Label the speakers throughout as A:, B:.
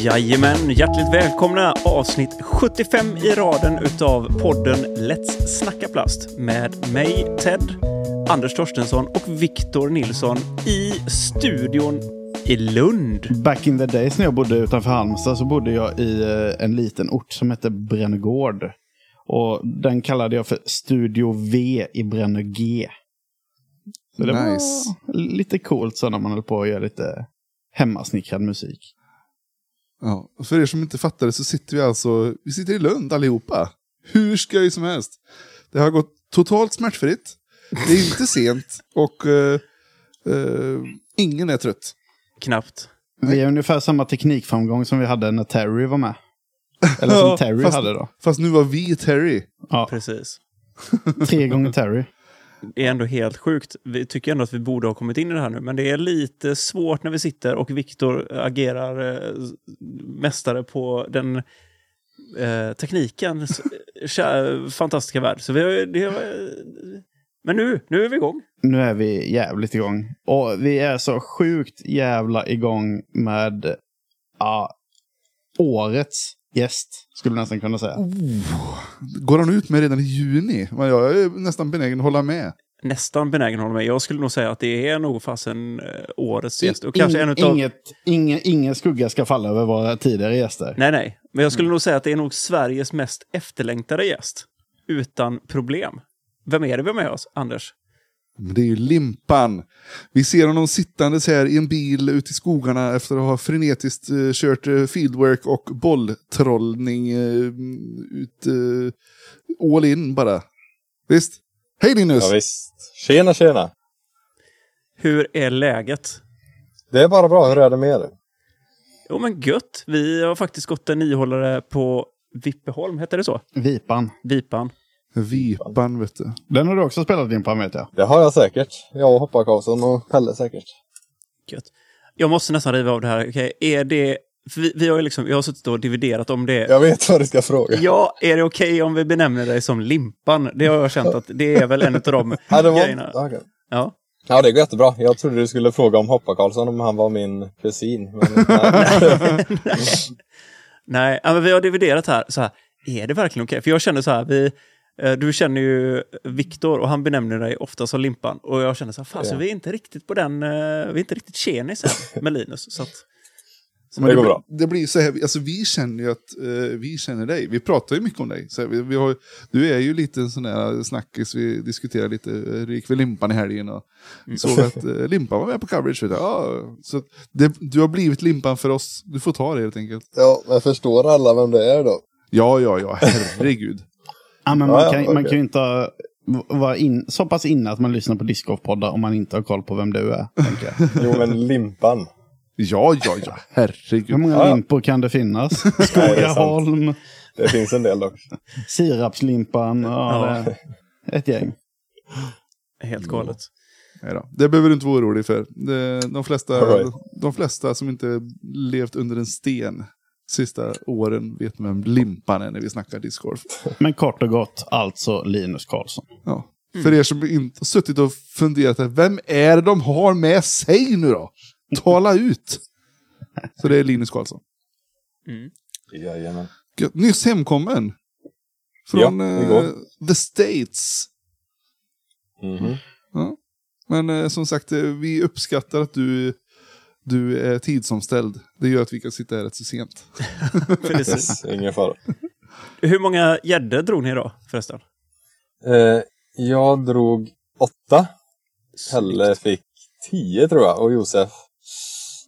A: Jajamän, hjärtligt välkomna avsnitt 75 i raden utav podden Let's Snacka Plast med mig Ted, Anders Torstensson och Viktor Nilsson i studion i Lund.
B: Back in the days när jag bodde utanför Halmstad så bodde jag i eh, en liten ort som hette Brännegård. Och den kallade jag för Studio V i Brännö G. Så det
C: Nice.
B: var lite coolt så när man höll på att göra lite hemmasnickrad musik.
C: Ja, och för er som inte fattar det så sitter vi alltså vi sitter i Lund allihopa. Hur skoj som helst. Det har gått totalt smärtfritt. Det är inte sent och eh, eh, ingen är trött.
A: Knappt.
B: Vi har ungefär samma teknikframgång som vi hade när Terry var med. Eller som
C: Ja,
B: Terry
C: fast,
B: hade då.
C: Fast nu var vi Terry.
B: Ja,
A: Precis.
B: tre gånger Terry.
A: Det är ändå helt sjukt. Vi tycker ändå att vi borde ha kommit in i det här nu, men det är lite svårt när vi sitter och Viktor agerar eh, mästare på den eh, teknikens eh, kä- fantastiska värld. Så vi har, ju- det har, eh, men nu, nu är vi igång.
B: Nu är vi jävligt igång. Och vi är så sjukt jävla igång med ja, årets gäst, skulle jag nästan kunna säga.
C: Går han ut med redan i juni? Men jag är nästan benägen att hålla med.
A: Nästan benägen att hålla med. Jag skulle nog säga att det är nog fasen eh, årets gäst. Och
B: In-
A: kanske en utav...
B: inget, ingen, ingen skugga ska falla över våra tidigare gäster.
A: Nej, nej. Men jag skulle nog säga att det är nog Sveriges mest efterlängtade gäst. Utan problem. Vem är det vi har med oss, Anders?
C: Men det är ju Limpan. Vi ser honom sittandes här i en bil ute i skogarna efter att ha frenetiskt eh, kört eh, fieldwork och bolltrollning eh, ut eh, all in bara. Visst? Hej Linus!
D: Ja, visst. Tjena, tjena.
A: Hur är läget?
D: Det är bara bra. Hur är det med er?
A: Jo men gött. Vi har faktiskt gått en niohållare på Vippeholm, hette det så?
B: Vipan.
A: Vipan.
C: Vipan vet du.
B: Den har du också spelat in på, vet jag.
D: Det har jag säkert. Jag och Hoppa-Karlsson och Pelle säkert.
A: Gött. Jag måste nästan riva av det här. Okej, är det... för Vi, vi har ju liksom, jag har suttit och dividerat om det. Ja,
D: Jag vet vad du ska fråga.
A: är det okej om vi benämner dig som Limpan? Det har jag känt att det är väl en av de
D: Ja, det
A: grejerna.
D: var... okej.
A: Ja.
D: ja, det går jättebra. Jag trodde du skulle fråga om Hoppa-Karlsson om han var min kusin. Men, nej.
A: Nej, ja, men vi har dividerat här. Så här, är det verkligen okej? För jag känner så här, vi, eh, du känner ju Viktor och han benämner dig ofta som Limpan. Och jag känner så här, fan, så
D: Ja.
A: vi är inte riktigt på den, eh, vi är inte riktigt tjenis här med Linus. Så att,
D: det går bra.
C: Det blir så här, alltså vi känner ju att eh, vi känner dig. Vi pratar ju mycket om dig. Så här, vi, vi har, du är ju lite en sån där snackis, vi diskuterar lite, hur gick vi Limpan i helgen? Och såg att eh, Limpan var med på coverage. Vet du. Ja, så att det, du har blivit Limpan för oss, du får ta det helt enkelt.
D: ja, men förstår alla vem det är då?
C: Ja, ja, ja, herregud.
B: Ja, men
D: Ja,
B: man,
D: ja,
B: kan,
D: okej.
B: man kan ju inte ha- v- vara in, så pass inne att man lyssnar på discgolfpoddar om man inte har koll på vem du är. tänker jag.
D: Jo, men Limpan.
C: ja, ja, ja,
B: Hur
C: herregud.
B: många
D: Ja, ja.
B: limpor kan det finnas?
D: det är sant.
B: Skogaholm,
D: Det finns en del dock.
B: sirapslimpan, ja,
A: Ja.
B: det- ett gäng.
A: Helt galet.
C: Nej då. Det behöver du inte vara orolig för. Det- De flesta,
D: All right.
C: de flesta som inte levt under en sten sista åren vet vem Limpan är när vi snackar discgolf.
B: Men kort och gott, alltså Linus Karlsson.
C: Ja. För er som inte har suttit och funderat, här, vem är det de har med sig nu då? Tala ut! Så det är Linus Karlsson.
D: Jajamän.
C: Gött. Nyss hemkommen. Från
D: Ja,
C: eh,
D: igår.
C: The States.
D: Mhm.
C: Men eh, som sagt, eh, vi uppskattar att du, du är tidsomställd. Det gör att vi kan sitta här rätt så sent.
A: Precis.
D: Yes, ingen fara.
A: Hur många gäddor drog ni idag förresten?
D: Eh, jag drog åtta. Pelle fick tio tror jag och Josef,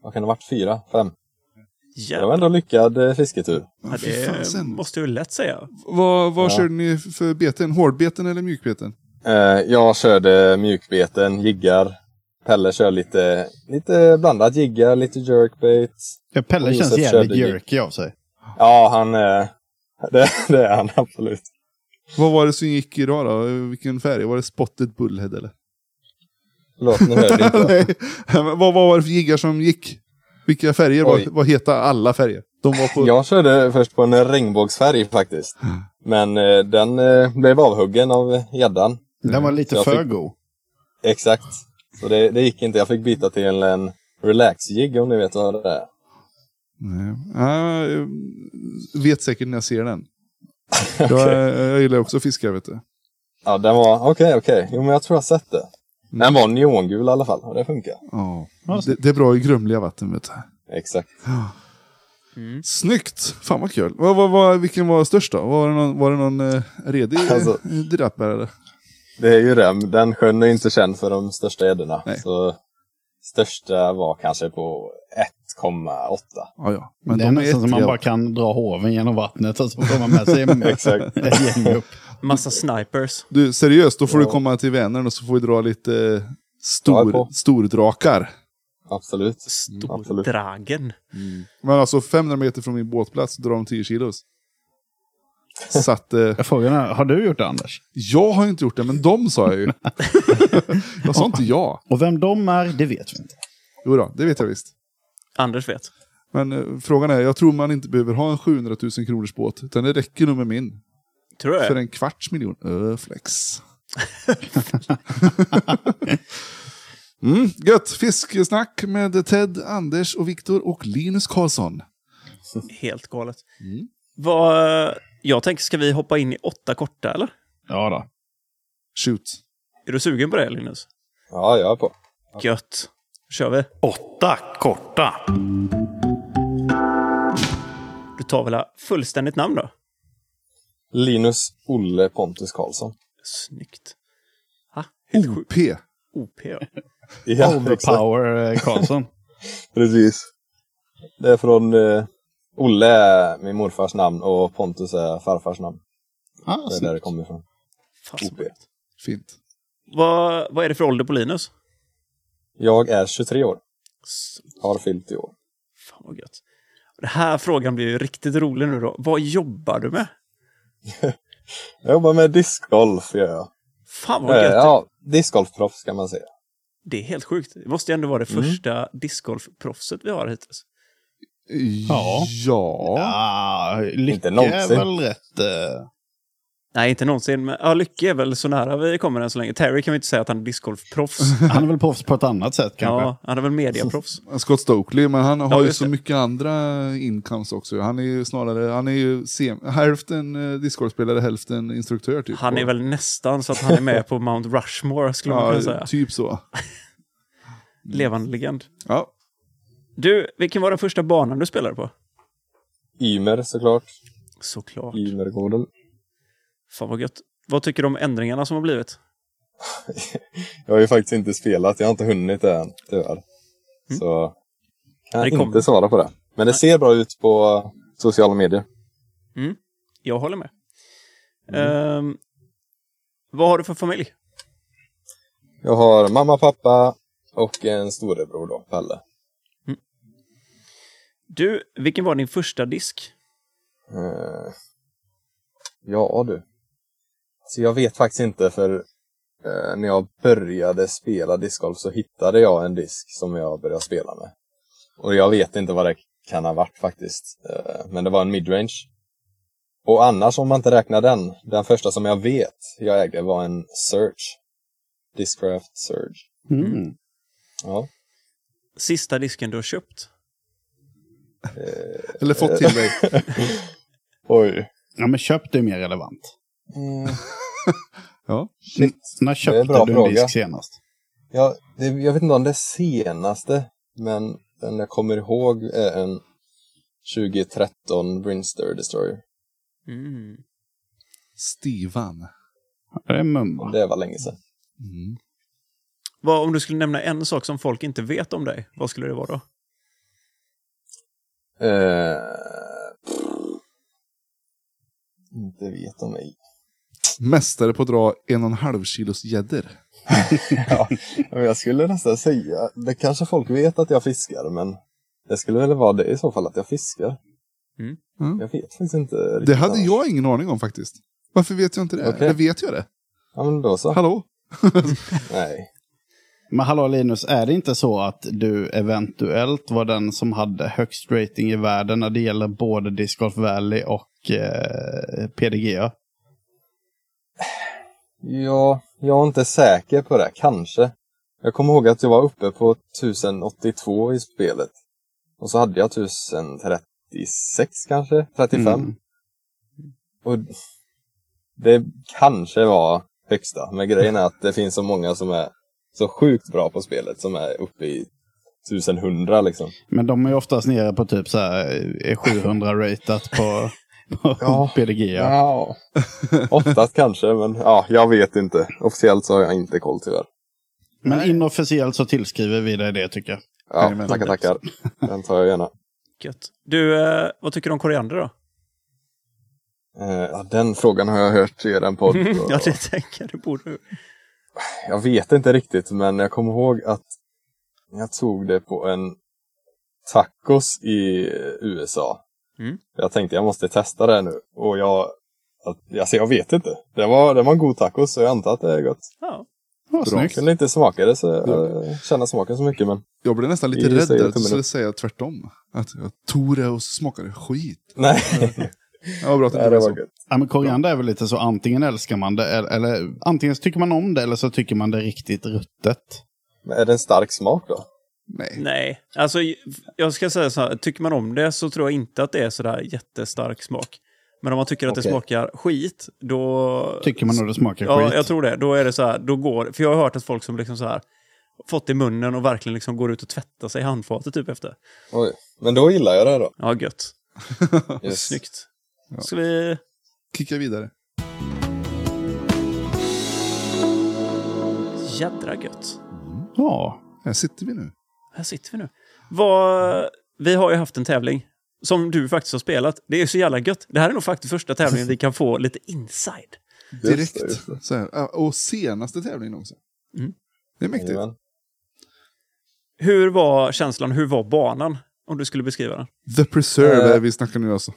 D: vad kan det ha varit, fyra, fem? Det var
A: Jävlar,
D: ändå lyckad eh, fisketur.
A: ja,
C: Fy
A: det
C: fasen.
A: måste ju lätt säga.
C: Vad, vad
D: Ja.
C: körde ni för beten? Hårdbeten eller mjukbeten?
D: Eh, jag körde mjukbeten, jiggar. Pelle kör lite, lite blandat jiggar, lite jerkbait.
B: Ja, Pelle
D: Och
B: känns
D: Josef
B: jävligt
D: körde ju-
B: jerky av sig.
D: Ja, han är... Det, det är han absolut.
C: Vad var det som gick idag då? Vilken färg? Var det spotted bullhead eller?
D: Förlåt, nu hörde jag inte.
C: Nej. vad, vad var det för jiggar som gick? Vilka färger?
D: Oj.
C: Vad, vad heta alla färger? De var på...
D: Jag körde först på en regnbågsfärg faktiskt. Men eh, den eh, blev avhuggen av gäddan.
B: Den var lite
D: Mm. Jag
B: för
D: fick-
B: god.
D: Exakt. Så det, det gick inte. Jag fick byta till en relax-jigg om ni vet vad det är.
C: Nej. Ja, jag vet säkert när jag ser den. jag, jag gillar också fiskar, vet du.
D: Ja, den var... Okej, okej. Jo, men jag tror jag har sett det. Den var neongul i alla fall och det funkar.
C: Ja. Det, det är bra i grumliga vatten, vet du.
D: Exakt. Mm.
C: Snyggt! Fan vad kul. Vad, vad, vad, vilken var störst då? Var det någon, var det någon eh, redig
D: Alltså-
C: eh, drapp här eller?
D: Det är ju det. Den sjön är inte känd för de största gäddorna.
C: Nej.
D: Så största var kanske på 1,8.
C: Ja, ja.
B: Men det är nästan som man
C: äckliga.
B: bara kan dra hoven genom vattnet och så får man med sig en-
D: Exakt.
B: ett gäng upp.
A: Massa snipers.
C: Du, seriöst, då får du
D: Ja.
C: komma till Vänern och så får vi dra lite eh,
D: Jag är
C: stor,
D: på.
C: stordrakar.
D: Absolut. absolut.
A: Stordragen.
C: Men alltså 500 meter från min båtplats drar de 10 kilos. Så att, eh,
B: Frågan är, har du gjort det Anders?
C: jag har ju inte gjort det, men de sa jag ju. jag sa inte ja.
B: Och vem de är, det vet vi inte.
C: Jo då, det vet jag visst.
A: Anders vet.
C: Men eh, frågan är, jag tror man inte behöver ha en 700 000 kronors båt, utan det räcker nog med min.
A: Tror du
C: För
A: det?
C: en kvarts miljon ö, flex. mm, gött! Fiskesnack med Ted, Anders och Viktor och Linus Karlsson.
A: Helt galet. Vad, jag tänker, ska vi hoppa in i åtta korta eller?
B: Ja då.
C: Shoot.
A: Är du sugen på det Linus?
D: Ja, jag är på.
A: Gött. kör vi.
E: Åtta korta.
A: Du tar väl fullständigt namn då?
D: Linus Olle Pontus Karlsson.
A: Snyggt. Ha, helt sjukt.
C: OP.
A: OP. ja.
D: Ja, exakt.
B: Overpower eh, Karlsson.
D: Precis. Det är från... Eh, Olle är min morfars namn och Pontus är farfars namn.
B: Ah,
D: Det är där det kommer ifrån.
A: Fast
D: OP.
A: möjligt.
C: Fint.
A: Vad, vad är det för ålder på Linus?
D: Jag är 23 år.
A: S-
D: Har fyllt i år.
A: Fan vad gött. Den här frågan blir ju riktigt rolig nu då. Vad jobbar du med?
D: Jag jobbar med discgolf, gör jag.
A: Fan vad
D: Eh,
A: gött.
D: ja, discgolfproffs kan man säga.
A: Det är helt sjukt. Det måste ju ändå vara det
D: Mm.
A: första discgolfproffset vi har hittills.
B: Ja.
C: Ja.
B: Ah, lycka
D: Inte
B: är
D: någonsin.
B: väl rätt... eh,
A: Nej, inte någonsin. Men ja, Lycke är väl så nära vi kommer än så länge. Terry kan vi inte säga att han är discgolfproffs.
B: han är väl proffs på ett annat sätt kanske.
A: ja, han är väl mediaproffs.
C: Scott Stokely, men han har ju
A: just
C: så
A: det.
C: mycket andra incomes också. Han är ju snarare, han är ju sem- hälften eh, discgolfspelare, hälften instruktör typ.
A: Han är väl nästan så att han är med på Mount Rushmore, skulle man kunna
C: Ja,
A: säga.
C: typ så.
A: Levande legend.
C: Ja.
A: Du, vilken var den första banan du spelade på?
D: Ymer såklart.
A: Såklart.
D: Ymergården.
A: Fan vad gött. Vad tycker du om ändringarna som har blivit?
D: Jag har ju faktiskt inte spelat. Jag har inte hunnit det än, tyvärr. Så kan
A: Mm. Det
D: jag
A: kommer.
D: inte svara på det. Men det ser bra ut på sociala medier.
A: Jag håller med. Ehm, vad har du för familj?
D: Jag har mamma, pappa och en storebror då, Pelle.
A: Du, vilken var din första disk?
D: Eh, ja du. Så jag vet faktiskt inte för eh, när jag började spela discgolf så hittade jag en disk som jag började spela med. Och jag vet inte vad det kan ha varit faktiskt. Eh, men det var en midrange. Och annars om man inte räknar den, den första som jag vet jag ägde var en Surge. Discraft Surge.
B: Mm.
D: Ja.
A: Sista disken du har köpt?
C: Eller fått till dig.
D: Oj.
B: ja, men köp det är mer relevant.
D: Mm.
C: Ja.
B: När
D: Det är en
B: köpte
D: bra
B: du en
D: fråga.
B: disk senast?
D: Ja, det, jag vet inte om det senaste, men den jag kommer ihåg är en 2013 Brinster Destroyer.
A: Mm.
C: Stivan.
B: Det är mumma.
D: Det var länge sedan.
C: Mm.
A: Vad, om du skulle nämna en sak som folk inte vet om dig, vad skulle det vara då?
D: Eh, pff. inte vet om mig.
C: Mästare på att dra en och en halv kilos gäddor.
D: ja, men jag skulle nästan säga, det kanske folk vet att jag fiskar, men det skulle väl vara det i så fall, att jag fiskar.
A: Mm.
C: Mm.
D: Jag vet faktiskt inte riktigt.
C: Det hade
D: annars.
C: jag ingen aning om faktiskt. Varför vet jag inte det?
D: Okej.
C: Eller vet jag det?
D: Ja, men då så.
C: Hallå?
D: Nej.
B: Men hallå Linus, är det inte så att du eventuellt var den som hade högst rating i världen när det gäller både Disc Golf Valley och eh, PDGA?
D: Ja, jag är inte säker på det. Kanske. Jag kommer ihåg att jag var uppe på 1082 i spelet. Och så hade jag 1036 kanske, 35.
B: Mm.
D: Och det kanske var högsta, men grejen är att det finns så många som är så sjukt bra på spelet som är uppe i 1100 liksom.
B: Men de är ju oftast nere på typ så här eh, 700-ratat på, på
D: Ja.
B: PDG. Ja.
D: Ja. Oftast kanske, men ja, jag vet inte. Officiellt så har jag inte koll tyvärr.
B: Men inofficiellt så tillskriver vi dig det tycker jag.
D: Ja,
C: Jajamän.
D: tackar, tackar. Den tar jag gärna.
A: Gött. Du, eh, vad tycker du om koriander då?
D: Eh, ja, den frågan har jag hört i er podd. och-
A: Mm. Ja, det tänker jag. Det borde du.
D: Jag vet inte riktigt, men jag kommer ihåg att jag tog det på en tacos i USA.
A: Mm.
D: Jag tänkte jag måste testa det nu. Och jag, att, alltså jag vet inte. Det var, det var en god tacos, så jag antar att det är gott.
A: Ja.
B: Vad
D: Jag
B: snyggt.
D: kunde inte smaka det, så jag känner smaken så mycket. Men
C: Jag blev nästan lite
D: Vi
C: rädd
D: säger
C: där, att du
D: tummen
C: skulle
D: upp.
C: säga tvärtom. Att jag tog det och så smakade det skit.
D: nej,
C: Ja, vad bra att det
D: nej
C: inte blev
D: det var
C: så.
D: gott.
B: Ja, men koriander är väl lite så antingen älskar man det eller, eller antingen så tycker man om det eller så tycker man det är riktigt ruttet.
D: Men är det en stark smak då?
C: Nej.
A: Nej, alltså j- jag ska säga så här. Tycker man om det så tror jag inte att det är sådär jättestark smak. Men om man tycker att det
D: Okej.
A: smakar skit, då...
B: Tycker man nog det smakar
A: Ja,
B: skit.
A: jag tror det. Då är det så här, då går För jag har hört att folk som liksom så här fått i munnen och verkligen liksom går ut och tvättar sig i handfatet typ efter.
D: Oj. Men då gillar jag det då.
A: Ja, gött.
D: Yes.
A: Snyggt. Ska vi...
C: Kicka vidare.
A: Jädra gött.
B: Ja.
C: Här sitter vi nu.
A: Här sitter vi nu. Vad... Vi har ju haft en tävling som du faktiskt har spelat. Det är så jävla gött. Det här är nog faktiskt första tävlingen vi kan få lite inside.
D: det,
C: Direkt.
D: just det.
C: Så här. Ja, Och senaste tävlingen också.
A: Mm.
C: Det är mäktigt.
D: Jajamän.
A: Hur var känslan? Hur var banan? Om du skulle beskriva den.
C: The Preserve
D: Eh.
C: är vi snackar nu alltså.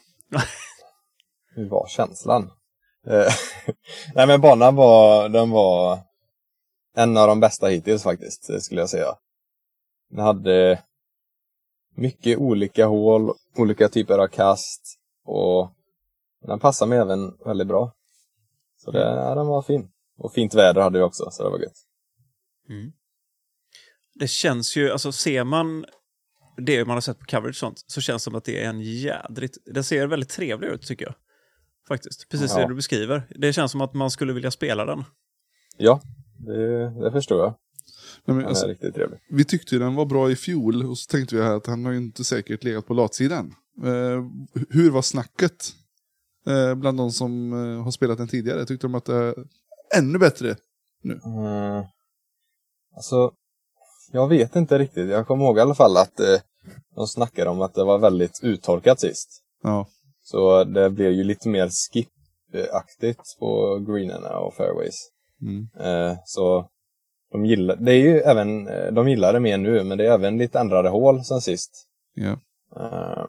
D: Hur var känslan? Eh, Nej men banan var, den var en av de bästa hittills faktiskt, eh, skulle jag säga. Den hade mycket olika hål, olika typer av kast och den passade mig även väldigt bra. Så det, ja, den var fin. Och fint väder hade vi också, så det var gött.
A: Det känns ju, alltså ser man det man har sett på coverage och sånt, så känns det som att det är en jädrigt... Det ser väldigt trevlig ut tycker jag. Faktiskt. Precis
D: Ja.
A: det du beskriver. Det känns som att man skulle vilja spela den.
D: Ja, det, det förstår jag.
C: Nej, men,
D: Den
C: alltså.
D: är riktigt trevlig.
C: Vi tyckte ju den var bra i fjol och så tänkte vi här att han har ju inte säkert legat på latsidan. Eh, hur var snacket eh, bland de som eh, har spelat den tidigare? Tyckte de att det är ännu bättre?
D: Mm. Alltså, jag vet inte riktigt. Jag kommer ihåg i alla fall att eh, de snackade om att det var väldigt uttorkat sist.
C: Ja.
D: Så det blev ju lite mer skip-aktigt på greenerna och fairways.
C: Mm.
D: Eh, så de gillar, det är ju även, eh, de gillar det mer nu, men det är även lite ändrade hål sen sist.
C: Ja.
D: Eh,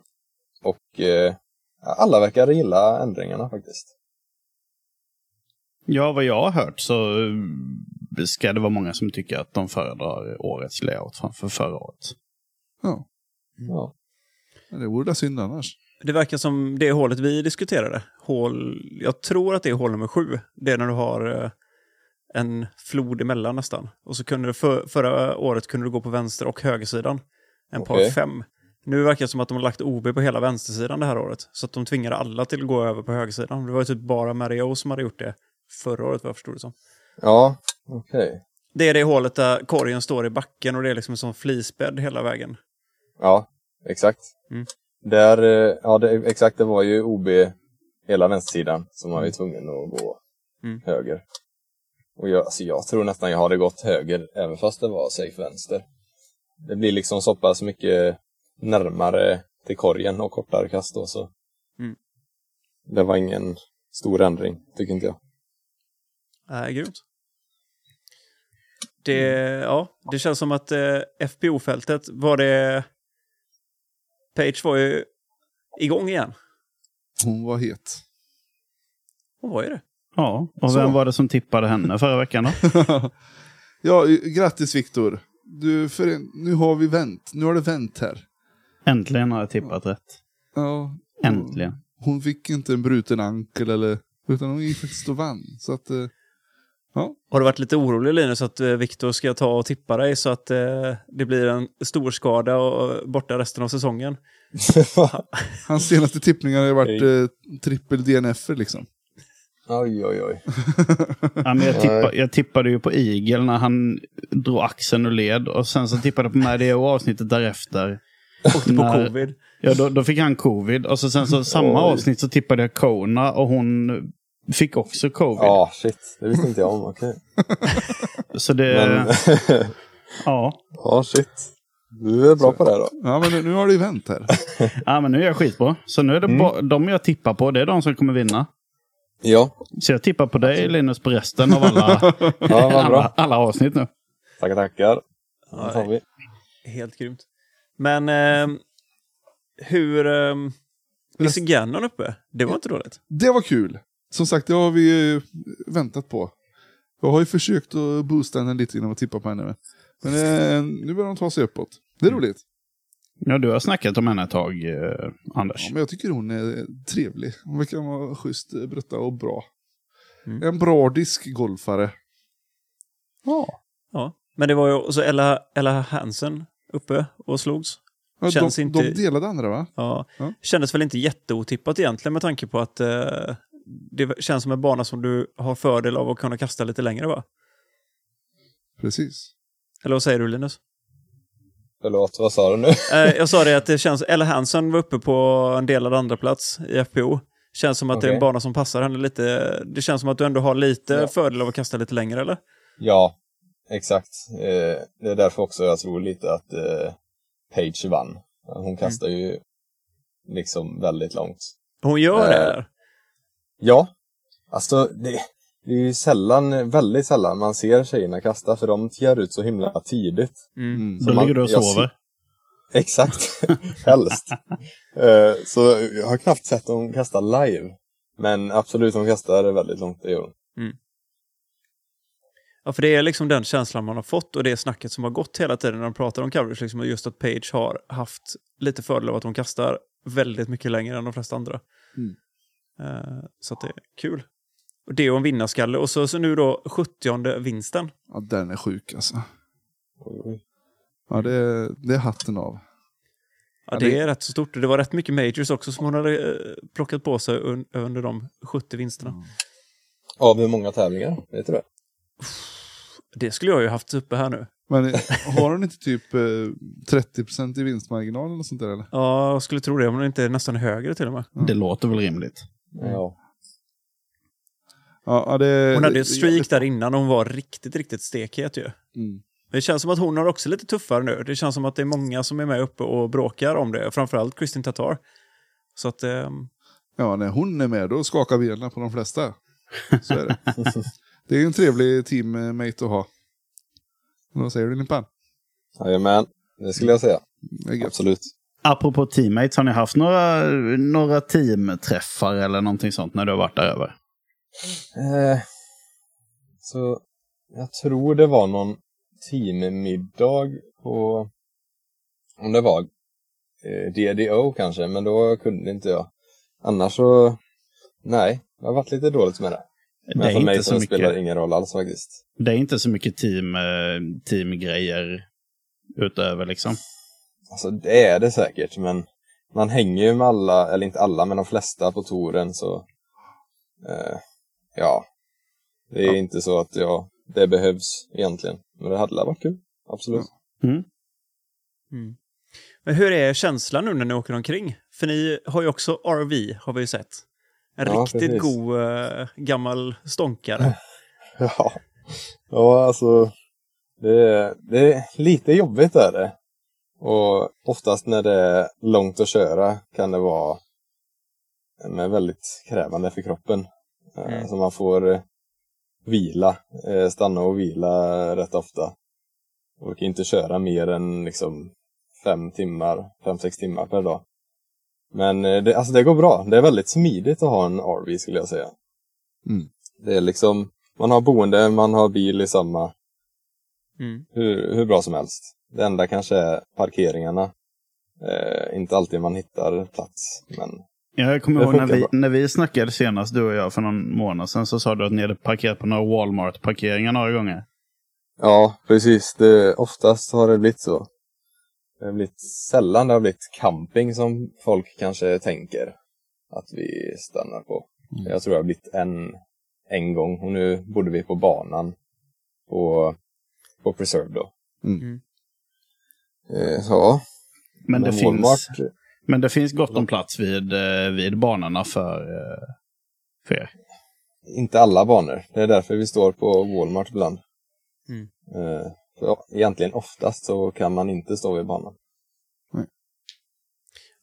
D: och eh, alla verkar gilla ändringarna faktiskt.
B: Ja, vad jag har hört så eh, ska det vara många som tycker att de föredrar årets layout framför förra året.
C: ja.
D: Ja.
C: Det vore väl synd annars.
A: Det verkar som det hålet vi diskuterade, hål, jag tror att det är hål nummer sju, det är när du har eh, en flod emellan nästan. Och så kunde du för, förra året kunde du gå på vänster och högersidan, en par
D: Okej.
A: fem. Nu verkar det som att de har lagt OB på hela vänstersidan det här året, så att de tvingade alla till att gå över på högersidan. Det var ju typ bara Mario som hade gjort det förra året, vad jag förstod det som.
D: Ja, okej.
A: Det är det hålet där korgen står i backen och det är liksom en sån flisbädd hela vägen.
D: Ja, exakt.
A: Mm.
D: Där, eh, ja det, exakt, det var ju OB hela vänstersidan som man var ju tvungen att gå
A: Mm.
D: höger. Och jag, alltså jag tror nästan jag hade gått höger även fast det var safe vänster. Det blir liksom så pass mycket närmare till korgen och kortare kast då så.
A: Mm.
D: Det var ingen stor ändring, tycker inte jag.
A: Nej, Äh, grymt. Det, ja, det känns som att eh, FPO-fältet var det... Page var ju igång igen.
C: Hon var het.
A: Hon var ju det.
B: Ja, och
C: Så.
B: vem var det som tippade henne förra veckan då?
C: ja, grattis Viktor. Du, för en, nu har vi vänt. Nu har det vänt här.
B: Äntligen har jag tippat rätt.
C: Ja.
B: Äntligen.
D: Mm.
C: Hon fick inte en bruten ankel eller... Utan hon gick faktiskt och vann. Så att... Eh, Ja.
A: Har du varit lite orolig Linus att eh, Viktor ska ta och tippa dig så att eh, det blir en stor skada och eh, borta resten av säsongen?
C: Hans senaste tippningar har ju varit eh, trippel DNF liksom.
D: oj, oj, oj.
B: Ja, men jag, tippa, jag tippade ju på Igel när han drog axeln och led. Och sen så tippade jag på Maddie och avsnittet därefter.
A: Åkte på
B: När-
A: covid.
B: Ja, då, då fick han covid. Och så sen så samma
D: Oj.
B: avsnitt så tippade jag Kona och hon fick också covid.
D: Ja, shit. Det visste inte jag om. Okej.
B: Så det...
D: Men,
B: Ja.
D: ja, shit. Du är bra på det då.
C: Ja, men nu, nu har det ju vänt här.
B: ja, men nu är jag skitbra. Så nu är det
D: Mm.
B: ba- de jag tippar på, det är de som kommer vinna.
D: Ja,
B: Så jag tippar på dig Linus på resten av alla,
D: ja vad
B: alla,
D: bra.
B: alla avsnitt nu.
D: Tackar, tackar. Då tar vi.
A: Helt grymt. Men eh, hur... Eh, visst är Gannon uppe? Det var inte dåligt.
C: Det var kul. Som sagt, det har vi ju väntat på. Jag har ju försökt att boosta henne lite genom att tippa på henne. med. Men eh, nu börjar hon ta sig uppåt. Det
A: Mm.
C: är roligt.
B: Ja, du har snackat om henne ett tag, eh, Anders.
C: Ja, men jag tycker hon är trevlig. Hon verkar vara schysst, eh, brutta och bra. En bradisk golfare.
B: Ja.
A: Ja. Men det var ju också Ella, Ella Hansen uppe och slogs.
C: Ja,
A: Känns
C: de,
A: inte-
C: de delade andra va?
A: Ja.
C: Ja.
A: Kändes väl inte jätteotippat egentligen med tanke på att eh, det känns som en bana som du har fördel av att kunna kasta lite längre va?
C: Precis.
A: Eller vad säger du Linus?
D: Förlåt, vad sa du nu?
A: Eh, jag sa det att det känns, Ella Hansen var uppe på en delad andra plats i FPO. Känns som att det är en
D: Okej.
A: bana som passar henne lite. Det känns som att du ändå har lite
D: Ja.
A: fördel av att kasta lite längre eller?
D: Ja, exakt. Eh, det är därför också jag tror lite att eh, Page vann.
B: Mm.
D: Hon kastar ju liksom väldigt långt.
A: Hon gör det
D: Eh,
A: eller?
D: Ja, alltså det, det är ju sällan, väldigt sällan man ser tjejerna kasta för de tjär ut så himla tidigt.
A: Mm.
C: Mm.
B: Då
D: man-
B: ligger du och
D: jag
B: sover.
D: Exakt, helst. Eh, så jag har knappt sett dem kasta live. Men absolut, de kastar väldigt långt, det gör de.
A: Ja, för det är liksom den känslan man har fått och det snacket som har gått hela tiden när de pratar om coverage. Liksom just att Page har haft lite fördel av att hon kastar väldigt mycket längre än de flesta andra.
C: Mm.
A: Eh, så att det är kul. Och det och en vinnarskalle. Och så, så nu då 70 vinsten.
C: Ja, den är sjuk alltså.
D: Oj, oj.
C: Ja, det, är- det är hatten av.
A: Ja, det är rätt så stort. Och det var rätt mycket majors också som hon hade eh, plockat på sig un- under de 70 vinsterna.
D: Av hur många tävlingar? Vet du det?
A: Det skulle jag ju haft uppe här nu.
C: Men eh, har hon inte typ eh, 30% i vinstmarginal eller sånt där eller?
A: Ja, jag skulle tro det om det inte är nästan högre till och med.
D: Mm.
B: Det låter väl rimligt.
D: Ja.
C: Ja, ja, det,
A: Hon hade ju ett
C: Eh, det-
A: streak där innan och hon var riktigt, riktigt stekhet ju.
C: Mm.
A: Men Det känns som att hon har också lite tuffare nu. Det känns som att det är många som är med uppe och bråkar om det. Framförallt Kristin Tatar. Så att, ehm,
C: Ja, när hon är med då skakar benen på de flesta. Så är det. det är en trevlig teammate att ha. Vad säger du Limpan?
D: Jajamän, det skulle jag säga.
C: Det är gött.
D: Absolut.
B: Apropå teammates, har ni haft några, några teamträffar eller någonting sånt när du har varit där över?
D: Eh, så jag tror det var någon teammiddag på, om det var eh, DDO kanske, men då kunde inte jag. Annars så, nej, det har varit lite dåligt med det. Men
B: det,
D: för
B: är
D: mig
B: inte
D: så
B: så
D: spelar det
B: mycket,
D: ingen roll alls faktiskt.
B: det är inte så mycket team, eh, teamgrejer utöver liksom.
D: Alltså det är det säkert, men man hänger ju med alla, eller inte alla, men de flesta på touren så, eh, ja. Det är inte så att jag, det behövs egentligen. Men det hade väl varit kul, absolut.
A: men hur är känslan nu när ni åker omkring? För ni har ju också RV, har vi ju sett. En
D: Ja,
A: riktigt
D: precis.
A: god eh, gammal stånkare.
D: Ja, ja alltså. Det, det är lite jobbigt är det. Och oftast när det är långt att köra kan det vara men väldigt krävande för kroppen. Eh,
A: Mm.
D: Så man får eh, vila, eh, stanna och vila rätt ofta. Och kan inte köra mer än liksom fem timmar, fem, sex timmar per dag. Men eh, det, alltså det går bra. Det är väldigt smidigt att ha en RV skulle jag säga.
C: Mm.
D: Det är liksom man har boende, man har bil i samma.
A: Mm.
D: Hur, hur bra som helst. Det enda kanske är parkeringarna. Eh, inte alltid man hittar plats, men
B: Jag kommer
D: Det
B: ihåg när
D: funkar
B: vi,
D: bra.
B: när vi snackade senast, du och jag, för någon månad sedan, så sa du att ni hade parkerat på några Walmart-parkeringar några gånger.
D: Ja, precis. Det, oftast har det blivit så. Det har blivit sällan det har blivit camping som folk kanske tänker att vi stannar på.
B: Mm.
D: Jag tror det har blivit en, en gång och nu bodde vi på banan på, på Preserve då.
C: Mm.
A: Mm.
D: Eh, Ja,
B: Men det, finns,
D: Walmart,
B: men det finns gott om plats vid, eh, vid banorna för, eh, för er.
D: inte alla banor. Det är därför vi står på Walmart ibland.
A: Mm.
D: Eh, för ja, egentligen oftast så kan man inte stå vid banan.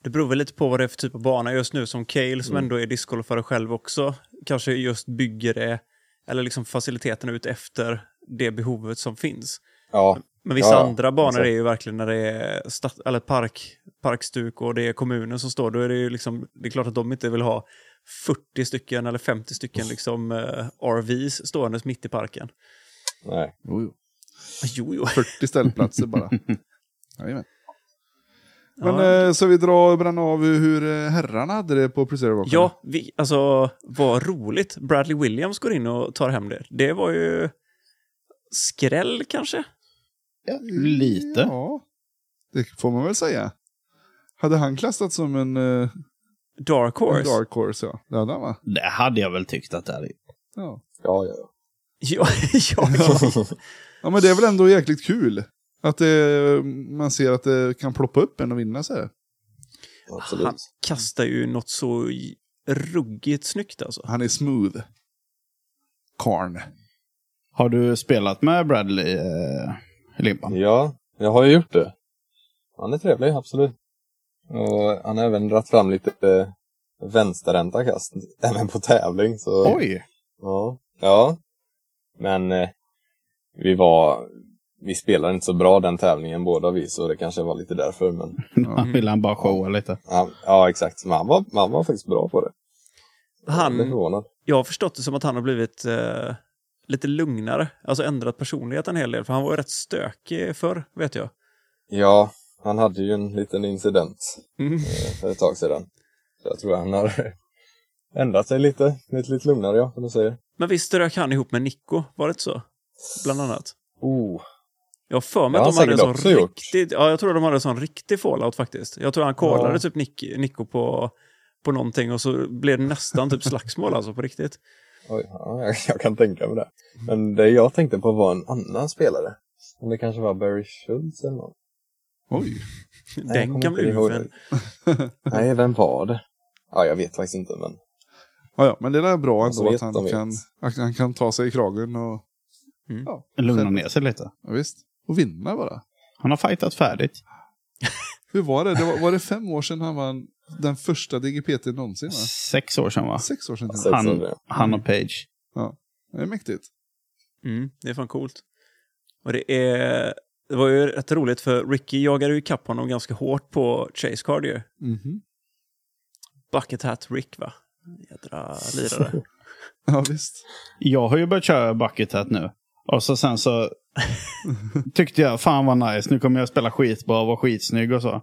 A: Det beror väl lite på vad det är för typ av bana just nu, som Cale som
D: Mm.
A: ändå är discgolfare själv också, kanske just bygger det, eller liksom faciliteterna ut efter det behovet som finns.
D: Ja,
A: Men vissa
D: Ja, ja.
A: andra banor
D: Exakt.
A: är ju verkligen när det är stat- eller park, parkstuk och det är kommunen som står, då är det ju liksom, det är klart att de inte vill ha 40 stycken eller 50 stycken liksom eh, RVs ståendes mitt i parken.
D: nej.
C: Jo, jo.
A: Jo, jo.
C: 40 ställplatser bara. Jajamän. Men
A: Ja.
C: eh, så vi drar och bränner av hur eh, herrarna hade det på Preserve Open?
A: Ja, vi, alltså vad roligt. Bradley Williams går in och tar hem det. Det var ju skräll kanske?
B: Lite.
C: Ja, det får man väl säga. Hade han klassats som en, eh,
A: Dark
C: en
A: Horse?
C: dark horse? Ja, det hade han va?
B: Det hade jag väl tyckt att det hade
C: Ja.
D: Ja, ja, ja.
A: Ja, ja, ja.
C: ja, men det är väl ändå jäkligt kul. Att det, man ser att det kan ploppa upp en och vinna så här.
D: Absolut.
A: Han kastar ju något så j- ruggigt snyggt alltså.
C: Han är smooth. Karn.
B: Har du spelat med Bradley, eh, Limpan?
D: Ja, jag har ju gjort det. Han är trevlig, absolut. Och han har även dragit fram lite eh, vänsterhänta kast, även på tävling. Så,
B: Oj!
D: Ja. ja. Men eh, vi var... Vi spelade inte så bra den tävlingen båda vi, så det kanske var lite därför. Men,
B: Han ville han bara showa lite.
D: han, ja, exakt. Men han var, han var faktiskt bra på det. Jag blev
A: Han,
D: förvånad.
A: jag har förstått det som att han har blivit eh, lite lugnare, alltså ändrat personlighet en hel del, för han var ju rätt stökig förr, vet jag.
D: Ja, han hade ju en liten incident
A: Mm.
D: eh, för ett tag sedan. Så jag tror han har ändrat sig lite. Lite, lite lugnare, ja, som du säger.
A: Men visst strök han ihop med Nico, var det inte så? Bland annat.
D: Oh,
A: Jag har för mig
D: Det
A: att de
D: har han
A: hade en sån
D: säkert också gjort.
A: riktig, ja, jag tror att de hade en sån riktig fallout faktiskt. Jag tror han kollade
D: Ja.
A: typ Nick, Nico på, på någonting och så blev det nästan typ slagsmål alltså på riktigt.
D: Oj, ja, jag, jag kan tänka mig det. Men det jag tänkte på var en annan spelare. Om det kanske var Barry Schultz eller någon.
C: Oj.
D: Nej,
A: Den
D: jag kommer
A: gamla
D: inte ihåg
A: ufen.
D: det. Nej, vem var det? Ja, jag vet faktiskt inte, men
C: Ja, ja, men det där är bra
D: De
C: ändå
D: vet,
C: att han
D: de vet.
C: kan, att han kan ta sig i kragen och...
A: Mm.
C: Ja,
B: Lugna ner sig lite.
C: ja, visst. Och vinna bara.
B: Han har fightat färdigt.
C: Hur var det? det var, var det fem år sedan han vann den första DGPT någonsin? Va?
B: Sex år sedan va?
C: Sex år sedan.
D: Sex
C: till och
D: år
B: Han,
D: sedan.
B: han och Page.
C: med. Det är mäktigt.
A: Mm, det är fan coolt. Och det, är, det var ju rätt roligt för Ricky jagade ju ikapp honom ganska hårt på Chase Card ju.
C: Mhm.
A: Bucket Hat Rick va? Jädra lirare.
C: Ja, visst.
B: Jag har ju börjat köra bucket hat nu. Och så sen så tyckte jag fan vad nice, nu kommer jag spela skitbra och vara skitsnygg och så.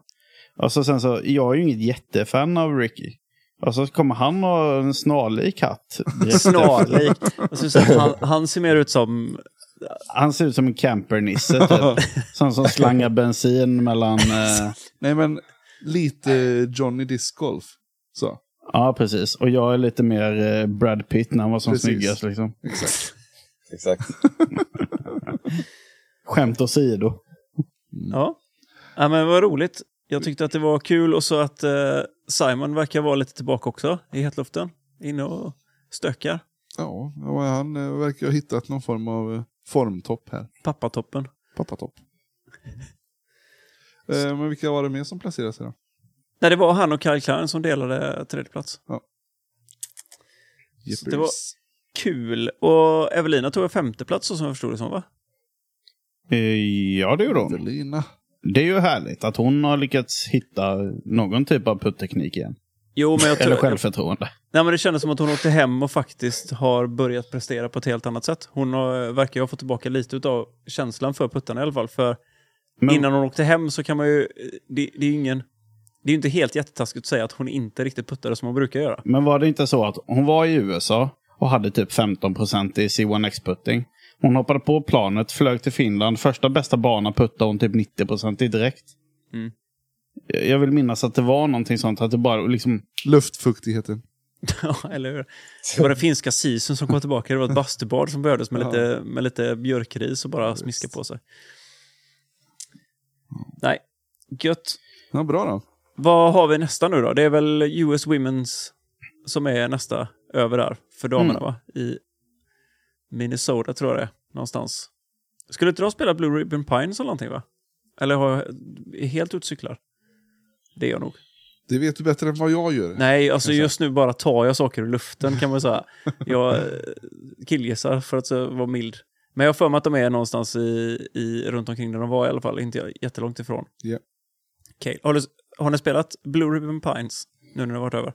B: Och så sen så, jag är ju inget jättefan av Ricky. Och så kommer han och har en snarlik hatt. direkt efter.
A: Snarlik. Jag skulle säga att han, han ser mer ut som...
B: Han ser ut som en campernisse typ. Sån som slangar bensin mellan... Eh,
C: Nej, men lite Johnny Discgolf. Så,
B: ja, precis. Och jag är lite mer eh, Brad Pitt när han var som
C: Precis.
B: snyggast. Liksom.
C: exakt.
D: exakt.
B: Skämt åsido.
A: Ja. ja men vad roligt. Jag tyckte att det var kul och så att eh, Simon verkar vara lite tillbaka också i hetluften. Inne och stökar.
C: Ja, och han eh, verkar ha hittat någon form av eh, formtopp här.
A: Pappatoppen.
C: Pappatopp. Eh, men vilka var det mer som placerade sig då?
A: Nej, det var han och Kyle Klein som delade tredje plats. Så det var-
C: Jeepers.
A: Kul! Och Evelina tog femte plats så som jag förstod det som, va?
B: Eh, Ja, det gjorde hon.
C: Evelina.
B: Det är ju härligt att hon har lyckats hitta någon typ av putteknik igen.
A: Jo, men jag
B: Eller
A: tror...
B: självförtroende.
A: Nej, men det kändes som att hon åkte hem och faktiskt har börjat prestera på ett helt annat sätt. Hon har, eh, verkar ju ha fått tillbaka lite av känslan för puttarna i alla fall. För
B: Men,
A: innan hon åkte hem så kan man ju... eh, Det, det är ju ingen... Det är ju inte helt jättetaskigt att säga att hon inte riktigt puttade som hon brukar göra.
B: Men var det inte så att hon var i USA och hade typ 15 procent i C1X-putting? Hon hoppade på planet, flög till Finland. Första bästa bana puttade hon typ 90 procent i direkt.
A: Mm.
B: Jag jag vill minnas att det var någonting sånt. Att det bara liksom...
C: Luftfuktigheten.
A: Ja, eller hur? Det var den finska sisen som kom tillbaka. Det var ett bastubad som börjades med, lite, med lite björkris och bara smiska på sig. Nej, gött.
C: Ja, bra då.
A: Vad har vi nästa nu då? Det är väl US Women's som är nästa över där för damerna
B: Mm.
A: va? I Minnesota tror jag det är, någonstans. Skulle inte de spela Blue Ribbon Pines eller någonting va? Eller har jag är helt utcyklar? Det är jag nog.
C: Det vet du bättre än vad jag gör.
A: Nej, alltså just nu bara tar jag saker ur luften kan man säga. Jag eh, killgissar för att så vara mild. Men jag har för mig att de är någonstans i, i, runt omkring där de var i alla fall, inte jättelångt ifrån.
C: Ja.
A: Okej, har, du- har ni spelat Blue Ribbon Pines nu när det har varit över?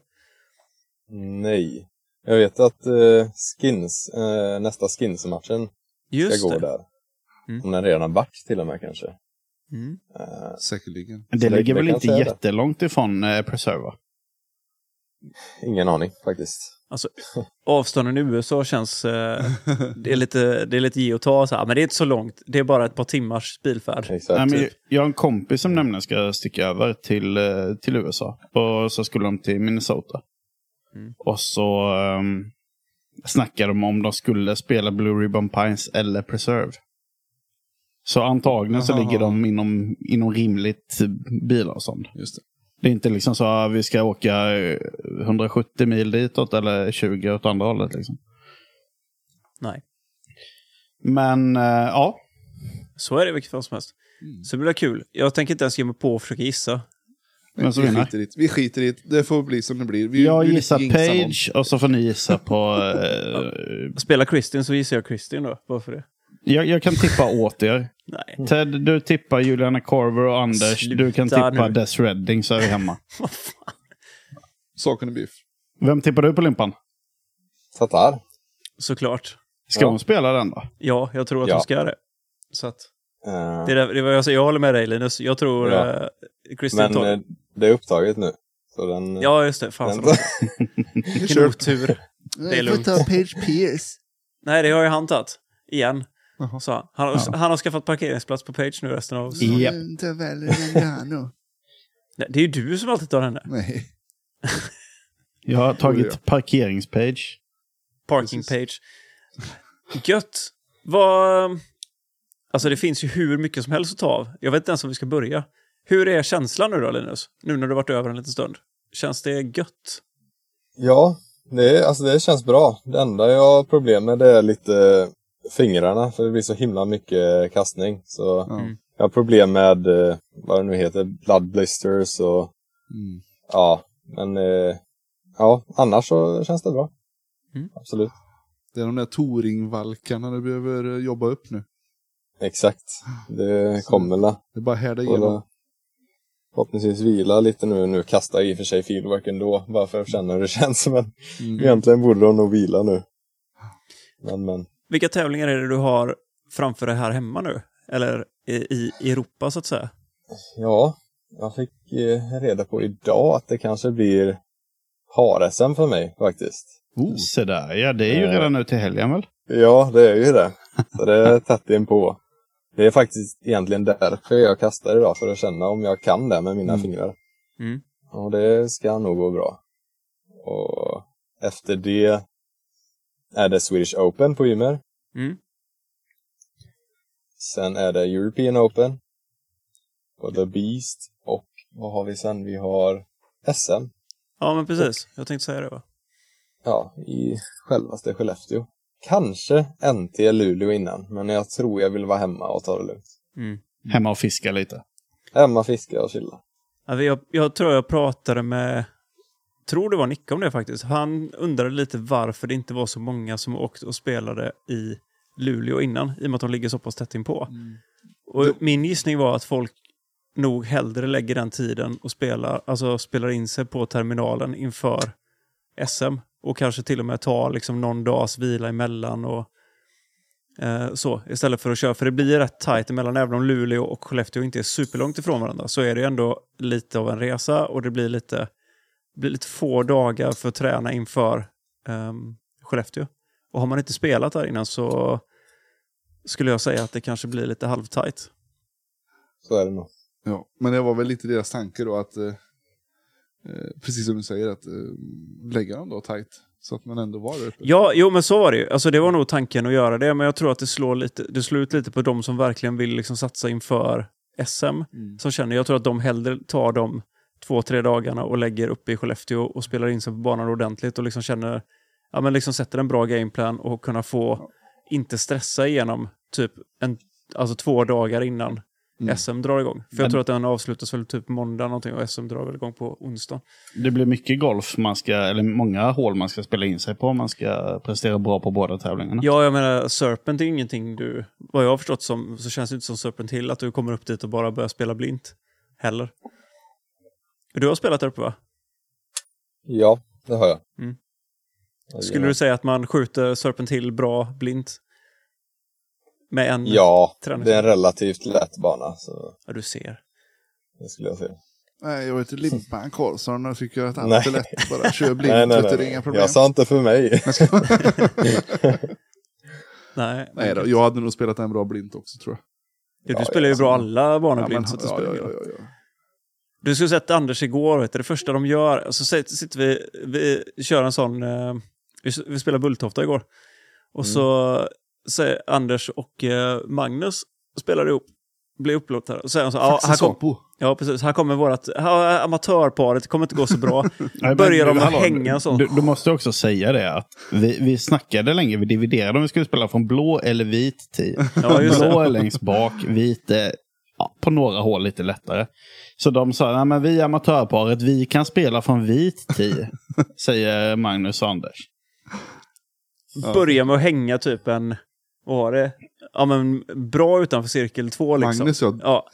D: Nej. Jag vet att eh, skins, eh, nästa skinsmatchen
A: Just
D: ska gå
A: det.
D: där.
A: Mm.
D: Om den redan har varit till och med kanske.
A: Mm.
D: Eh,
C: Säkerligen.
B: Det,
D: det-
B: ligger
D: det
B: väl
D: kan
B: inte
D: jag säga det.
B: jättelångt ifrån eh, Preserva?
D: ingen aning faktiskt.
A: Alltså, avstånden i USA känns... Eh, det, är lite, det är lite ge och ta, så här, men det är inte så långt. Det är bara ett par timmars bilfärd.
D: Exakt.
B: Nej, men jag- jag har en kompis som nämligen ska sticka över till, eh, till USA. Och så skulle de till Minnesota.
A: Mm.
B: Och så um, snackade de om de skulle spela Blue Ribbon Pines eller Preserve. Så antagligen så
C: Aha.
B: ligger de inom, inom rimligt bilavstånd.
C: Just det.
B: Det är inte liksom så att vi ska åka eh, 170 mil ditåt eller 20 åt andra hållet. Liksom.
A: Nej,
B: Men eh, ja,
A: så är det i vilket fall som helst. Så det blir kul. Jag tänker inte ens ge mig på att försöka gissa.
B: Men så
C: vi
B: vinner.
C: skiter i det. Vi skiter i det. Det får bli som det blir. Vi,
B: jag
C: vi
B: gissar
C: jinxar någon.
B: Page och så får ni gissa på eh,
A: Spelar Kristin så gissar jag Kristin då. Varför det? Mm.
B: Jag, jag kan tippa åt er.
A: Nej,
B: Ted, du tippar Juliana Carver och Anders.
A: Sluta
B: du kan tippa
A: nu.
B: Des Redding så är vi hemma.
A: vad fan.
C: Saken är biff.
B: Vem tippar du på Limpan?
D: Tatar.
A: Såklart.
B: Ska
D: Ja.
B: hon spela den då?
A: Ja, jag tror att
D: Ja.
A: hon ska göra det. Så att,
D: Eh,
A: det, är, där- det var jag, säger. jag håller med dig Linus. Jag tror
D: Ja.
A: eh, Kristin
D: men
A: tar...
D: eh, det är upptaget nu. Så den...
A: ja, alltså. just det. Fan,
D: den
A: så vilken otur. Det är lugnt.
C: ta Page Pierce.
A: Nej, det har ju han tagit. Igen.
C: Jaha.
A: Så han, han, har- han har skaffat parkeringsplats på Page nu resten av säsongen.
B: Japp.
C: Ta Valeriano.
A: Nej, Det är ju du som alltid tar henne.
C: Nej.
B: Jag har
C: Oh,
B: tagit parkeringspage.
A: Parking
C: Precis.
A: Page. Gött! Vad... Alltså det finns ju hur mycket som helst att ta av. Jag vet inte ens om vi ska börja. Hur är känslan nu då, Linus? Nu när du varit över en liten stund. Känns det gött?
D: Ja, det, är- alltså det känns bra. Det enda jag har problem med det är lite fingrarna, för det blir så himla mycket kastning. Så
C: Ja.
A: Mm.
D: jag har problem med, eh, vad det nu heter, blood blisters och
C: Mm.
D: ja, men eh, ja, annars så känns det bra.
A: Mm.
D: Absolut.
C: Det är de där Toringvalkarna du behöver eh, jobba upp nu.
D: Exakt. Det
C: Så-
D: kommer väl.
C: Det är bara att härda
D: Och
C: igenom.
D: då- Förhoppningsvis vila lite nu. Nu kastar jag i och för sig fieldwork ändå, bara för att känna hur det känns. Men
C: Mm.
D: egentligen borde de nog vila nu. Men, men.
A: Vilka tävlingar är det du har framför dig här hemma nu? Eller i, i Europa, så att säga?
D: Ja, jag fick eh, reda på idag att det kanske blir har-SM för mig faktiskt.
C: Oh.
B: Så där, ja det är ju
D: Eh.
B: redan nu till helgen väl?
D: Ja, det är ju det. Så det är tätt inpå. Det är faktiskt egentligen därför jag kastar idag, för att känna om jag kan det med mina
C: Mm.
D: fingrar.
A: Mm.
D: Och det ska nog gå bra. Och efter det är det Swedish Open på Ymer.
A: Mm.
D: Sen är det European Open. På The Beast. Och vad har vi sen? Vi har SM.
A: Ja, men precis. Jag tänkte säga det. Va?
D: ja, i självaste Skellefteå. Kanske NT Luleå innan, men jag tror jag vill vara hemma och ta det lugnt.
A: Mm.
B: Hemma och fiska lite.
D: Hemma, fiska och chilla.
A: Alltså, jag, jag tror jag pratade med, tror det var Nicke om det faktiskt. Han undrade lite varför det inte var så många som åkte och spelade i Luleå innan, i och med att de ligger så pass tätt inpå. Och min gissning var att folk nog hellre lägger den tiden och spelar, alltså spelar in sig på terminalen inför SM. Och kanske till och med tar liksom någon dags vila emellan och Eh, så, istället för att köra, för det blir rätt tajt emellan, även om Luleå och Skellefteå inte är superlångt ifrån varandra, så är det ändå lite av en resa och det blir lite, blir lite få dagar för att träna inför um, Skellefteå. Och har man inte spelat där innan så skulle jag säga att det kanske blir lite halvtajt.
D: Så är det nog.
C: Ja, men det var väl lite deras tanke då att, eh, eh, precis som du säger, att eh, lägga dem då tajt. Så att man ändå var där uppe.
A: Ja, jo men så var det ju. Alltså, det var nog tanken att göra det, men jag tror att det slår lite, det slår ut lite på de som verkligen vill liksom satsa inför SM. Som känner, jag tror att de hellre tar de två, tre dagarna och lägger uppe i Skellefteå och spelar in sig på banan ordentligt och liksom känner, ja men liksom sätter en bra gameplan och kunna få, inte stressa igenom typ en, alltså två dagar innan
C: Mm.
A: SM drar igång. För
B: Men-
A: jag tror att den avslutas väl typ måndag någonting och SM drar väl igång på onsdag.
B: Det blir mycket golf, man ska, eller många hål man ska spela in sig på om man ska prestera bra på båda tävlingarna.
A: Ja, jag menar, Serpent är ju ingenting du... Vad jag har förstått som, så känns det inte som Serpent Hill att du kommer upp dit och bara börjar spela blint. Heller. Du har spelat där uppe va?
D: Ja, det har jag.
A: Mm.
D: Ja,
A: Skulle du säga att man skjuter Serpent Hill bra blint? Med en...
D: Ja,
A: träning?
D: det är en relativt lätt bana. Så
A: Ja, du ser.
D: det skulle jag säga.
C: Nej, jag vet inte, Limpan Karlsson och tycker att
D: Nej.
C: allt är lätt. Bara kör blint, vet du, det är inga problem.
D: Jag sa inte för mig.
A: Nej,
C: Nej då, jag hade nog spelat en bra blint också tror jag.
A: du, du
D: ja,
A: spelar ju
D: jag-
A: bra alla banor
C: Ja, men-
A: blint. så att det
C: ja,
A: spelar
C: ja,
A: ingen roll.
C: ja, ja, ja.
A: Du skulle sett Anders igår, vet du, det första de gör, och så sit- sitter vi, vi kör en sån, eh, vi, s- vi spelar Bulltofta igår. Och så säger Anders och eh, Magnus spelar ihop, blir upplåtare. Och säger han så, ja, här, kom,
C: Saxosopo.
A: ja precis, här kommer vårat, här, amatörparet, det kommer inte gå så bra. Börjar de att hänga så?
B: Du, du måste också säga det att vi, vi snackade länge, vi dividerade om vi skulle spela från blå eller vit tid.
A: Ja, just
B: blå
A: det.
B: är längst bak, vit är ja, på några hål lite lättare. Så de sa, Nej, men vi är amatörparet, vi kan spela från vit tid, säger Magnus och Anders.
A: Börjar med att hänga typ en, vad var det? Ja men bra utanför cirkel två liksom.
C: Magnus, ja.
A: Ja,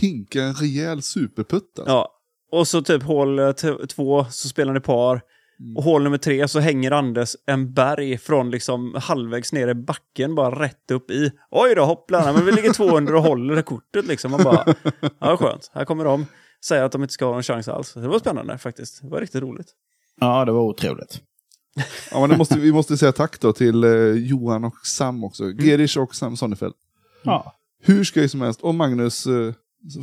C: Hinka en rejäl superputt alltså.
A: Ja. Och så typ hål eh, t- två så spelar ni par.
D: Mm.
A: Och hål nummer tre så hänger Anders en berg från liksom halvvägs ner i backen, bara rätt upp i. Oj då, hoppla, nej, men vi ligger 200 och håller kortet liksom. Man bara, ja skönt, här kommer de. Säger att de inte ska ha en chans alls. Det var spännande faktiskt. Det var riktigt roligt.
B: Ja, det var otroligt.
C: Ja, men det måste, vi måste säga tack då till eh, Johan och Sam också. Gerish och Sam Sonnefeld.
A: Mm.
B: Ja.
C: Hur skoj som helst. Och Magnus eh,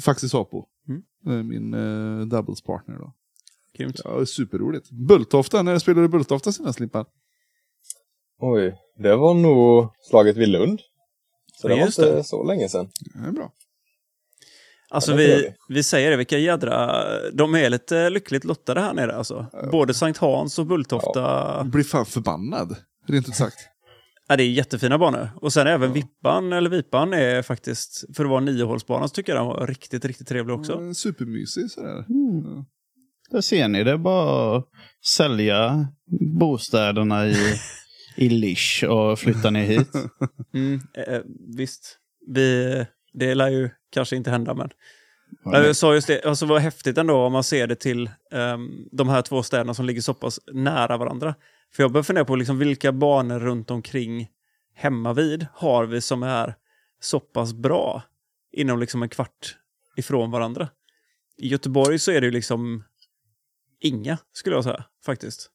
C: Faxisapo.
A: Mm.
C: Eh, Min eh, doubles partner då.
A: Grymt.
C: Ja, superroligt. Bulltofta, när spelade du Bulltofta senast Limpan?
D: Oj, det var nog slaget vid Lund. Så
A: Ja,
D: det var
A: just
D: inte
A: det.
D: så länge sedan.
C: Ja, det är bra.
A: Alltså
D: Ja, det gör
A: vi,
D: vi.
A: vi säger det, vilka jädra... De är lite lyckligt lottade här nere alltså. Både Sankt Hans och Bulltofta.
C: Blir fan förbannad. Rent ut sagt.
A: Ja, det är jättefina banor. Och sen även Vippan, eller Vipan, är faktiskt, för att vara en niohålsbana, så tycker jag den var riktigt, riktigt trevlig också.
C: Ja, Supermysig sådär.
B: Där ser ni, det är bara att sälja bostäderna i, i Lisch och flytta ner hit.
A: Mm. Eh, visst, vi, det lär ju kanske inte hända, men...
B: Ja,
A: Ja,
B: men-
A: jag sa just det, alltså vad häftigt ändå om man ser det till ehm, de här två städerna som ligger så pass nära varandra. För jag börjar fundera på liksom vilka banor runt omkring hemma vid har vi som är så pass bra inom liksom en kvart ifrån varandra. I Göteborg så är det ju liksom inga, skulle jag säga, faktiskt.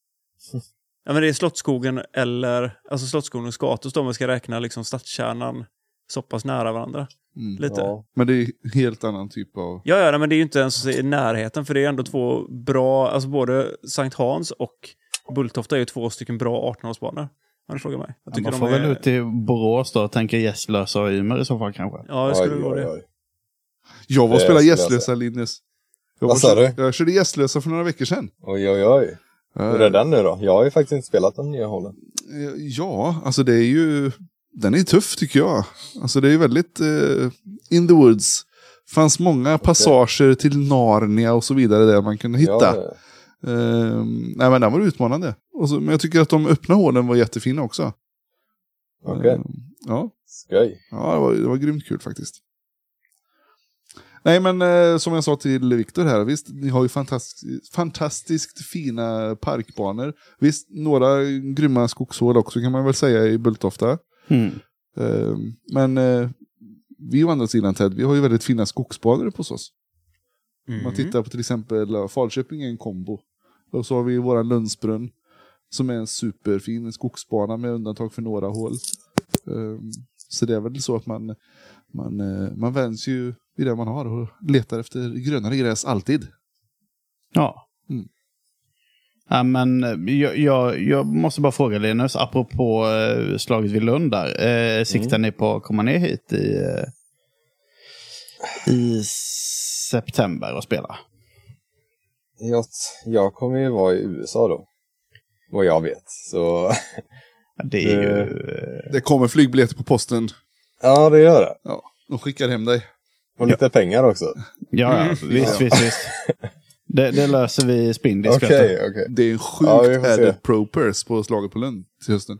A: Ja, men det är Slottsskogen eller, alltså Slottsskogen och Skatos då, om vi ska räkna liksom stadskärnan så pass nära varandra.
C: Mm.
A: Lite.
D: Ja.
C: Men det är en helt annan typ av...
A: Ja, ja, nej, men det är ju inte ens i närheten, för det är ändå två bra, alltså både Sankt Hans och Bulltofta är ju två stycken bra 18-årsbanor. Om du frågar mig. Jag
B: man
A: de
B: får
A: är-
B: väl ut till Borås då och tänka Gästlösa och Ymer i så fall kanske.
A: Ja, jag skulle
D: Oj,
A: gå
D: oj,
A: det.
D: oj.
C: Jag var och
D: Det
C: spelade
D: skulle jag
C: Gästlösa,
D: säga.
C: Linus. Jag,
D: Vad
C: var-
D: sa du?
C: jag körde Gästlösa för några veckor sedan.
D: Oj, oj, oj. Hur är den nu då? Jag har ju faktiskt inte spelat de nya hålen.
C: Eh, Ja, alltså det är ju... Den är tuff tycker jag. Alltså det är ju väldigt eh, in the woods. fanns många passager till Narnia och så vidare där man kunde hitta.
D: Ja, det-
C: Eh, nej men den var utmanande. Och så, men jag tycker att de öppna hålen var jättefina också.
D: Okej,
C: Eh, ja,
D: skoj.
C: ja det, var, det var grymt kul faktiskt. Nej men eh, som jag sa till Viktor här, visst ni har ju fantastiskt, fantastiskt fina parkbanor. Visst, några grymma skogshål också kan man väl säga i Bulltofta.
B: Mm.
C: Eh, Men eh, vi å andra sidan Ted, vi har ju väldigt fina skogsbanor på oss.
A: Mm.
C: Om man tittar på till exempel ja, Falköping är en kombo. Och så har vi våran Lundsbrunn som är en superfin skogsbana med undantag för några hål. Ehm, Så det är väl så att man, man, eh, man vänds ju vid det man har och letar efter grönare gräs alltid.
B: Ja.
C: Mm.
B: ja men, eh, jag, jag, jag måste bara fråga Linus, apropå eh, slaget vid Lund där. Eh, siktar ni på att komma ner hit i, eh, i september och spela?
D: Jag, jag kommer ju vara i USA då. Vad jag vet. Så
B: Ja, Det är ju... eh,
C: Det kommer flygbiljetter på posten.
D: ja, det gör det.
C: Ja, de skickar hem dig.
D: Och lite pengar också.
B: Ja, ja visst, visst, visst. Det, det löser vi i Spindisk.
D: Okej,
B: vet du.
D: okej.
C: Det är en sjukt
D: Ja, vi får se.
C: added pro purse på slaget på Lund till hösten.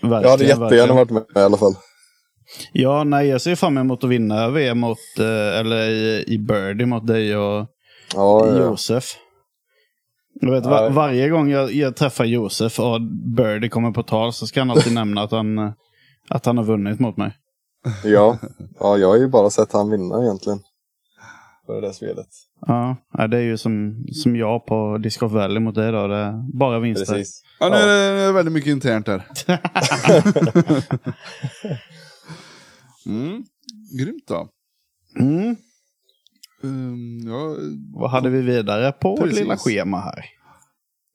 D: Jag hade
B: Verkligen,
D: jättegärna
B: verkligen.
D: varit med i alla fall.
B: Ja, nej, jag ser fram emot att vinna VM mot, eh, eller i, i Birdie mot dig och
D: Ja, ja.
B: Josef. Jag vet, va-
D: Ja.
B: varje gång jag, jag träffar Josef och Birdie kommer på tal så ska han alltid nämna att han, eh, att han har vunnit mot mig.
D: Ja. ja, jag har ju bara sett han vinna egentligen. På det där spelet.
B: Ja, ja, det är ju som, som jag på Disc of Valley mot dig då. Det är bara vinster.
D: Precis.
C: Ja, nu är det- nu är det väldigt mycket internt där. mm. Grymt då.
B: Mm.
C: Ehm, ja,
B: Vad hade vi vidare på vårt
C: Precis.
B: lilla schema här?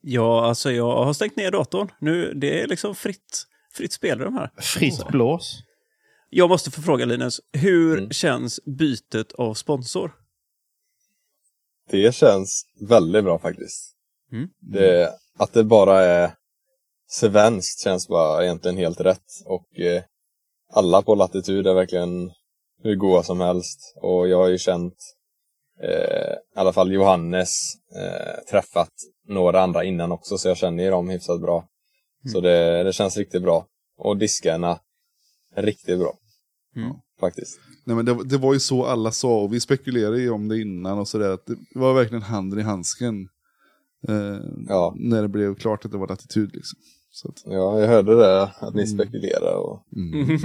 A: Ja, alltså jag har stängt ner datorn. Nu, det är liksom fritt, fritt spel i de här.
B: Friskt blås.
A: Jag måste få fråga Linus, hur
D: Mm.
A: känns bytet av sponsor?
D: Det känns väldigt bra faktiskt.
A: Mm.
D: Det, att det bara är svenskt känns bara egentligen helt rätt. Och eh, alla på Latitud är verkligen hur goa som helst. Och jag har ju känt eh, i alla fall Johannes eh, träffat några andra innan också så jag känner ju dem hyfsat bra.
A: Mm.
D: Så det, det känns riktigt bra. Och diskarna riktigt bra.
A: Mm.
D: Faktiskt.
C: nej, men det, det var ju så alla sa och vi spekulerade ju om det innan och sådär. att Det var verkligen handen i handsken. eh,
D: Ja.
C: När det blev klart att det var latitud liksom. Så att,
D: Ja, jag hörde det, att ni spekulerar och
C: mm.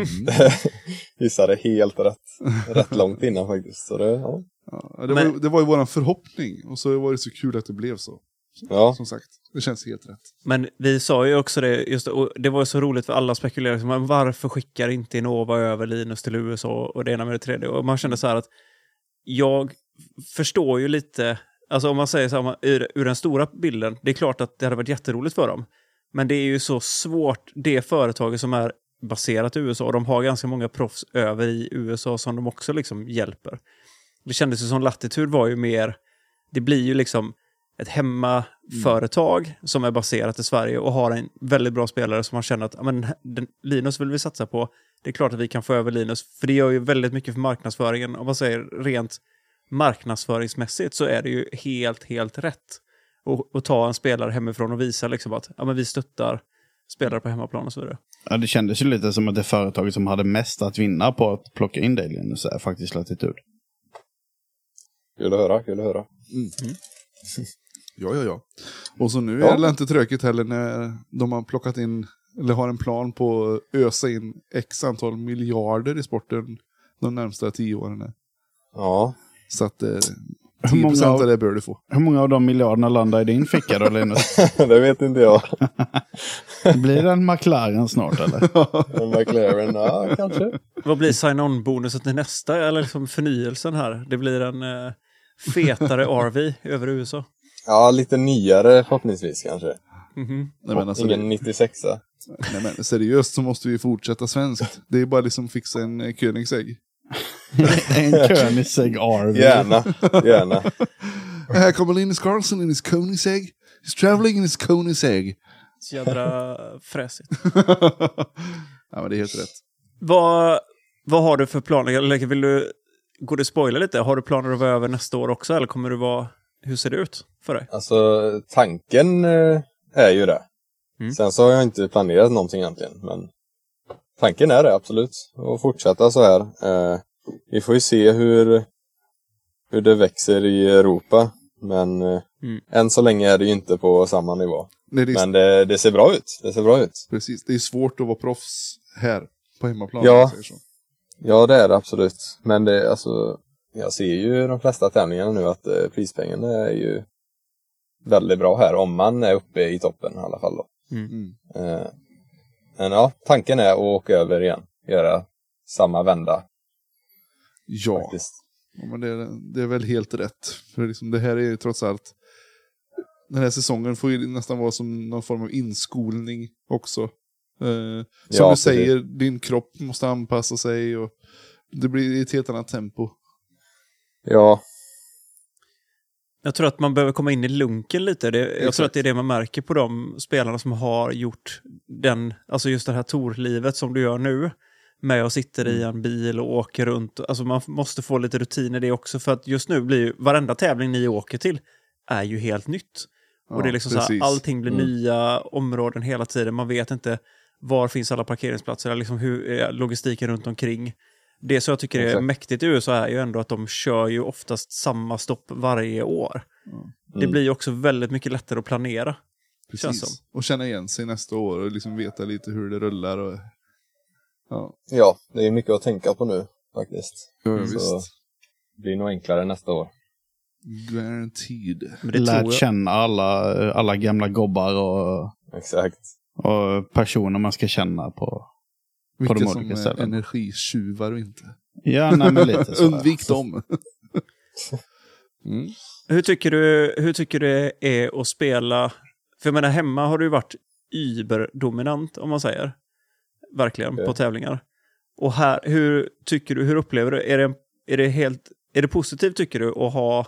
D: gissade helt rätt, rätt långt innan faktiskt. Så det, ja.
C: ja, det, var,
A: Men-
C: ju- det var ju våran förhoppning och så var det så kul att det blev så.
D: Ja.
C: Som sagt, det känns helt rätt.
A: Men vi sa ju också det, just, det, och det var ju så roligt för alla spekulerade, liksom, men varför skickar inte Innova över Linus till USA och det ena med det tredje? Och man kände så här att jag förstår ju lite, alltså om man säger så här, om man- ur, ur den stora bilden, det är klart att det hade varit jätteroligt för dem. Men det är ju så svårt, det företaget som är baserat i USA, och de har ganska många proffs över i USA som de också liksom hjälper. Det kändes ju som Latitud var ju mer, det blir ju liksom ett hemmaföretag som är baserat i Sverige och har en väldigt bra spelare som man känner att "Ja, men, den, Linus vill vi satsa på. Det är klart att vi kan få över Linus, för det gör ju väldigt mycket för marknadsföringen. Om man säger rent marknadsföringsmässigt så är det ju helt, helt rätt att- att ta en spelare hemifrån och visa liksom att ja, men vi stöttar spelare på hemmaplan och så vidare.
B: Ja, det kändes ju lite som att det företaget som hade mest att vinna på att plocka in dig Linus är faktiskt Latitud.
D: Kul att höra, kul att höra.
C: Ja, ja, ja. Och så nu
D: Mm. Ja.
C: är det inte tråkigt heller när de har plockat in, eller har en plan på att ösa in x antal miljarder i sporten de närmsta tio åren. här.
D: Ja,
C: Så att eh,
B: Hur
C: 10
B: många av-
C: av det bör du få.
B: Hur många av de miljarderna landar i din ficka då Linus?
D: det vet inte jag.
B: Blir det en McLaren snart eller?
D: Men McLaren, ja kanske.
A: Vad blir sign-on-bonusen till nästa, eller liksom förnyelsen här? Det blir en eh, fetare RV över USA.
D: Ja, lite nyare förhoppningsvis kanske.
A: Mhm.
C: Nej, men alltså,
D: Ingen 96
C: nej, men seriöst så måste vi fortsätta svenskt. Det är bara liksom fixa en eh, Koenigsegg.
B: en Koenigsegg RV.
D: Gärna, gärna.
C: Här kommer Linus Carlson in his Koenigsegg. He's traveling in his Koenigsegg.
A: Så jädra fräsigt.
C: ja, men det är helt rätt.
A: Vad, vad har du för planer? Eller vill du, går det att spoila lite? Har du planer att vara över nästa år också? Eller kommer du vara... Hur ser det ut för dig?
D: Alltså tanken eh, är ju det.
A: Mm.
D: Sen så har jag inte planerat någonting egentligen. Men tanken är det absolut. Att fortsätta så här. Eh, vi får ju se hur, hur det växer i Europa. Men eh,
A: Mm.
D: än så länge är det ju inte på samma nivå.
C: Nej, det är, liksom-
D: Men det, det ser bra ut. Det ser bra ut.
C: Precis, det är svårt att vara proffs här. på hemmaplan.
D: Ja.
C: om man säger så.
D: Ja, det är det absolut. Men det, alltså, jag ser ju de flesta tävlingarna nu att eh, prispengarna är ju väldigt bra här, om man är uppe i toppen i alla fall. Då.
C: Mm.
D: Eh, men ja, tanken är att åka över igen. Göra samma vända
C: Ja,
D: faktiskt.
C: ja, men det, är- det är väl helt rätt. För liksom, det här är ju trots allt, den här säsongen får ju nästan vara som någon form av inskolning också. Eh, som
D: Ja,
C: du
D: precis.
C: säger, din kropp måste anpassa sig och det blir ett helt annat tempo.
D: Ja,
A: Jag tror att man behöver komma in i lunken lite. Det, jag tror
C: Exakt.
A: att det är det man märker på de spelarna som har gjort den, alltså just det här torlivet som du gör nu. Med och sitter i
C: Mm.
A: en bil och åker runt. Alltså man måste få lite rutin i det också. För att just nu blir ju varenda tävling ni åker till är ju helt nytt.
C: Ja,
A: och det är liksom så här,
C: precis.
A: allting blir
D: Mm.
A: nya områden hela tiden. Man vet inte var finns alla parkeringsplatser, eller liksom hur är logistiken runt omkring. Det som jag tycker är
D: Exakt.
A: mäktigt i USA är ju ändå att de kör ju oftast samma stopp varje år. Det
D: Mm.
A: blir ju också väldigt mycket lättare att planera. Känns
C: Precis.
A: som.
C: Och känna igen sig nästa år och liksom veta lite hur det rullar. Och... Ja,
D: ja, det är mycket att tänka på nu faktiskt.
C: ja
D: Mm. Så-
C: visst.
D: Det blir nog enklare nästa år.
C: Guaranteed.
A: Men det
B: Lärt
A: tror jag.
B: känna alla, alla gamla gobbar och,
D: Exakt.
B: och personer man ska känna på. de
C: Vilka som
B: olika
C: är
B: ställena.
C: energitjuvar och inte.
B: Ja, nej, men lite så.
C: Undvik dem. mm.
A: Hur tycker, du, hur tycker du det är att spela? För jag menar, hemma har du ju varit überdominant, om man säger. Verkligen,
D: Ja.
A: på tävlingar. Och här, hur tycker du, hur upplever du, är det, är det, helt, är det positivt tycker du att ha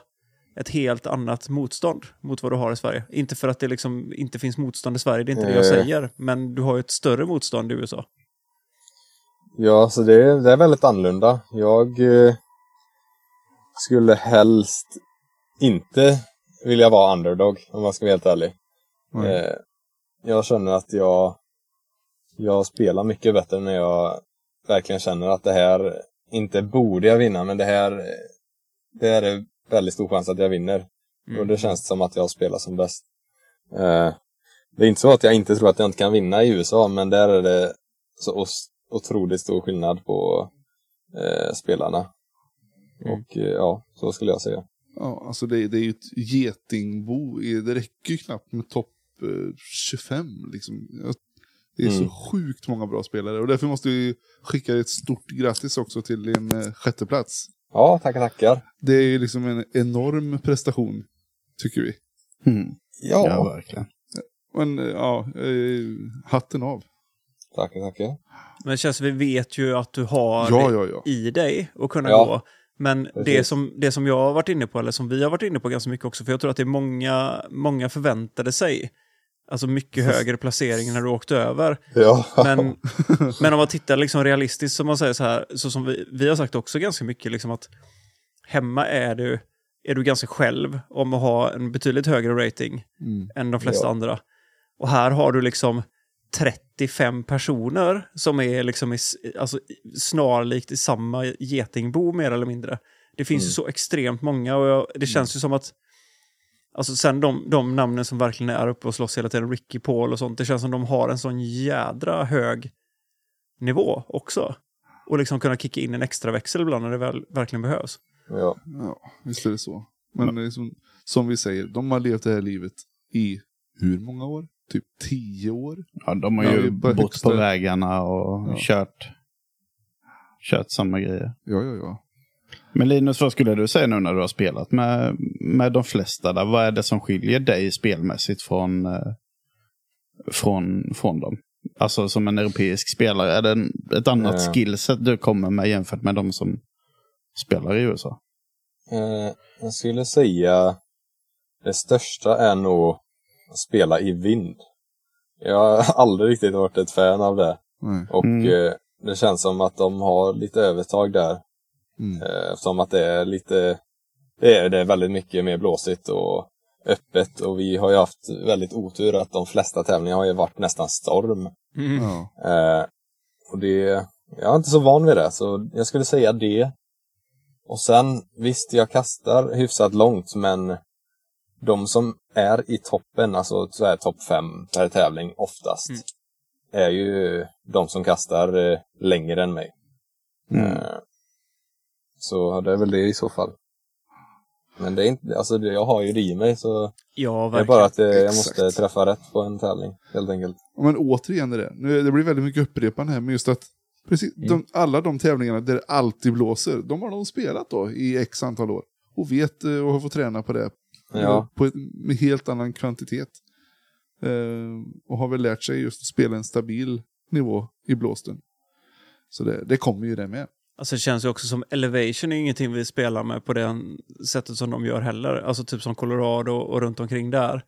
A: ett helt annat motstånd mot vad du har i Sverige? Inte för att det liksom inte finns motstånd i Sverige, det är inte det jag
D: Eh.
A: säger, men du har ju ett större motstånd i USA.
D: Ja, så det, det är väldigt annorlunda. Jag eh, skulle helst inte vilja vara underdog, om man ska vara helt ärlig.
C: Nej.
D: Eh, jag känner att jag, jag spelar mycket bättre när jag verkligen känner att det här, inte borde jag vinna, men det här, eh, det här är väldigt stor chans att jag vinner.
A: Mm.
D: Och det känns som att jag spelar som bäst. Eh, det är inte så att jag inte tror att jag inte kan vinna i USA, men där är det så os- otroligt stor skillnad på eh, spelarna. Och eh, ja, så skulle jag säga.
C: Ja, alltså det, det är ju ett getingbo. i- Det räcker ju knappt med topp eh, 25. Liksom. Jag- Det är så
D: Mm.
C: sjukt många bra spelare. Och därför måste vi skicka ett stort grattis också till din eh, sjätteplats.
D: Ja, tackar, tackar.
C: Det är ju liksom en enorm prestation, tycker vi.
B: Mm.
D: Ja,
B: Ja, verkligen.
C: Men eh, ja, eh, hatten av.
D: tackar, tackar.
A: Men det känns, vi vet ju att du har
C: Ja, ja, ja.
A: i dig och kunna
D: Ja.
A: gå. Men det
D: Precis.
A: som, det som jag har varit inne på, eller som vi har varit inne på ganska mycket också, för jag tror att det är många, många förväntade sig alltså mycket högre placering när du åkte över.
D: Ja,
A: Men, men om man tittar liksom realistiskt, som man säger så här, så som vi, vi har sagt också ganska mycket, liksom att hemma är du, är du ganska själv om att ha en betydligt högre rating
C: Mm.
A: än de flesta
D: Ja.
A: andra. Och här har du liksom 35 personer som är liksom i, s- alltså, i- snarlikt i samma getingbo mer eller mindre. Det finns ju
D: Mm.
A: så extremt många och jag, det känns ju som att Alltså sen de, de namnen som verkligen är uppe och slåss hela tiden, Ricky Paul och sånt, det känns som de har en sån jädra hög nivå också. Och liksom kunna kicka in en extra växel ibland när det väl, verkligen behövs.
D: ja,
C: Ja, visst är det så. Men liksom, som vi säger, de har levt det här livet i hur många år? Typ tio år?
B: Ja, de har
C: Ja, det
B: ju
C: är bara
B: bott
C: högsta-
B: på vägarna och
C: Ja.
B: kört, kört samma grejer.
C: Ja, ja, ja.
B: Men Linus, vad skulle du säga nu när du har spelat med, med de flesta? Där? Vad är det som skiljer dig spelmässigt från, eh, från, från dem? Alltså som en europeisk spelare, är det en, ett annat
D: Eh.
B: skillset du kommer med jämfört med de som spelar i USA?
D: eh, jag skulle säga det största är nog att spela i vind. Jag har aldrig riktigt varit ett fan av det.
C: Nej.
D: Och
B: Mm.
D: eh, det känns som att de har lite övertag där.
C: Mm.
D: Eh, Eftersom att det är lite, det är, det är väldigt mycket mer blåsigt och öppet och vi har ju haft väldigt otur att de flesta tävlingar har ju varit nästan storm.
C: Ja.
D: Eh, och det, jag är inte så van vid det så jag skulle säga det. Och sen visst, jag kastar hyfsat långt men de som är i toppen, alltså så här topp fem per tävling oftast,
A: Mm.
D: är ju de som kastar eh, längre än mig.
B: Mm.
D: Eh, Så det är väl det i så fall. Men det är inte, alltså det, jag har ju det i mig så
A: Ja,
D: det är
A: verkligen.
D: bara att eh, jag
C: Exakt.
D: måste träffa rätt på en tävling helt enkelt.
C: Ja, Men återigen är det. Nu, det blir väldigt mycket upprepande här, men just att precis, de, alla de tävlingarna där det alltid blåser, de har de spelat då i x antal år. Och vet eh, och har fått träna på det.
D: Ja.
C: På ett, med helt annan kvantitet. Eh, och har väl lärt sig just att spela en stabil nivå i blåsten. Så det, det kommer ju det med.
A: Alltså det känns ju också som Elevation är ju ingenting vi spelar med på det sättet som de gör heller. Alltså typ som Colorado och runt omkring där.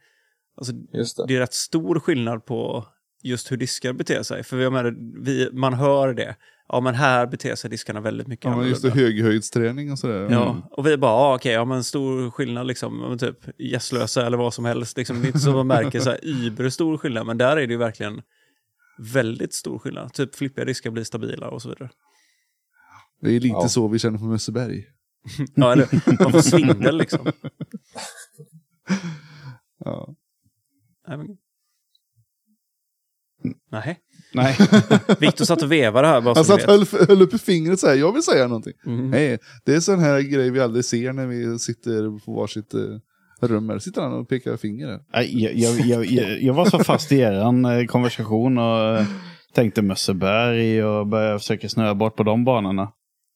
A: Alltså
D: Just det.
A: det är rätt stor skillnad på just hur diskar beter sig. För vi, har med det- vi, man hör det. Ja, men här beter sig diskarna väldigt mycket
C: Ja, men just det,
A: annorlunda.
C: höghöjdsträning och sådär.
A: Ja, och vi bara, ja, okej, ja men stor skillnad liksom, ja, men typ gästlösa eller vad som helst. Liksom, det är inte så man märker så här yberstor skillnad, men där är det ju verkligen väldigt stor skillnad. Typ flippiga diskar blir stabila och så vidare.
C: Det är lite
D: Ja.
C: så vi känner på Mösseberg.
A: Ja, eller man får svindel liksom.
C: Ja.
A: Nej, men... Nej.
B: Nej.
A: Viktor satt och vevade här bara
C: Han
A: så
C: satt
A: ni vet.
C: höll, höll uppe fingret så här, jag vill säga någonting.
A: Mm.
C: Nej, det är sån här grej vi aldrig ser när vi sitter på varsitt eh, rum. Här sitter han och pekar finger. Här.
B: Nej, Jag, jag, jag, jag, jag var så fast i eran eh, konversation och eh, tänkte Mösseberg och började försöka snöa bort på de banorna.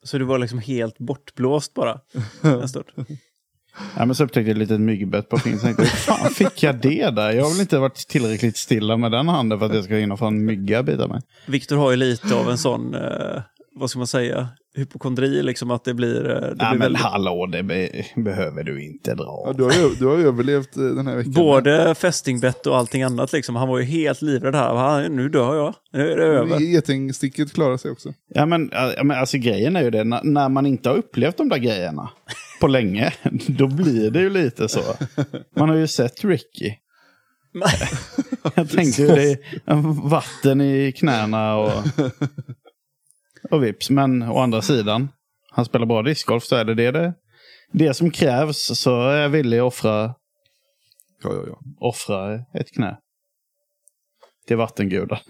A: Så du var liksom helt bortblåst bara. En stund.
B: Ja, men så upptäckte jag ett litet myggbett på fingret. Tänkte, Hur fan fick jag det där? Jag har väl inte varit tillräckligt stilla med den handen för att jag ska hinna få en mygga att bita mig.
A: Viktor har ju lite av en sån, eh, vad ska man säga, hypokondri liksom att det blir... Eh, det
B: Nej,
A: blir
B: men
A: väldigt...
B: hallå, det be behöver du inte
C: Ja,
B: dra.
C: du, har, ju- du har ju överlevt eh, den här veckan.
A: Både fästingbett och allting annat liksom. Han var ju helt livrädd här. Han, nu dör jag. Nu är det över.
C: Getingsticket klarar sig också.
B: Ja, men, ja, men alltså grejen är ju det, när, när man inte har upplevt de där grejerna på länge, då blir det ju lite så. Man har ju sett Ricky. Jag tänkte ju det är vatten i knäna och, och vips. Men å andra sidan, han spelar bra discgolf så är det det, det, det som krävs. Så är jag villig att offra,
C: Ja, ja, ja.
B: offra ett knä till vattengudarna.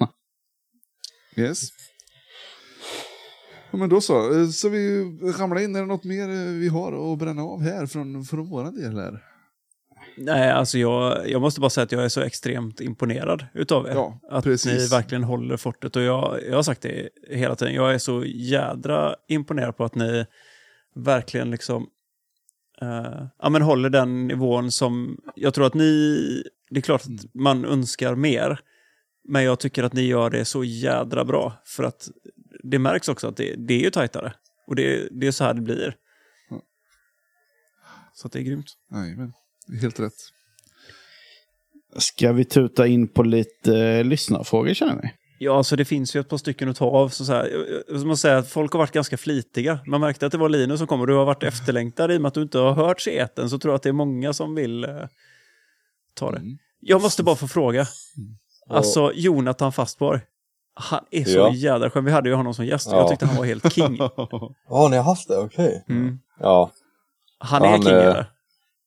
C: Yes. Ja, men då så. Eh, Så vi ramlar in. Är det något mer eh, vi har att bränna av här från, från våra del här?
A: Nej, alltså jag, jag måste bara säga att jag är så extremt imponerad utav er.
C: Ja,
A: att
C: precis.
A: ni verkligen håller fortet. Och jag, jag har sagt det hela tiden, jag är så jädra imponerad på att ni verkligen liksom eh, ja, men håller den nivån som jag tror att ni... Det är klart
C: Mm.
A: att man önskar mer, men jag tycker att ni gör det så jädra bra. För att det märks också att det, det är ju tajtare. Och det, det är så här det blir.
C: Ja.
A: Så att det är grymt.
C: Nej, men helt rätt.
B: Ska vi tuta in på lite eh, lyssnarfrågor känner vi?
A: Ja, alltså det finns ju ett par stycken att ta av. Så så här, jag- jag måste säga att folk har varit ganska flitiga. Man märkte att det var Linus som kom och du har varit
D: Mm.
A: efterlängtad. I och med att du inte har hört seten så tror jag att det är många som vill eh, ta det.
C: Mm.
A: Jag måste bara få fråga.
D: Och-
A: Alltså, Jonathan Fastborg. Han är så
D: Ja.
A: jädra skön. Vi hade ju honom som gäst.
D: Ja.
A: Jag tyckte han var helt king.
D: Ja, ni har haft det? Okej.
A: Mm.
D: Ja.
A: Han
D: Ja,
A: är
D: han eh,
A: king,
D: är-
A: eller?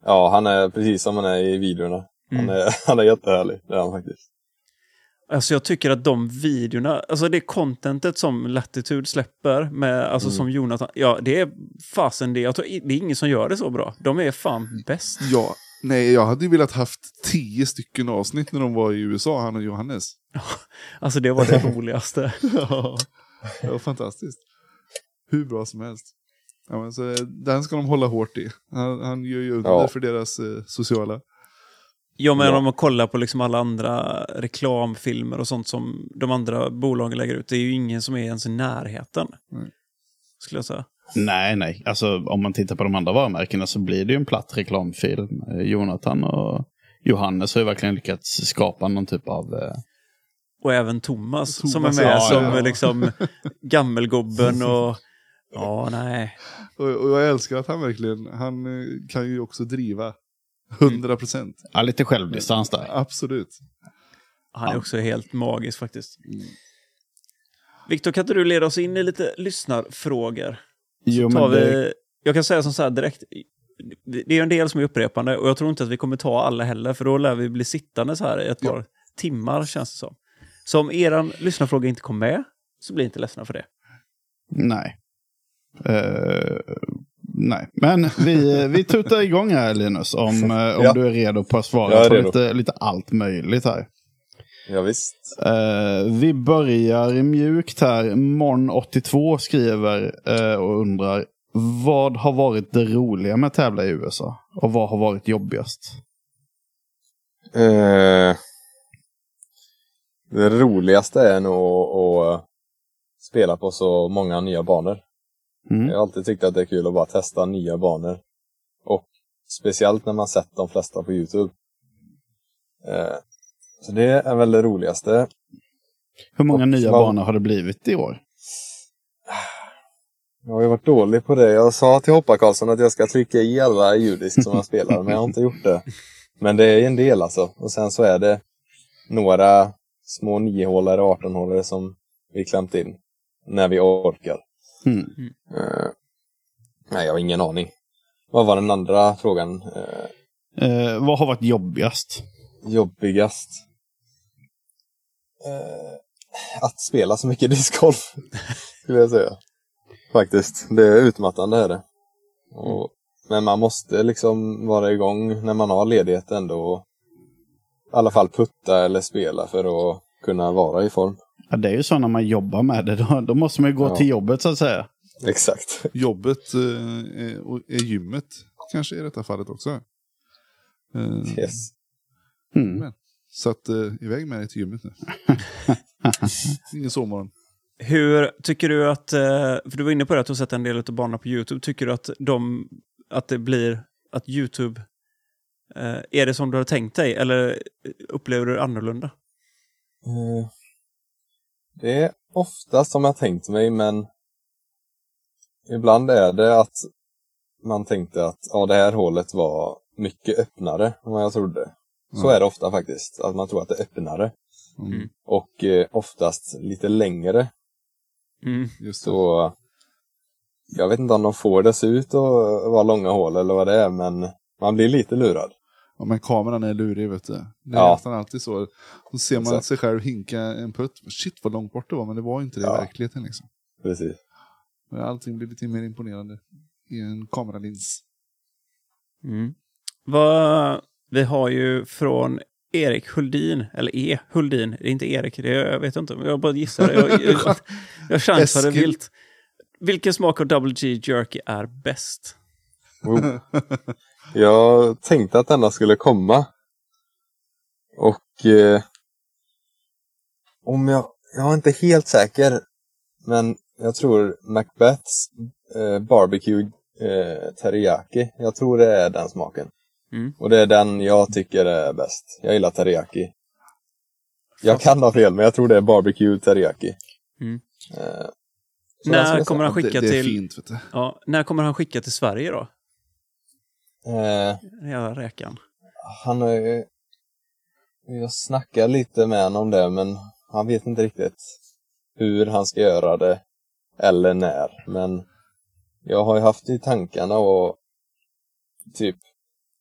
D: ja, han är precis som han är i videorna. Han, är, han är jättehärlig, det är han faktiskt.
A: Alltså jag tycker att de videorna, alltså det contentet som Latitude släpper, med, alltså som Jonathan, ja det är fasen det, jag tror, i- det är ingen som gör det så bra. De är fan bäst.
C: Ja, nej, jag hade ju velat haft tio stycken avsnitt när de var i USA, han och Johannes.
A: Alltså det var det roligaste.
C: Ja, det var fantastiskt. Hur bra som helst. Ja, men så, eh, den ska de hålla hårt i. Han, han gör ju under
D: Ja.
C: för deras eh, sociala.
A: Jag menar
D: Ja.
A: om man kollar på liksom alla andra reklamfilmer och sånt som de andra bolagen lägger ut, det är ju ingen som är ens i närheten.
C: Nej.
A: Skulle jag säga.
B: Nej, nej. Alltså om man tittar på de andra varumärkena så blir det ju en platt reklamfilm. Eh, Jonathan och Johannes har ju verkligen lyckats skapa någon typ av... Eh,
A: Och även Thomas, som är
C: Thomas,
A: med
B: ja,
A: som
C: ja.
A: liksom gammelgubben och... Ja, nej.
C: Och, och jag älskar att han verkligen, han eh, kan ju också driva. 100 procent,
D: Mm.
B: ja, lite självdistans där.
C: absolut.
A: Han är
B: Ja. Mm.
A: också helt magisk faktiskt. Viktor, kan inte du leda oss in i lite lyssnarfrågor?
B: Jo,
A: Tar
B: men det-
A: vi, jag kan säga som så här direkt, det det är ju en del som är upprepande och jag tror inte att vi kommer ta alla heller, för då lär vi bli sittande så här i ett par timmar känns det som. Så om eran lyssnarfråga inte kom med, så bli inte ledsna för det.
B: Nej. Eh, nej, men vi, eh, vi tutar igång här Linus om, eh, om
D: Ja.
B: du är redo på att
D: Jag
B: svara
D: är
B: på
D: redo.
B: lite, lite allt möjligt här.
D: Ja, visst.
B: Eh, vi börjar mjukt här. Mon82 skriver eh, och undrar vad har varit det roliga med att tävla i USA? Och vad har varit jobbigast?
D: Eh, det roligaste är nog att spela på så många nya banor.
B: Mm.
D: Jag har alltid tyckt att det är kul att bara testa nya banor. Och speciellt när man sett de flesta på Youtube. Eh, så det är väl det roligaste.
B: Hur många
D: Och
B: nya
D: vad-
B: banor har det blivit i år?
D: Jag har ju varit dålig på det. Jag sa till Hoppa Karlsson att jag ska trycka i alla judisk som jag spelar, men jag har inte gjort det. Men det är en del alltså. Och sen så är det några små 9-hålare och 18-hålare som vi klämt in när vi orkar.
B: Mm.
D: Eh, nej, jag har ingen aning. Vad var den andra frågan? Eh,
B: Eh, vad har varit jobbigast?
D: jobbigast? Eh, att spela så mycket discgolf, skulle jag säga. Faktiskt. Det är utmattande är det. Och, men man måste liksom vara igång när man har ledighet ändå. Och, I alla fall putta eller spela för att kunna vara i form.
B: Ja, det är ju så när man jobbar med det. Då, då måste man ju gå
D: Ja.
B: till jobbet så att säga.
D: Exakt.
C: Jobbet eh, är- och är gymmet kanske i detta fallet också. Eh,
D: Yes.
B: Mm.
C: Så att eh, iväg med dig till gymmet nu. Ingen sovmorgon.
A: Hur tycker du att, eh, för du var inne på det att du har sett en del av banorna på YouTube, tycker du att, de, att det blir, att YouTube, eh, är det som du har tänkt dig eller upplever du det annorlunda?
D: Eh, Det är ofta som jag tänkt mig, men ibland är det att man tänkte att ja, det här hålet var mycket öppnare än vad jag trodde. Så
C: Mm.
D: är det ofta faktiskt, att man tror att det är öppnare.
C: Mm.
A: Mm.
D: Och eh, oftast lite längre.
A: Mm.
C: Just det.
D: Så jag vet inte om de får det se ut att vara långa hål eller vad det är, men man blir lite lurad.
C: Ja, men kameran är lurig vet du. Det är
D: Ja.
C: nästan alltid så. Då ser man
D: Exakt.
C: sig själv hinka en putt. Shit vad långt bort det var, men det var ju inte det i
D: Ja.
C: verkligheten. Liksom.
D: Precis.
C: Men Allting blir lite mer imponerande i en kameralins.
A: Mm. Vad, vi har ju från Erik Huldin, eller E Huldin, det är inte Erik, det är, jag vet inte, men jag bara gissar. Jag, jag, jag chansade
C: Eskil.
A: vilt. Vilken smak av Double G Jerky är bäst?
D: Jo. Jag tänkte att denna skulle komma. Och eh, om jag, jag är inte helt säker, men jag tror Macbeths eh, barbecue eh, teriyaki, jag tror det är den smaken.
A: Mm.
D: Och det är den jag tycker är bäst. Jag gillar teriyaki. Jag kan ha fel, men jag tror det är barbecue teriyaki.
A: Mm.
D: Eh, så den skulle
A: När
D: jag
A: kommer han
C: det,
A: skicka
C: det är
A: till,
C: fint vet du.
A: ja, när kommer han skicka till Sverige då?
D: säga. Eh,
A: Den jävla räkan.
D: Han har ju... Jag snackar lite med honom om det, men han vet inte riktigt hur han ska göra det eller när. Men jag har ju haft i tankarna och typ...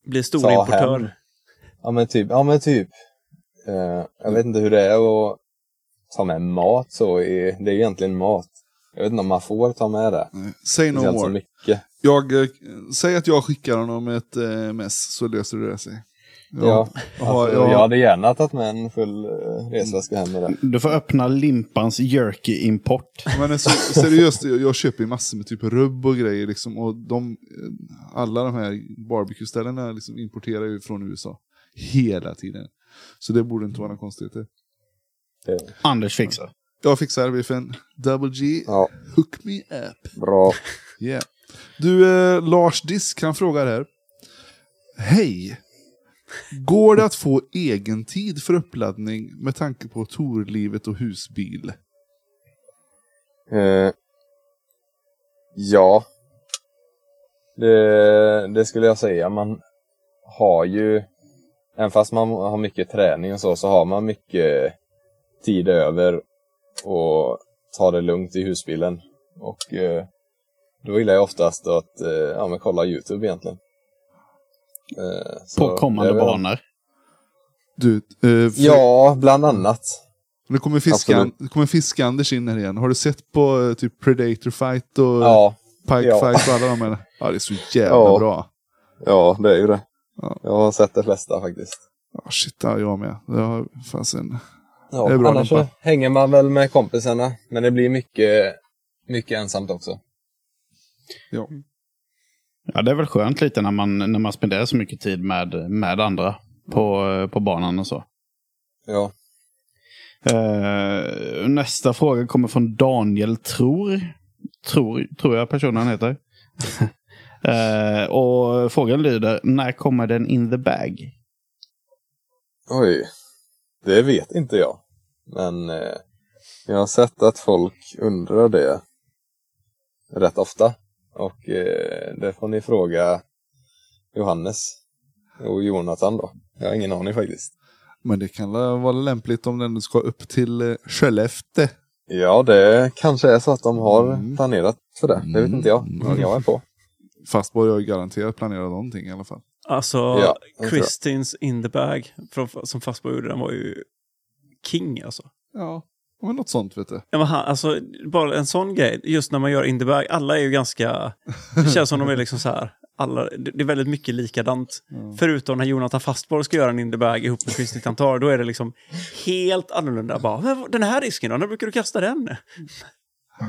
A: Blir stor
D: Ta
A: importör.
D: hem. Ja men typ, ja men typ. Eh, jag vet inte hur det är att ta med mat så. I, det är ju egentligen mat. Jag vet inte om man får ta med det.
C: Nej, Say no
D: Speciellt så
C: more.
D: mycket.
C: Jag, eh, säg att jag skickar honom ett eh, mess så löser det sig.
D: Ja.
C: ja,
D: Alltså,
C: ja.
D: Jag hade gärna tagit med en full eh, resväska hem med det.
B: Du får öppna Limpans jerky-import.
C: Men alltså, seriöst, jag jag köper ju massor med typ rubb och grejer liksom. Och de, eh, alla de här barbecue-ställena liksom importerar ju från USA. Hela tiden. Så det borde inte vara några konstigheter.
D: det.
B: Anders fixar.
C: Jag fixar biffen. Double G,
D: Ja,
C: hook me up.
D: bra.
C: Yeah. Du, eh, Lars Disk, han frågar här. Hej! Går det att få egen tid för uppladdning med tanke på torlivet och husbil?
D: Eh, ja. Det, det skulle jag säga. Man har ju, även fast man har mycket träning och så, så har man mycket tid över och ta det lugnt i husbilen. Och eh, då gillar jag oftast att eh, ja, men kolla YouTube egentligen. Eh, så
B: På kommande
D: det är väl-
B: banor.
C: Du, eh, för-
D: Ja, bland annat.
C: Nu kommer, fiskan, nu kommer Fisk-Anders in här igen. Har du sett på eh, typ Predator Fight och
D: Ja,
C: Pike
D: ja.
C: Fight och alla de här? Ja, det är så jävla
D: Ja.
C: bra.
D: ja det är ju det.
C: Ja.
D: Jag har sett de flesta faktiskt.
C: Ja, shit, ja, jag med. Det har fanns en...
D: Ja,
C: Det är bra,
D: annars så
C: Lampa.
D: hänger man väl med kompisarna. Men det blir mycket, mycket ensamt också.
C: Ja.
B: Ja, det är väl skönt lite när man, när man spenderar så mycket tid med, med andra på, på banan och så.
D: Ja,
B: Eh, nästa fråga kommer från Daniel Tror. Tror, tror jag personen heter. Eh, och frågan lyder, när kommer den in the bag?
D: oj. Det vet inte jag. Men eh, jag har sett att folk undrar det rätt ofta. Och eh, det får ni fråga Johannes och Jonathan då. Jag har ingen aning faktiskt.
C: Men det kan la- vara lämpligt om den ska upp till eh, Skellefteå.
D: Ja, det kanske är så att de har
C: Mm.
D: planerat för det. Det vet inte jag. Men jag är på.
C: Fast var jag garanterat planerat någonting i alla fall.
A: Alltså,
D: Ja, jag tror
A: Christins in the bag från, som fastbo gjorde, den var ju king alltså.
C: Ja, men något sånt vet du.
A: Ja, men han, alltså, bara en sån grej, just när man gör in the bag, alla är ju ganska... Det känns som de är liksom så här, alla, det det är väldigt mycket likadant. Förutom när Jonathan Fastborg ska göra en in the bag ihop med Kristin Tantar, då är det liksom helt annorlunda. Bara, "Men vad- den här risken då, när brukar du kasta den?
C: Ja,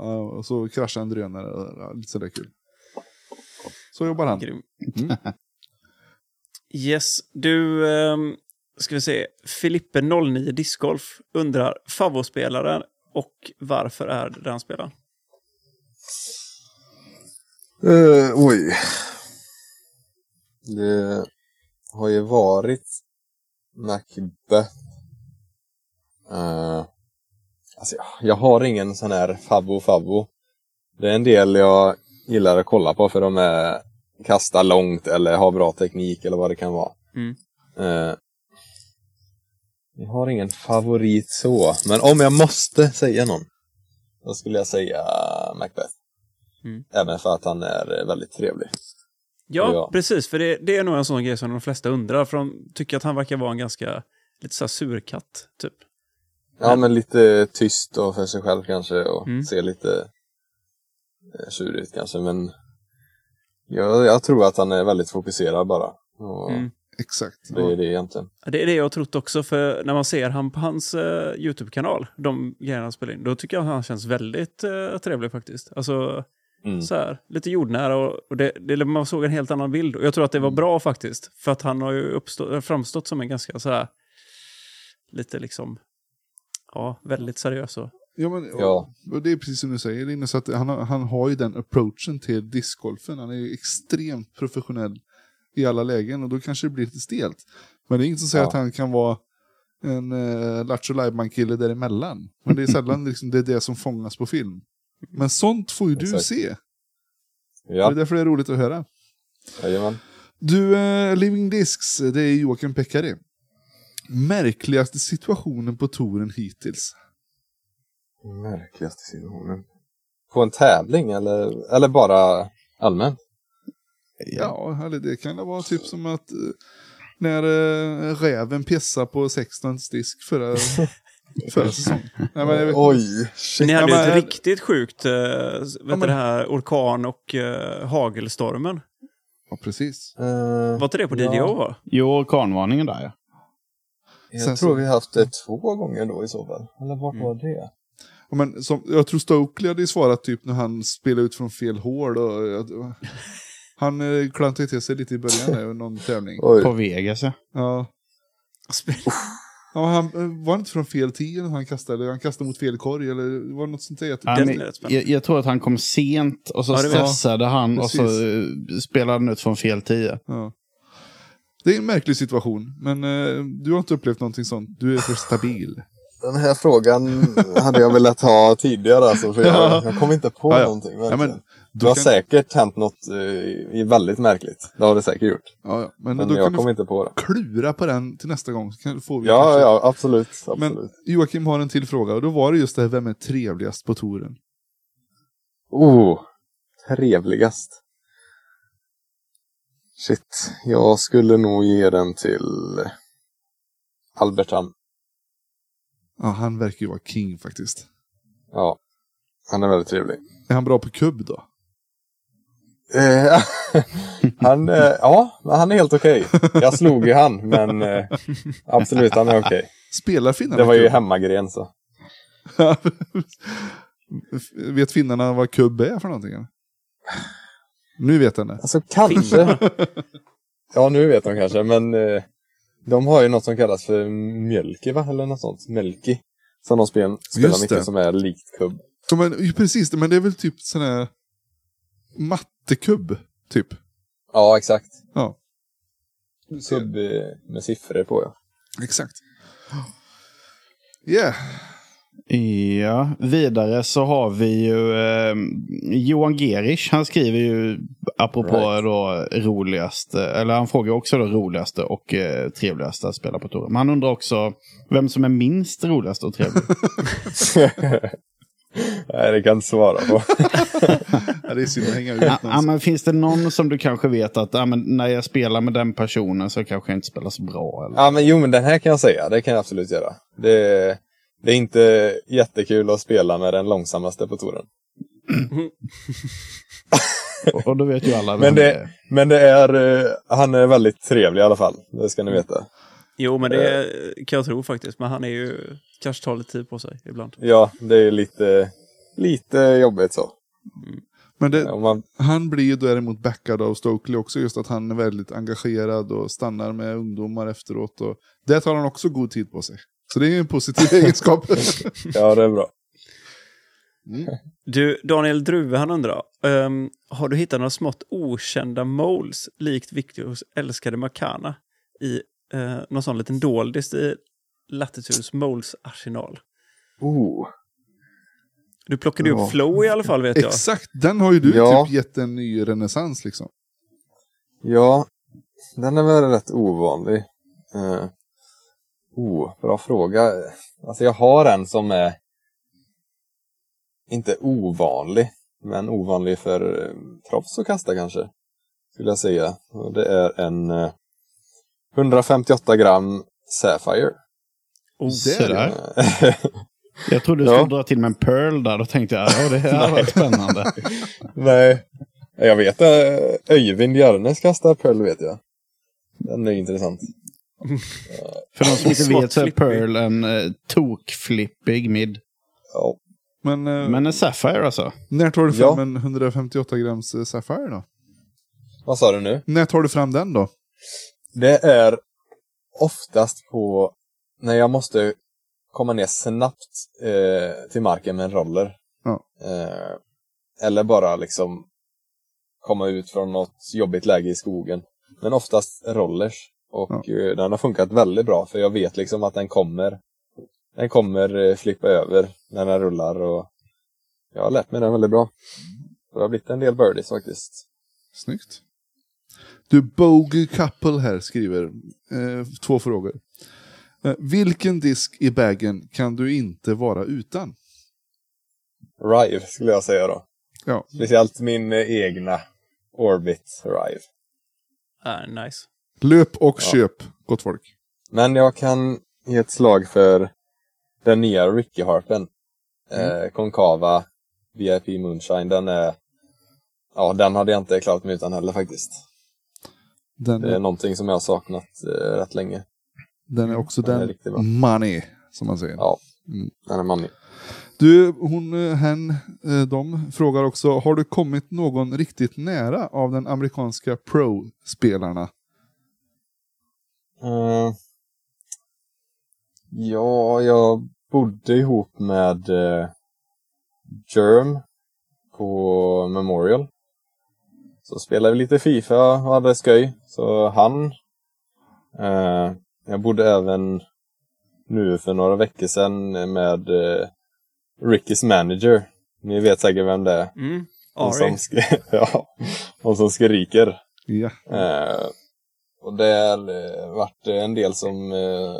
C: ja, och så kraschar en drönare. och, ja, Lite sådär kul. Så jobbar han.
A: Grym.
C: Mm.
A: Yes, du, ehm, ska vi se, Filippe09 Discgolf undrar favoritspelaren och varför är det den spelaren?
D: Eh, oj. Det har ju varit Macbeth. Eh, alltså, jag- jag har ingen sån här favvo-favvo. Det är en del jag gillar att kolla på för de är kastar långt eller har bra teknik eller vad det kan vara.
A: Mm.
D: Eh, jag har ingen favorit så, men om jag måste säga någon då skulle jag säga Macbeth.
A: Mm.
D: Även för att han är eh, väldigt trevlig.
A: Ja,
D: Ja.
A: precis. För det, det är nog en sån grej som de flesta undrar. För de tycker att han verkar vara en ganska lite så här surkatt, typ.
D: Ja, men lite tyst och för sig själv kanske och
A: Mm.
D: ser lite eh, tjurig ut kanske. Men jag, jag tror att han är väldigt fokuserad bara. Och
A: Mm.
C: Exakt.
D: Det är det egentligen.
A: Det är det jag har trott också, för när man ser han på hans eh, YouTube-kanal, de grejerna han spelar in, då tycker jag att han känns väldigt eh, trevlig faktiskt. Alltså,
D: Mm.
A: så här, lite jordnära och, och det, det, man såg en helt annan bild. Och jag tror att det
D: Mm.
A: var bra faktiskt, för att han har ju uppstå, framstått som en ganska så här, lite liksom, ja, väldigt seriös och...
C: Ja, men, och,
D: Ja.
C: och det är precis som du säger Linus, att han, har- han har ju den approachen till discgolfen. Han är ju extremt professionell i alla lägen och då kanske det blir lite stelt. Men det är inget som säger
D: Ja.
C: att han kan vara en eh, Lattjo Lajban-kille däremellan. Men det är sällan liksom, det är det som fångas på film. Men sånt får ju du
D: Exakt.
C: se. Det
D: Ja,
C: är därför det är roligt att höra.
D: jajamän.
C: Du, eh, Living Discs, det är Joakim Pekari. Märkligaste situationen på touren hittills.
D: Märkligaste situationen. På en tävling eller, eller bara allmänt?
C: Ja, eller det kan det vara typ som att eh, när eh, räven pissar på 16 disk förra, förra säsongen. Nej, men jag vet,
D: Oj!
A: Men ni
C: Ja,
A: hade ju
C: men-
A: ett riktigt sjukt, eh, vet du
C: men-
A: det här, orkan och eh, hagelstormen.
C: ja, precis.
D: Eh,
A: Var inte det på
D: Ja.
A: DDO? va?
B: Jo, orkanvarningen där ja.
D: jag
C: sen så-
D: tror vi haft det två gånger då i så fall. Eller vart var det?
C: Ja, men som, jag tror Stokely hade ju svarat typ när han spelade ut från fel hål. Och, jag- han eh, klantade till sig lite i början där, någon tävling.
D: Oj.
B: På Vegas ja.
C: Ja. Ja, han, eh, var det inte från fel tid han kastade? Han kastade mot fel korg eller var det något sånt där?
B: Han,
A: Den är rätt spännande.
B: jag, jag tror att han kom sent och så
A: Ja, det var-
B: stressade han och så
C: Precis.
B: eh, spelade han ut från fel tio.
C: Ja. Det är en märklig situation, men eh, du har inte upplevt någonting sånt. Du är för stabil.
D: Den här frågan hade jag velat ha tidigare alltså, för jag, jag kom inte på
C: Ja, ja.
D: någonting.
C: Ja, men,
D: verkligen. det
C: då
D: har
C: kan-
D: säkert hänt något eh, i- väldigt märkligt. Det har det säkert gjort.
C: Ja, ja. Men,
D: Men
C: då
D: jag
C: kan
D: kom
C: du
D: inte på det.
C: klura på den till nästa gång. Så kan, får vi
D: Ja,
C: kanske-
D: ja, absolut. absolut.
C: Men Joakim har en till fråga och då var det just det här, vem är trevligast på touren?
D: Oh, trevligast. Shit, jag skulle nog ge den till Albert Hamm.
C: Ja, han verkar ju vara king faktiskt.
D: Ja. Han är väldigt trevlig.
C: Är han bra på kubb då?
D: Eh, han, eh, ja, men han är helt okej. Jag slog ju han, men eh, absolut, han är okej.
C: Spelar finnarna
D: Det var ju
C: kubb?
D: hemmagren så.
C: vet finnarna vad kubb är för någonting? eller? Nu vet han det.
D: Alltså kanske. Ja, nu vet de kanske, men eh, de har ju något som kallas för mjölki, va? Eller något sånt. Mjölki. Som de spel, spelar
C: Just det.
D: mycket som är likt kubb.
C: Ja, men, ju, precis, men det är väl typ sån här mattekubb, typ.
D: Ja, exakt.
C: Ja.
D: Kubb eh, med siffror på, ja.
C: Exakt. Yeah.
B: Ja, vidare så har vi ju eh, Johan Gerisch. Han skriver ju, apropå
D: Right.
B: då roligaste, eller han frågar också då roligaste och eh, trevligaste att spela på touren. Men han undrar också vem som är minst roligast och trevlig.
D: Nej, det kan jag inte svara på.
C: Ja, det är synd att hänga ut
B: ja, ja,
C: någon.
B: men finns det någon som du kanske vet att ja, men när jag spelar med den personen så kanske jag inte spelar så bra? Eller?
D: Ja, men jo, men den här kan jag säga. Det kan jag absolut göra. Det, det är inte jättekul att spela med den långsammaste på touren.
B: Och, och då vet ju alla vem
D: Men
B: det
D: det,
B: är.
D: men det är, eh, han är väldigt trevlig i alla fall. Det ska ni veta.
A: Jo, men det kan jag tro faktiskt. Men han är ju kanske tar lite tid på sig ibland.
D: Ja, det är lite, lite jobbigt så.
C: Men det,
D: Om man,
C: han blir ju däremot backad av Stokely också, just att han är väldigt engagerad och stannar med ungdomar efteråt. Och där tar han också god tid på sig. Så det är ju en positiv egenskap.
D: ja, det är bra.
A: Du, Daniel Druve, han undrar. ehm, har du hittat några smått okända moles likt Victors älskade Makana i uh, någon sån liten doldis i Latitudes moles arsenal?
D: Oh.
A: Du plockade ju
C: Ja.
A: upp Flow i alla fall vet jag.
C: Exakt, den har ju du
D: Ja.
C: typ gett en ny renässans liksom.
D: Ja, den är väl rätt ovanlig. Eh, oh, bra fråga. Alltså jag har en som är inte ovanlig, men ovanlig för eh, proffs att kasta kanske. Skulle jag säga. Och det är en eh, 158 gram Sapphire.
A: Oh,
C: Där, ja.
B: Sådär.
D: Eh,
B: Jag trodde du skulle
D: Ja.
B: dra till med en pearl där. Då tänkte jag, ja det här var spännande.
D: Nej, jag vet eh, Öjvind Järnes kastar Pearl vet jag. Den är intressant.
B: För de som inte
A: Smått
B: vet så är
A: flippig.
B: pearl en eh, tokflippig mid.
D: Ja.
C: Men, eh,
B: Men en Sapphire alltså.
C: när tar du
D: Ja.
C: fram en 158 grams eh, Sapphire då?
D: Vad sa du nu?
C: När tar du fram den då?
D: Det är oftast på när jag måste komma ner snabbt eh, till marken med en roller.
C: Ja.
D: Eh, eller bara liksom komma ut från något jobbigt läge i skogen. Men oftast rollers. Och eh, den har funkat väldigt bra för jag vet liksom att den kommer. Den kommer eh, flippa över när den rullar och jag har lärt mig den väldigt bra. Det har blivit en del birdies faktiskt.
C: Snyggt. Du, Bogue Couple här skriver eh, två frågor. Eh, vilken disk i bagen kan du inte vara utan?
D: Rive skulle jag säga då.
C: Ja.
D: Speciellt min eh, egna Orbit Rive.
A: Ah, nice.
C: Löp och
D: Ja.
C: köp, gott folk.
D: Men jag kan ge ett slag för den nya Ricky Harpen. Eh, Concava VIP Moonshine. Den är... Ja, den hade jag inte klarat mig utan heller faktiskt.
C: Den,
D: Det är någonting som jag har saknat eh, rätt länge.
C: den är också
D: den är
C: den
D: riktigt bra.
C: money, som man säger.
D: Ja,
C: Mm.
D: den är manlig.
C: Du, hon, eh, hen, eh, de frågar också, har du kommit någon riktigt nära av den amerikanska pro-spelarna?
D: Eh, ja, jag bodde ihop med eh, Germ på Memorial. Så spelade vi lite Fifa och hade skoj. Så han. Eh, jag bodde även nu för några veckor sedan med eh, Rickys manager. Ni vet säkert vem det är.
A: Mm.
D: Hon
A: Ari.
D: som, sk- ja, hon som skriker.
C: Ja.
D: Eh, och där eh, vart det en del som eh,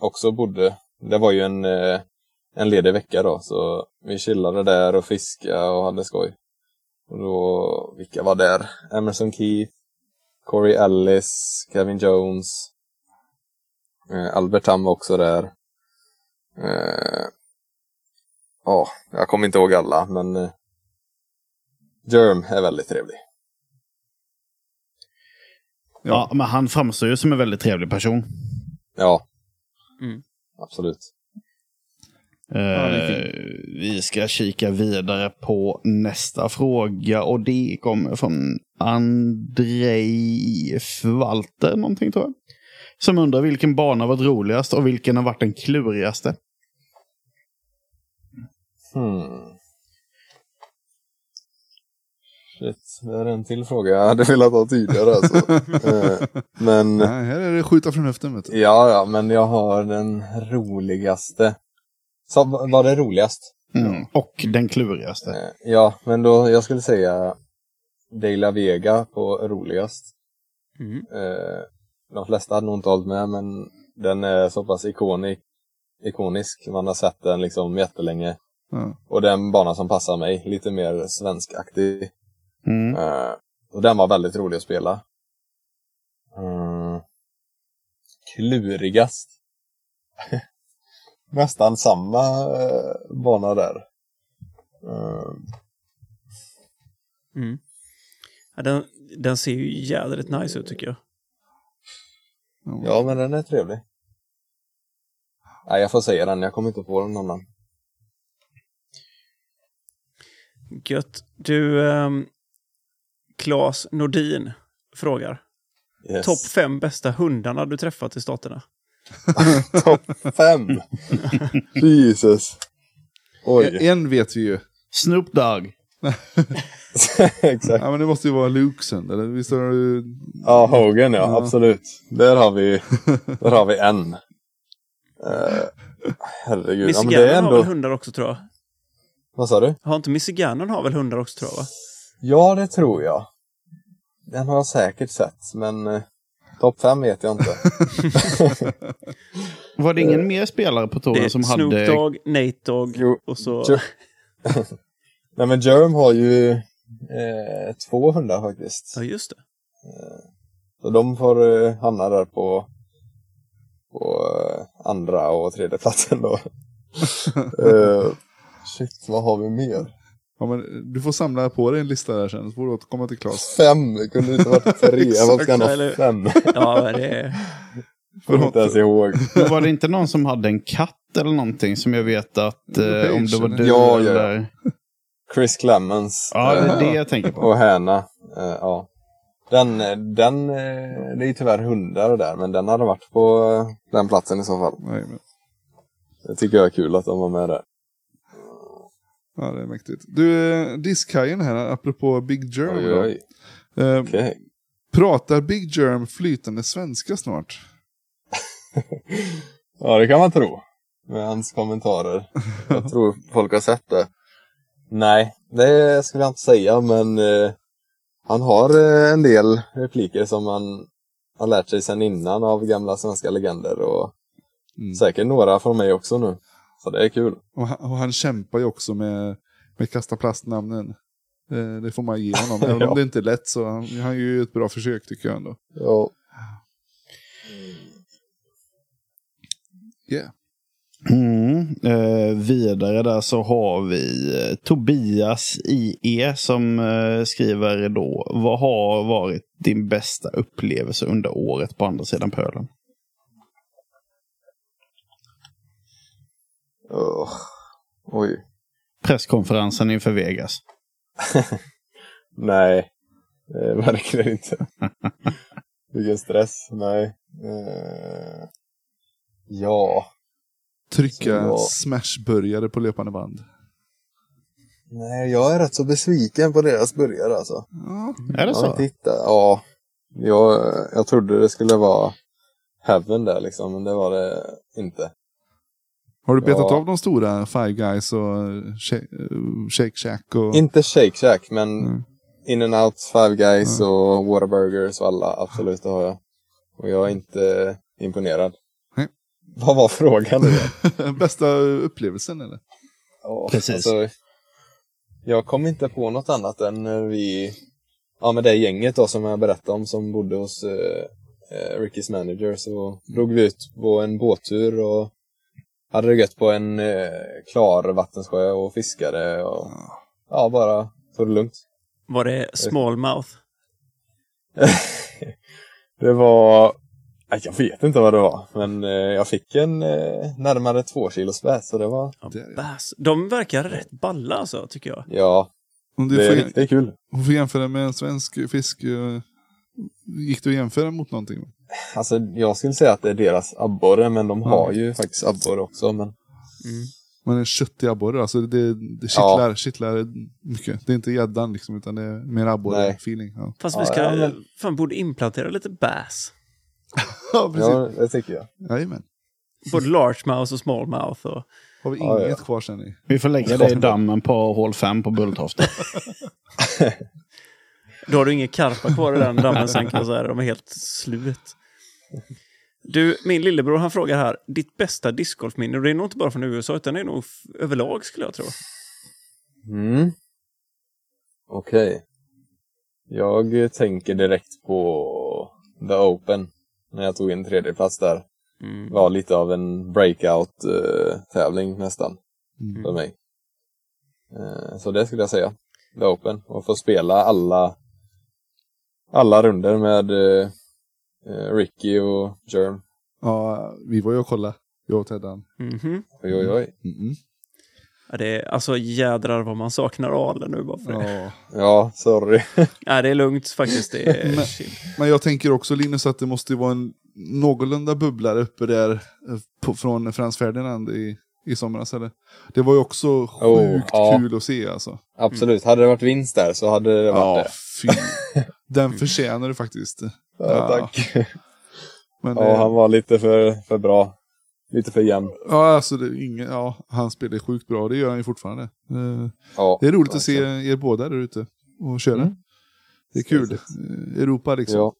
D: också bodde. Det var ju en, eh, en ledig vecka då, så vi chillade där och fiskade och hade skoj. Och då, vilka var där? Emerson Keith, Corey Ellis, Kevin Jones, eh, Albert Tam var också där. Eh, ja, jag kommer inte ihåg alla, men eh, Germ är väldigt trevlig.
B: Ja, men han framstår ju som en väldigt trevlig person.
D: Ja,
A: Mm.
D: absolut.
B: Eh,
A: det är
B: vi ska kika vidare på nästa fråga och det kommer från Andrej Valter någonting tror jag. Som undrar vilken bana varit roligast och vilken har varit den klurigaste.
D: Hmm. Shit, det är en till fråga jag hade velat ha tidigare alltså. Eh, men...
C: Nej, här är det skjuta från höften. Vet du.
D: Ja, ja, men jag har den roligaste. Så, v- var det roligast?
B: Mm. Och den klurigaste.
D: Eh, Ja, men då, jag skulle säga De La Vega på roligast.
A: Mm.
D: Eh, De flesta hade nog inte hållit med, men den är så pass ikonisk. ikonisk. Man har sett den liksom jättelänge.
C: Ja.
D: Och den bana som passar mig, lite mer svenskaktig.
B: Mm.
D: Eh, och den var väldigt rolig att spela. Mm. Klurigast. Nästan samma eh, bana där. Eh,
A: Mm. Ja, den, den ser ju jädrigt nice ut tycker jag.
D: ja, men den är trevlig. Nej, jag får säga den. Jag kommer inte på någon annan.
A: Gött. Du, ehm, Claes Nordin frågar.
D: Yes.
A: Topp fem bästa hundarna du träffat i staterna?
D: Topp fem! Jesus! Oj.
C: En vet vi ju.
B: Snoop Dogg.
D: Exakt.
C: Ja, men det måste ju vara Luxen. Eller visst har du...
D: Ja, Hogan ja,
C: Ja.
D: absolut. Där har vi, där har vi en. Eh, herregud. Ja, men det
A: Michiganen
D: är
A: har väl
D: ändå...
A: hundar också tror jag?
D: Vad sa du?
A: Har inte Michiganen har väl hundar också tror jag? Va?
D: Ja, det tror jag. Den har jag säkert sett, men eh, topp fem vet jag inte.
B: Var det ingen mer spelare på
A: Det är
B: touren som
A: Snoop
B: hade...
A: Dogg, Nate Dogg
D: Jo,
A: och så...
D: Jer- Nej, men Jerm har ju eh, två hundar faktiskt.
A: Ja, just det.
D: Så de får eh, hamna där på, på eh, andra och tredje platsen då. eh, shit, vad har vi mer?
C: Ja, men du får samla på dig en lista där sen, så får du återkomma till Claes.
D: Fem! Det kunde inte varit tre. Vad ska han ha?
A: eller-
D: Fem?
A: Ja, det är...
D: Kommer inte ens ihåg.
B: Men var det inte någon som hade en katt eller någonting som jag vet att eh, om det var du
D: Ja, ja, ja.
B: eller...
D: Chris Clemens.
B: Ja, det
D: eh,
B: är det jag tänker på.
D: Och häna. Eh, ja. Den, eh, den, eh, det är ju tyvärr hundar och där, men den hade varit på eh, den platsen i så fall.
C: Nej, men,
D: Det tycker jag är kul att de var med där.
C: ja, det är mäktigt. Du, eh, diskhajen här, apropå Big Germ.
D: Oj,
C: då.
D: oj.
C: Eh,
D: Okej.
C: pratar Big Germ flytande svenska snart?
D: Ja, det kan man tro. Med hans kommentarer. Jag tror folk har sett det. Nej, det skulle jag inte säga, men eh, han har eh, en del repliker som han har lärt sig sedan innan av gamla svenska legender och
C: Mm.
D: säkert några från mig också nu. Så det är kul.
C: Och han, och han kämpar ju också med, med kasta plastnamnen. Eh, det får man ge honom. Även
D: Ja.
C: om det inte är lätt så han, han gör ju ett bra försök tycker jag ändå.
D: Ja.
C: Yeah.
B: Mm. Eh, vidare där så har vi eh, Tobias IE som eh, skriver då. Vad har varit din bästa upplevelse under året på andra sidan pölen?
D: Ugh. Oj.
B: Presskonferensen inför Vegas.
D: Nej, eh, verkligen inte. Vilken stress. Nej. Eh, ja,
C: Trycka
D: Så-
C: smashburgare på löpande band.
D: nej, jag är rätt så besviken på deras burgare alltså.
C: Ja,
B: Är det
D: Jag har
B: så?
D: inte hittat, ja. Jag, jag trodde det skulle vara heaven där liksom, men det var det inte.
C: Har du betat
D: Ja.
C: av de stora Five Guys och eh, Shake- eh, Shake Shack? Och...
D: Inte Shake Shack, men
C: Mm.
D: In and Out, Five Guys och Whataburgers och alla, absolut, det har jag. Och jag är inte imponerad.
C: Nej.
D: Vad var frågan nu?
C: Bästa upplevelsen eller?
D: Ja,
B: Precis.
D: alltså, jag kom inte på något annat än när vi, ja men det gänget då som jag berättade om som bodde hos eh, eh, Rickys manager så drog vi ut på en båttur och hade det gött på en eh, klar vattensjö och fiskade och ja, bara tog det lugnt.
A: Var det smallmouth?
D: Det var... Nej, Jag vet inte vad det var, men eh, jag fick en eh, närmare två kilos bäs, så det var...
A: Ja,
C: Det är det.
A: bass. De verkar rätt balla alltså, tycker jag.
D: Ja,
C: Om du
D: det är
C: får,
D: riktigt kul.
C: om du får jämföra med en svensk fisk, eh, gick du att jämföra mot någonting?
D: Alltså, jag skulle säga att det är deras abborre, men de har ju faktiskt abborre också. Men
C: Men en köttig abborre, alltså det, det
D: Ja.
C: kittlar, kittlar mycket. Det är inte gäddan liksom, utan det är mer
D: Nej.
C: abborre-feeling. Ja.
A: Fast
D: Ja,
A: vi ska,
D: ja, men-
A: fan, borde implantera lite bass.
C: ja, precis.
D: ja, det tycker jag.
C: Jajamän.
A: Både largemouth och smallmouth. Och...
C: Har vi
D: Ja,
C: inget
D: ja.
C: kvar sen? i?
B: Vi får lägga det i dammen på hål 5 på Bulltofta.
A: Då har du ingen karpa kvar i den dammen sen kan jag säga. De är helt slut. Du, min lillebror han frågar här, ditt bästa discgolfminne, och det är nog inte bara från USA utan det är nog f- överlag skulle jag tro.
D: Mm. Okej. Jag tänker direkt på The Open, när jag tog en tredjeplats där.
A: Mm.
D: var lite av en breakout-tävling nästan
C: Mm.
D: för mig. Eh, Så det skulle jag säga. The Open. Och få spela alla alla runder med eh, eh, Ricky och Germ.
C: Ja, vi var ju och kollade, jag och Teddan.
A: Mhm.
D: Oj, oj, oj.
C: Mm-mm.
A: Ja, det är, alltså jädrar vad man saknar Ale nu bara för det.
C: Ja.
D: Ja, sorry.
A: Nej, det är lugnt faktiskt. Det är
C: Men-
A: chill.
C: Men jag tänker också Linus att det måste ju vara en någorlunda bubblare uppe där eh, på, från Frans Ferdinand i, i somras. Eller? Det var ju också sjukt
D: Oh, ja.
C: kul att se alltså.
D: Absolut. Hade det varit vinst där så hade det varit
C: Ja,
D: det.
C: fy. Den förtjänar du faktiskt.
D: Ja,
C: Ja.
D: tack.
C: Men
D: Ja,
C: eh,
D: han var lite för, för bra. Lite för jämn.
C: ja, alltså, det är ingen, ja, han spelar sjukt bra, det gör han ju fortfarande. Eh,
D: Ja,
C: Det är roligt att se
D: verkligen.
C: er båda där ute och köra.
D: Mm.
C: Det är kul.
D: Precis.
C: Eh, Europa liksom.
D: Ja.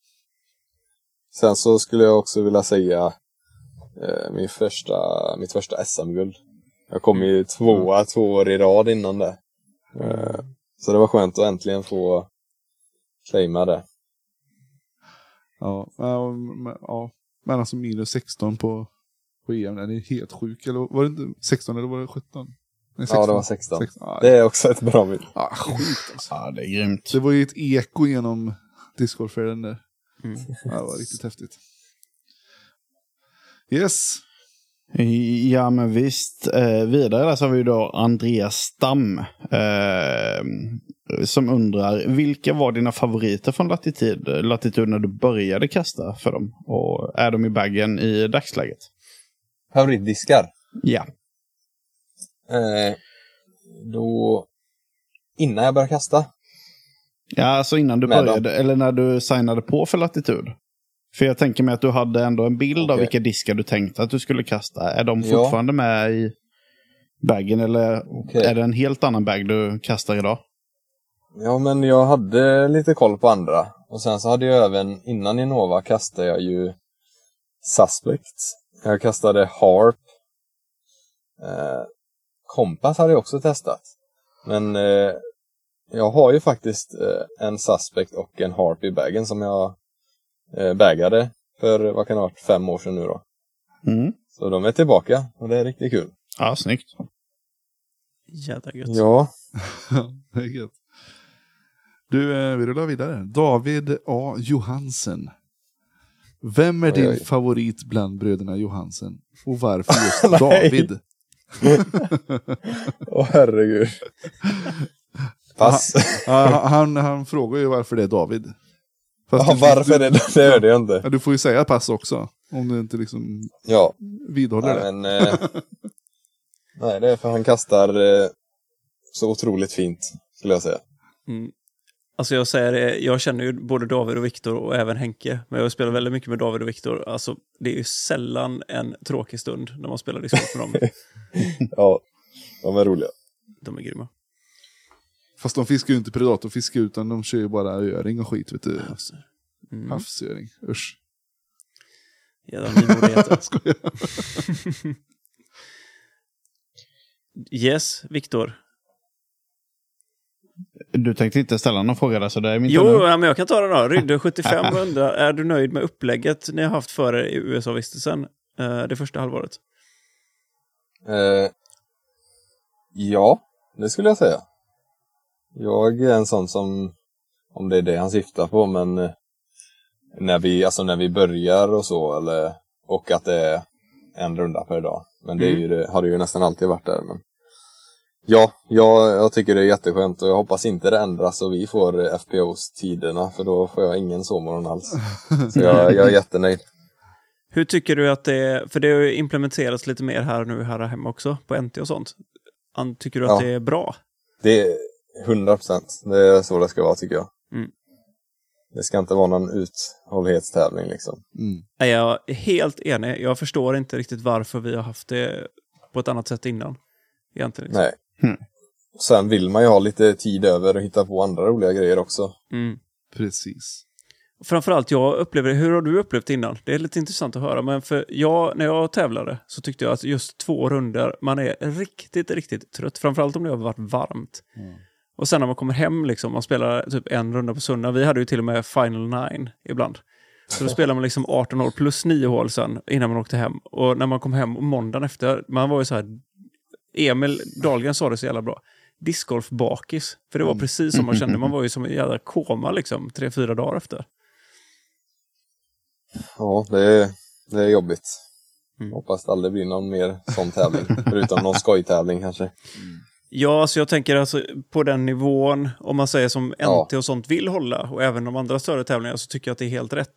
D: Sen så skulle jag också vilja säga eh, min första, mitt första SM-guld. Jag kom ju tvåa
C: Mm.
D: två år i rad innan det. Eh, så det var skönt att äntligen få claima det.
C: Ja, ja, men- ja. Men alltså minus 16 på, på EM, den är helt sjuk. Eller var det inte 16 eller var det 17? Nej,
D: Ja, det var 16.
C: 16. Ja,
D: Det är också ett bra minne.
C: ja, sjukt alltså.
B: Ja, det är grymt.
C: Det var ju ett eko genom discgolfvärlden där.
A: Mm.
C: Ja, det var riktigt häftigt. Yes.
B: Ja, men visst. Eh, vidare där så har vi ju då Andreas Stam. Eh, som undrar, vilka var dina favoriter från latitud, latitud när du började kasta för dem? Och är de i baggen i dagsläget?
D: Favoritdiskar?
B: Ja.
D: Eh, då... Innan jag började kasta?
B: Ja, alltså innan du
D: Med dem.
B: började, eller när du signade på för latitud. För jag tänker mig att du hade ändå en bild av
D: Okej.
B: vilka diskar du tänkte att du skulle kasta. Är de
D: Ja.
B: fortfarande med i baggen eller
D: Okej.
B: är det en helt annan bag du kastar idag?
D: Ja, men jag hade lite koll på andra. Och sen så hade jag även, innan Innova kastade jag ju Suspect. Jag kastade Harp. Eh, Compass hade jag också testat. Men eh, jag har ju faktiskt eh, en Suspect och en Harp i bagen som jag eh, bagade för, vad kan det ha varit, fem år sedan nu då.
B: Mm.
D: Så de är tillbaka och det är riktigt kul.
B: Ja, snyggt.
A: Jädra gött.
D: Ja,
C: Det är gött. Du, eh, vi rullar vidare. David A. Johansen. Vem är
D: Oj,
C: din
D: oj.
C: favorit bland bröderna Johansen? Och varför just David?
D: åh herregud. Pass.
C: Ja, han, han frågar ju varför det är David. Fast
D: Ja,
C: du-
D: varför det? Det hörde jag inte.
C: Ja, du får ju säga pass också. Om du inte liksom
D: Ja,
C: vidhåller
D: nej,
C: det.
D: men... Eh, nej, det är för han kastar eh, så otroligt fint, skulle jag säga.
A: Mm. Alltså jag säger det, jag känner ju både David och Viktor och även Henke, men jag spelar väldigt mycket med David och Viktor. Alltså, det är ju sällan en tråkig stund när man spelar discgolf med dem.
D: Ja, de är roliga.
A: De är grymma.
C: Fast de fiskar ju inte predatorfiske utan de kör ju bara öring och skit. Vet du.
A: Alltså. Mm.
C: Havsöring. Usch.
A: Jädra nymodigheter.
C: Skojar.
A: Yes, Viktor.
B: Du tänkte inte ställa någon fråga där, så det är min tur
A: Jo,
B: nu.
A: ja, men jag kan ta den då. Rydde75 undrar, är du nöjd med upplägget ni har haft för er i USA-vistelsen eh, det första halvåret?
D: Eh, ja, det skulle jag säga. Jag är en sån som, om det är det han syftar på, men eh, när vi, alltså när vi börjar och så, eller, och att det är en runda per dag. Men det, är ju, det har det ju nästan alltid varit där. Men... Ja, jag, jag tycker det är jätteskönt och jag hoppas inte det ändras och vi får eh, FPOs-tiderna, för då får jag ingen sovmorgon alls. Så jag, jag är jättenöjd.
A: Hur tycker du att det, för det har ju implementerats lite mer här nu här hemma också, på NT och sånt. An- Tycker du att
D: Ja.
A: det är bra?
D: Det är 100 procent. Det är så det ska vara tycker jag.
A: Mm.
D: Det ska inte vara någon uthållighetstävling liksom.
C: Mm.
A: Nej, jag är helt enig. Jag förstår inte riktigt varför vi har haft det på ett annat sätt innan. Egentligen. liksom.
D: Nej.
B: Mm.
D: Sen vill man ju ha lite tid över och hitta på andra roliga grejer också.
A: Mm.
C: Precis.
A: Framförallt jag upplever det, hur har du upplevt det innan? Det är lite intressant att höra, men för jag, när jag tävlade så tyckte jag att just två runder, man är riktigt, riktigt trött. Framförallt om det har varit varmt. Och sen när man kommer hem, liksom, man spelar typ en runda på söndag. Vi hade ju till och med Final Nine ibland. Så då spelar man liksom 18 hål plus 9 hål sen innan man åkte hem. Och när man kom hem måndagen efter, man var ju så här... Emil Dahlgren sa det så jävla bra. Discgolf-bakis. För det var precis som man kände, man var ju som en jävla koma liksom, tre, fyra dagar efter.
D: Ja, det är, det är jobbigt.
A: Mm.
D: Hoppas det aldrig blir någon mer sån tävling. Förutom någon skojtävling kanske.
A: Ja, alltså jag tänker alltså på den nivån, om man säger som NT
D: Ja.
A: och sånt vill hålla, och även de andra större tävlingarna, så tycker jag att det är helt rätt.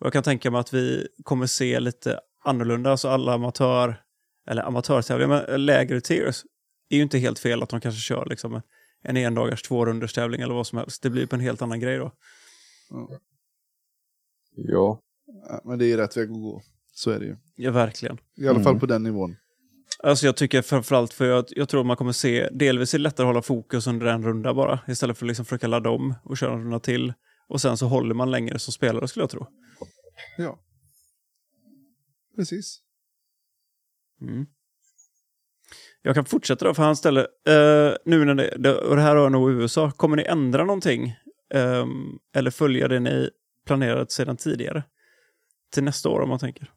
A: Och jag kan tänka mig att vi kommer se lite annorlunda, alltså alla amatör, eller amatörtävlingar, men lägre tiers, är ju inte helt fel att de kanske kör liksom en endagars tvårunders tävling eller vad som helst. Det blir på en helt annan grej då.
D: Ja.
C: Ja, men det är ju rätt väg att gå. Så är det ju.
A: Ja, verkligen.
C: I alla
D: Mm.
C: fall på den nivån.
A: Alltså jag tycker framförallt för jag, jag tror man kommer se, delvis är det lättare att hålla fokus under en runda bara, istället för att liksom försöka ladda om och köra en runda till. Och sen så håller man längre som spelare skulle jag tro.
C: Ja. Precis.
A: Mm. Jag kan fortsätta då, för han ställer, eh, nu när det, det, och det här rör nog USA, kommer ni ändra någonting? ehm, eller följa det ni planerat sedan tidigare? Till nästa år om man tänker.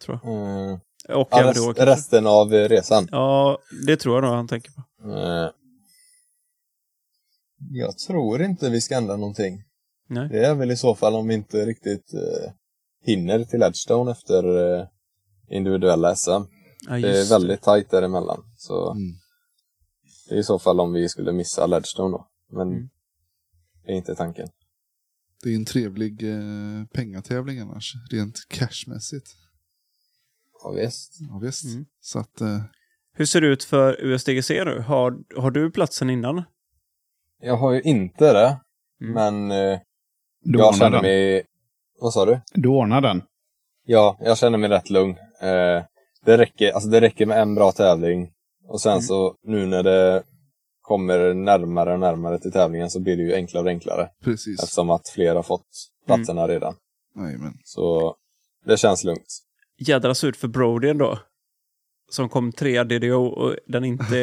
A: Tror
D: Mm.
A: jag. Och
D: Ja,
A: även då
D: rest,
A: kanske.
D: resten av eh, resan.
A: Ja, det tror jag nog han tänker på.
D: Eh, Jag tror inte vi ska ändra någonting.
A: Nej.
D: Det är väl i så fall om vi inte riktigt eh, hinner till Edgestone efter eh, individuella SM.
A: Ja,
D: det är
A: just
D: väldigt tajt däremellan. Så
C: Mm.
D: det är i så fall om vi skulle missa Ledgestone då. Men
A: Mm.
D: det är inte tanken.
C: Det är en trevlig eh, pengatävling annars. Rent cashmässigt.
D: Ja, visst.
C: Ja, visst.
A: Mm.
C: Så att... Eh,
A: Hur ser det ut för USDGC nu? Har, har du platsen innan?
D: Jag har ju inte det,
A: Mm.
D: men eh,
B: Du
D: jag
B: ordnar
D: känner
B: den.
D: mig... Vad sa du?
B: Du ordnar den.
D: Ja, jag känner mig rätt lugn. Eh, det, räcker, alltså det räcker med en bra tävling. Och sen
A: Mm.
D: så nu när det kommer närmare och närmare till tävlingen så blir det ju enklare och enklare.
C: precis.
D: Eftersom att fler har fått platserna redan.
C: Nej, men.
D: Så det känns lugnt.
A: jädra surt för Brodien då. Som kom trea DDO och den inte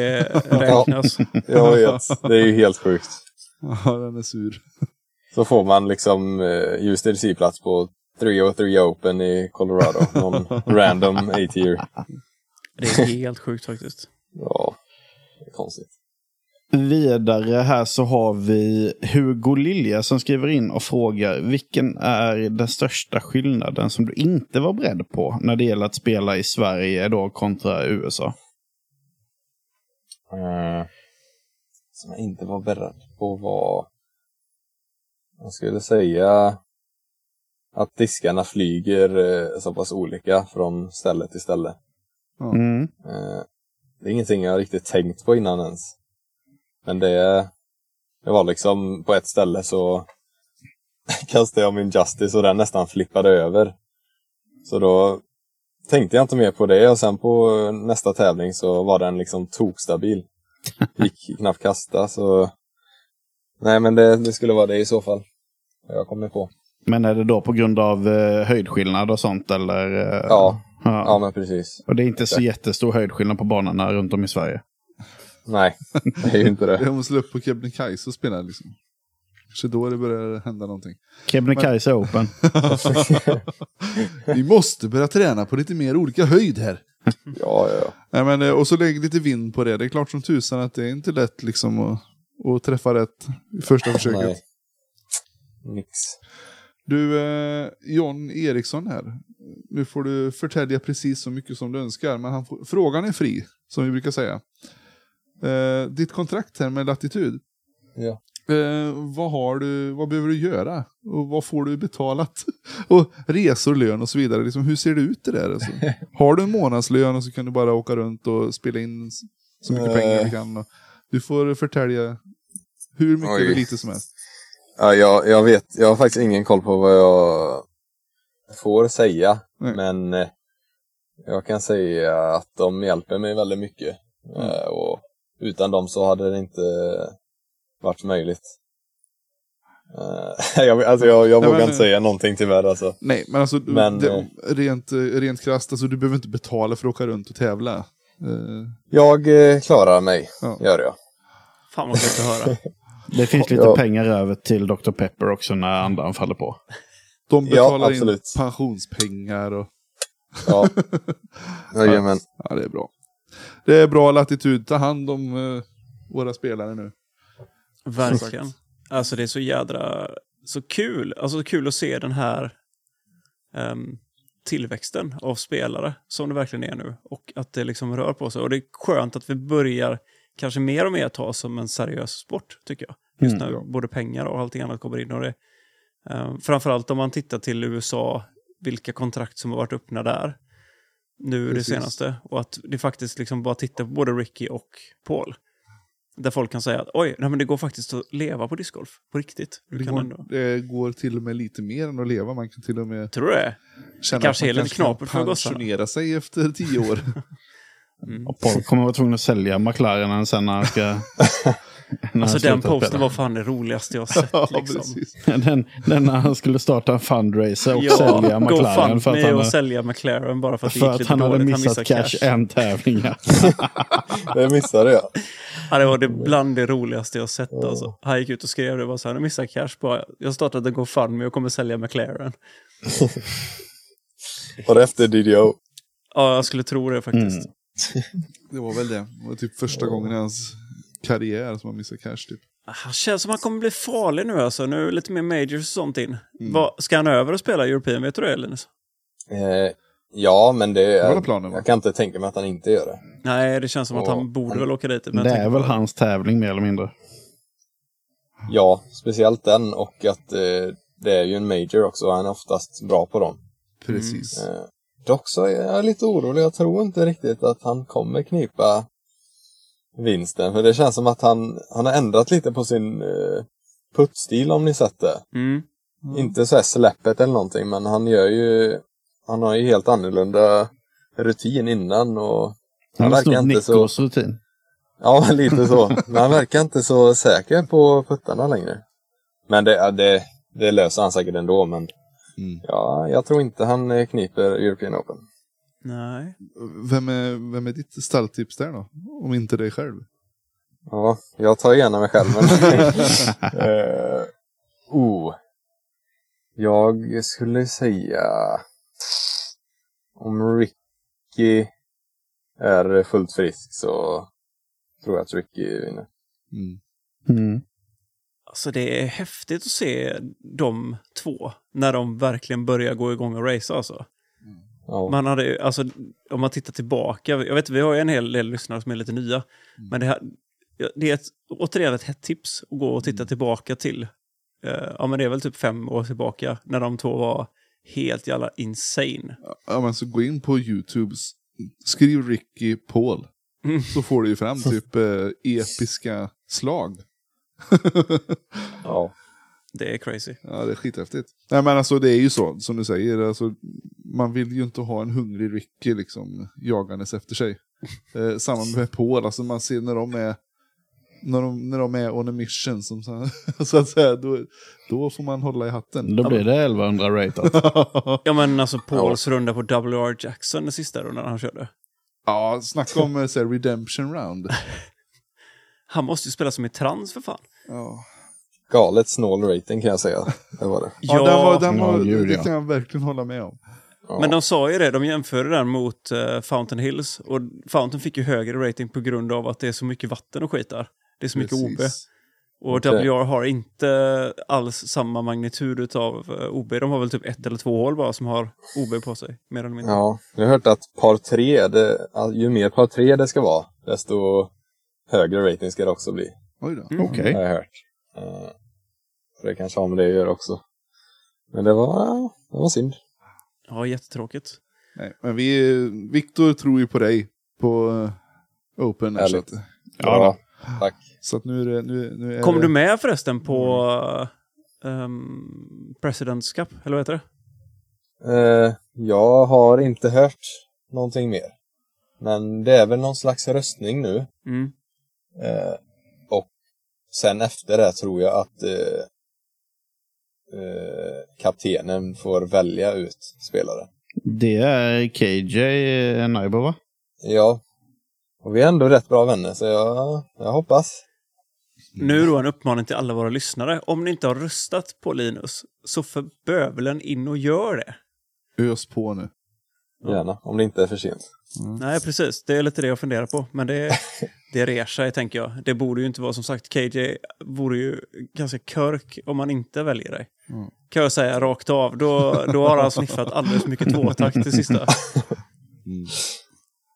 D: Ja.
A: räknas.
D: Jag vet, det är ju helt sjukt.
C: Ja, den är sur.
D: Så får man liksom eh, USDC-plats på 303 Open i Colorado. Någon random A-tier.
A: Det är helt sjukt faktiskt.
D: Ja, det är konstigt.
B: Vidare här så har vi Hugo Lilja som skriver in och frågar vilken är den största skillnaden som du inte var beredd på när det gäller att spela i Sverige då kontra USA?
D: Eh, som jag inte var beredd på var... Jag skulle säga att diskarna flyger eh, så pass olika från ställe till ställe.
B: Mm.
D: Eh, Det är ingenting jag riktigt tänkt på innan ens. Men det, det var liksom på ett ställe så kastade jag min Justice och den nästan flippade över. Så då tänkte jag inte mer på det och sen på nästa tävling så var den liksom tokstabil. Gick knappt kasta så... Nej men det, det skulle vara det i så fall. Jag kommer på.
B: Men är det då på grund av eh, höjdskillnad och sånt eller? eh,
D: Ja,
B: ja.
D: ja men precis.
B: Och det är inte så jättestor höjdskillnad på banorna runt om i Sverige.
D: Nej, det är ju inte det.
C: Jag måste upp på Kebnekaise och spela liksom. Så då det börjar hända någonting.
B: Kebnekaise Open.
C: Vi måste börja träna på lite mer olika höjd här.
D: Ja, ja, ja.
C: Nej, men, eh, och så lägg lite vind på det. Det är klart som tusan att det är inte lätt liksom att, att träffa rätt i första försöket.
D: Nej. Nix.
C: Du, eh, John Eriksson här. Nu får du förtälja precis så mycket som du önskar, men han får, frågan är fri, som vi brukar säga. Eh, ditt kontrakt här med Latitud.
D: Ja.
C: Eh, vad, har du, vad behöver du göra? Och vad får du betalat? och resor, lön och så vidare. Liksom, hur ser det ut det där? Alltså? Har du en månadslön och så kan du bara åka runt och spela in s- så mycket
D: Eh.
C: pengar du kan. Och du får förtälja hur mycket
D: Oj.
C: eller lite som helst.
D: Ja, jag, jag vet, jag har faktiskt ingen koll på vad jag får säga.
C: Nej.
D: Men eh, jag kan säga att de hjälper mig väldigt mycket.
C: Mm.
D: Eh, och utan dem så hade det inte varit möjligt. Eh, jag, alltså jag, jag
C: Nej,
D: vågar
C: men-
D: inte säga någonting tyvärr alltså.
C: Nej, men alltså
D: Men,
C: det,
D: eh,
C: rent, eh, rent krasst, alltså, du behöver inte betala för att åka runt och tävla. Eh,
D: Jag eh, klarar mig,
C: Ja.
D: gör jag.
A: Fan vad gött att höra.
B: Det finns lite
D: Ja.
B: pengar över till Dr. Pepper också när andan faller på.
C: de
D: Ja,
C: betalar in
D: absolut.
C: pensionspengar och...
D: Ja. Jajamän.
C: Ja, det är bra. Det är bra latitud. Ta hand om eh, våra spelare nu.
A: Verkligen. Alltså det är så jädra så kul. Alltså så kul att se den här ehm, tillväxten av spelare som det verkligen är nu. Och att det liksom rör på sig. Och det är skönt att vi börjar kanske mer och mer ta som en seriös sport, tycker jag. Just
B: Mm.
A: när både pengar och allting annat kommer in. Och det, um, framförallt om man tittar till USA, vilka kontrakt som har varit öppna där nu
C: Precis.
A: det senaste. Och att det faktiskt liksom bara tittar på både Ricky och Paul. Där folk kan säga att oj, nej, men det går faktiskt att leva på discgolf på riktigt. Du
C: Det
A: kan
C: går,
A: ändå...
C: det går till och med lite mer än att leva. Man kan till och med
A: Tror du det?
C: känna
A: kanske är
C: att man
A: lite knapert för
C: kan
A: gossarna.
C: pensionera sig efter tio år.
B: Och Paul kommer vara tvungen att sälja McLarenen sen när han ska... när
A: Alltså
B: han
A: den
B: slutar
A: posten
B: spela.
A: var fan det roligaste jag har sett.
C: ja,
A: liksom.
C: precis.
B: Den, den när han skulle starta en fundraiser och sälja McLaren för att
A: GoFundMe
B: han,
A: och
B: hade-
A: sälja McLaren bara för att det
B: för
A: gick
B: att
A: lite
B: han hade
A: dåligt.
B: missat cash, en tävling. ja.
D: Det missade jag.
A: Ja, det var det bland det roligaste jag sett. Alltså. Han gick ut och skrev det. Bara så här, nu missar jag cash bara. Jag startade en GoFundMe och kommer sälja McLaren.
D: Var det efter DDO?
A: Ja, jag skulle tro det faktiskt.
B: Mm.
C: Det var väl det. Det var typ första gången i hans karriär som han missade cash. Typ.
A: Ah, Han känns som han kommer bli farlig nu alltså. Nu är det lite mer majors och sånt in.
C: Mm.
A: Vad- ska han över och spela European? Vet du det Linus?
D: Eh, ja, men det...
C: Det var väl
D: Är,
C: planen va?
D: jag kan inte tänka mig att han inte gör det.
A: Nej, det känns som att
D: Ja.
A: han borde väl åka dit. Men typ jag
B: Det
A: tänker
B: är väl
A: på-
B: hans tävling mer eller mindre.
D: Ja, speciellt den och att eh, det är ju en major också och han är oftast bra på dem.
C: Precis.
D: Eh, dock så är jag lite orolig. Jag tror inte riktigt att han kommer knipa vinsten. För det känns som att han, han har ändrat lite på sin eh, puttstil om ni sett det.
A: Mm.
D: Inte så här släppet eller någonting men han gör ju... Han har ju helt annorlunda rutin innan och...
B: Han har
D: verkar
B: snott
D: inte så-
B: Nickos rutin.
D: Ja, lite så. Men han verkar inte så säker på puttarna längre. Men det, ja, det, det löser han säkert ändå. Men
C: Mm.
D: ja, jag tror inte han eh, kniper European Open.
A: Nej.
C: Vem, är, vem är ditt stalltips där då? Om inte dig själv?
D: Ja, jag tar gärna mig själv. Men... Eh, oh. Jag skulle säga om Ricky är fullt frisk så tror jag att Ricky vinner.
C: Mm.
B: Mm.
A: Alltså det är häftigt att se de två när de verkligen börjar gå igång och racea alltså.
D: Ja.
A: Man hade, ju- alltså, om man tittar tillbaka, jag vet vi har ju en hel del lyssnare som är lite nya, men det, här, det är ett, återigen ett hett tips att gå och titta tillbaka till, eh, ja men det är väl typ fem år tillbaka, när de två var helt jävla insane.
C: Ja, men så gå in på YouTube, s- skriv Ricky Paul.
A: Mm.
C: Så får du ju fram typ eh, episka slag.
D: ja.
A: Det är crazy.
C: Ja, det är skithäftigt. Nej, men alltså det är ju så, som du säger. Alltså, man vill ju inte ha en hungrig Ricky liksom jagandes efter sig. Eh, samma med Paul, alltså man ser när de är när de, när de är on a mission, som, så- så att säga, då, då får man hålla i hatten.
B: Då blir det 1100 ratat.
A: Ja men alltså Pauls runda på W.R. Jackson den sista rundan han körde.
C: Ja, snacka om eh, så här, redemption round.
A: Han måste ju spela som i trans för fan.
C: Ja.
D: Galet snål rating kan jag säga. Det var det.
C: Ja, den var, den
B: Ja,
C: var,
B: gud,
C: det
B: ja.
C: kan jag verkligen hålla med om.
D: Ja.
A: Men de sa ju det, de jämförde den mot eh, Fountain Hills. Och Fountain fick ju högre rating på grund av att det är så mycket vatten och skit där. Det är så mycket OB.
C: Precis.
A: Och
D: Okej.
A: WR har inte alls samma magnitud av OB. De har väl typ ett eller två hål bara som har OB på sig. Mer eller mindre.
D: Ja, jag har hört att par 3, det, all- ju mer par 3 det ska vara, desto högre rating ska det också bli.
C: Oj då.
A: Mm.
B: Okej.
D: Har jag hört. Eh, så det kanske har med det att göra också. Men det var, det var synd.
A: Ja, jättetråkigt.
C: Nej, men vi, Viktor tror ju på dig på eh, Open. Här, så, att,
D: Härligt.
B: Ja,
D: Bra. Tack.
C: så att nu är det... Nu, nu är
A: Kom
C: det,
A: du med förresten på
C: Mm.
A: um, President's Cup? Eller vad heter det?
D: Eh, jag har inte hört någonting mer. Men det är väl någon slags röstning nu.
A: Mm.
D: Eh, och sen efter det tror jag att eh, eh, kaptenen får välja ut spelare.
B: Det är KJ Naibo, va?
D: Ja. Och vi är ändå rätt bra vänner, så jag, jag hoppas.
A: Nu då en uppmaning till alla våra lyssnare. Om ni inte har röstat på Linus, så för bövelen in och gör det.
C: Ös på nu.
D: Gärna, om det inte är för sent.
A: Nej, precis. Det är lite det jag funderar på. Men det, det rer sig, tänker jag. Det borde ju inte vara som sagt. KJ vore ju ganska körk om man inte väljer dig. Kan jag säga rakt av. Då, då har han sniffat alldeles för mycket tvåtakt till sista.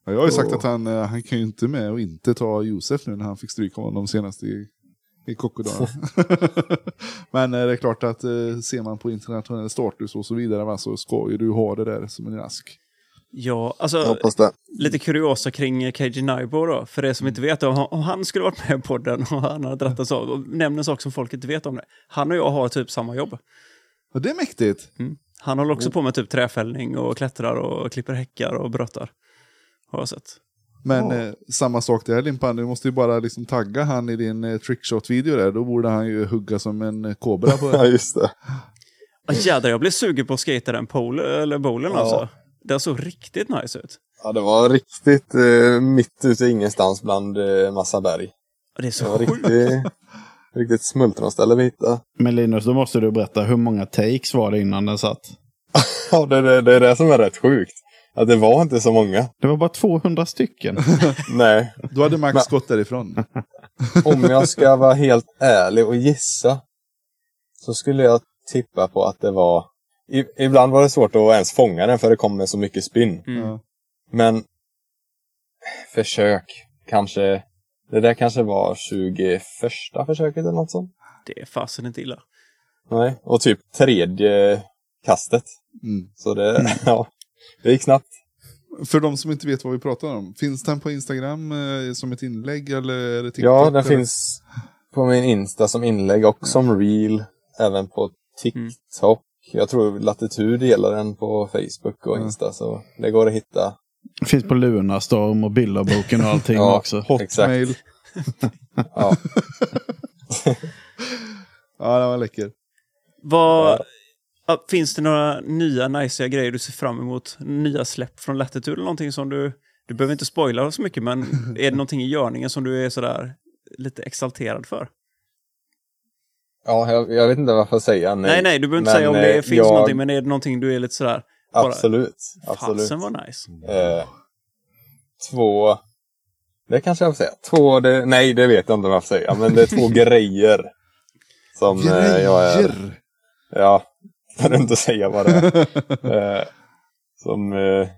C: Ja, jag har ju sagt att han, eh, han kan ju inte med och inte ta Josef nu när han fick stryka honom senast i, i Kockodagen. Men eh, det är klart att eh, ser man på internationell status och så vidare va, så ska ju du ha det där som en ask.
A: Ja, alltså
D: det.
A: lite kuriosa kring eh, KJ Naibo då. För er som inte vet, om han- om han skulle varit med på den och han hade drattats av. Och nämner en sak som folk inte vet om det. Han och jag har typ samma jobb.
C: Ja, det är mäktigt.
A: Han håller
D: Oh.
A: också på med typ träfällning och klättrar och klipper häckar och bröttar. Har jag sett.
C: Men eh, samma sak där Limpan, du måste ju bara liksom tagga han i din eh, trickshot-video där. Då borde han ju hugga som en eh, kobra på
D: Ja, just det.
A: Ah, Jädrar, jag blev sugen på att skata den pole, eller bowlen
D: Ja.
A: alltså. Den såg riktigt nice ut.
D: Ja, det var riktigt eh, mitt ute i ingenstans bland eh, massa berg.
A: Ah, Det är
D: Det var
A: så sjukt.
D: riktigt, riktigt smultronställe vi hittade.
B: Men Linus, då måste du berätta hur många takes var det innan den satt?
D: Ja, det, det, det är det som är rätt sjukt. Att det var inte så många.
B: Det var bara 200 stycken.
D: Nej,
C: Då hade Max gått därifrån.
D: om jag ska vara helt ärlig och gissa så skulle jag tippa på att det var... I, ibland var det svårt att ens fånga den för det kom med så mycket spinn.
A: Mm.
D: Men försök. Kanske... Det där kanske var 21 försöket eller något sånt.
A: Det är fasen inte illa.
D: Nej, och typ tredje kastet.
C: Mm.
D: Så det, ja, det gick snabbt.
C: För de som inte vet vad vi pratar om, finns den på Instagram eh, som ett inlägg eller är det TikTok?
D: Ja, den
C: eller?
D: finns på min Insta som inlägg
A: Mm.
D: och som reel. Även på TikTok. Jag tror Latitud delar den på Facebook och
C: Mm.
D: Insta. Så det går att hitta.
B: Det finns på Lunarstorm och Bilderboken och allting
D: Ja.
B: också.
D: Exakt.
C: Hotmail.
D: Ja.
C: Ja, den var läcker.
A: Vad,
D: Ja.
A: ah, finns det några nya nicea grejer du ser fram emot? Nya släpp från Latitude eller någonting som du... Du behöver inte spoila så mycket, men är det någonting i görningen som du är sådär lite exalterad för?
D: Ja, jag, jag vet inte vad jag får säga. Nej,
A: Nej, nej, du behöver inte
D: Men,
A: säga om
D: eh,
A: det finns
D: jag-
A: någonting, men är det någonting du är lite sådär... bara-
D: Absolut. absolut.
A: Fasen var nice.
D: Eh, två... Det kanske jag får säga. Två... Det, nej, det vet jag inte vad jag får säga. Men det är två grejer. Som eh, jag är
C: Grejer!
D: Ja, för att inte säga vad det är. eh, som eh,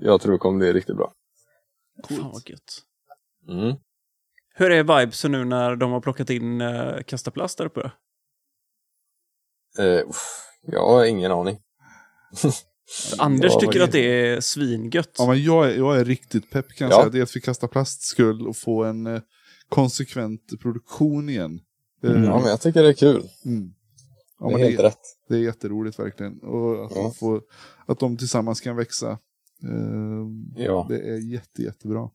D: jag tror kommer bli riktigt bra.
A: Fan vad gött.
D: Mm.
A: Hur är vibesen nu när de har plockat in uh, kastaplast där uppe?
D: Eh, uff, jag har ingen aning.
A: Anders
D: Ja,
A: tycker
D: vad
A: att det är svingött.
C: Ja, men jag, är, jag är riktigt pepp kan jag
D: Ja.
C: säga. Dels för kasta plasts skull och få en eh, konsekvent produktion igen. Det är-
D: Mm. Ja, men jag tycker det är kul.
C: Mm. Ja,
D: det är
C: men det,
D: helt
C: är,
D: rätt.
C: det är jätteroligt verkligen. Och att,
D: Ja.
C: de, får, att de tillsammans kan växa. Eh,
D: Ja.
C: Det är jätte, jättebra.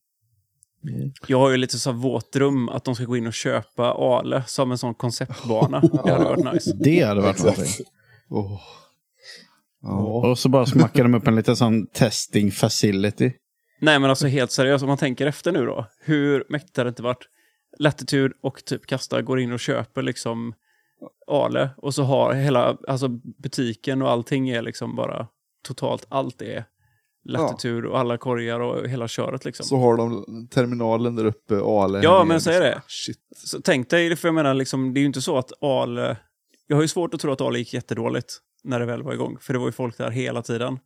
A: Jag har ju lite så här våtrum att de ska gå in och köpa Ale som en sån konceptbana. Det hade varit nice.
B: Det hade varit någonting.
D: Exakt.
C: Åh. Ja.
B: Och så bara smackade de upp en liten sån testing facility.
A: Nej men alltså helt seriöst, om man tänker efter nu då. Hur mäktigt hade det inte varit? Latitude och typ Kasta går in och köper liksom Ale och så har hela alltså butiken och allting är liksom bara totalt allt är latitud och alla korgar och hela köret. Liksom.
C: Så har de terminalen där uppe, Ale.
A: Ja,
C: här nere.
A: men så är det.
C: Shit.
A: Så tänk dig, för jag menar, liksom, det är ju inte så att Ale... Jag har ju svårt att tro att Ale gick jättedåligt när det väl var igång, för det var ju folk där hela tiden.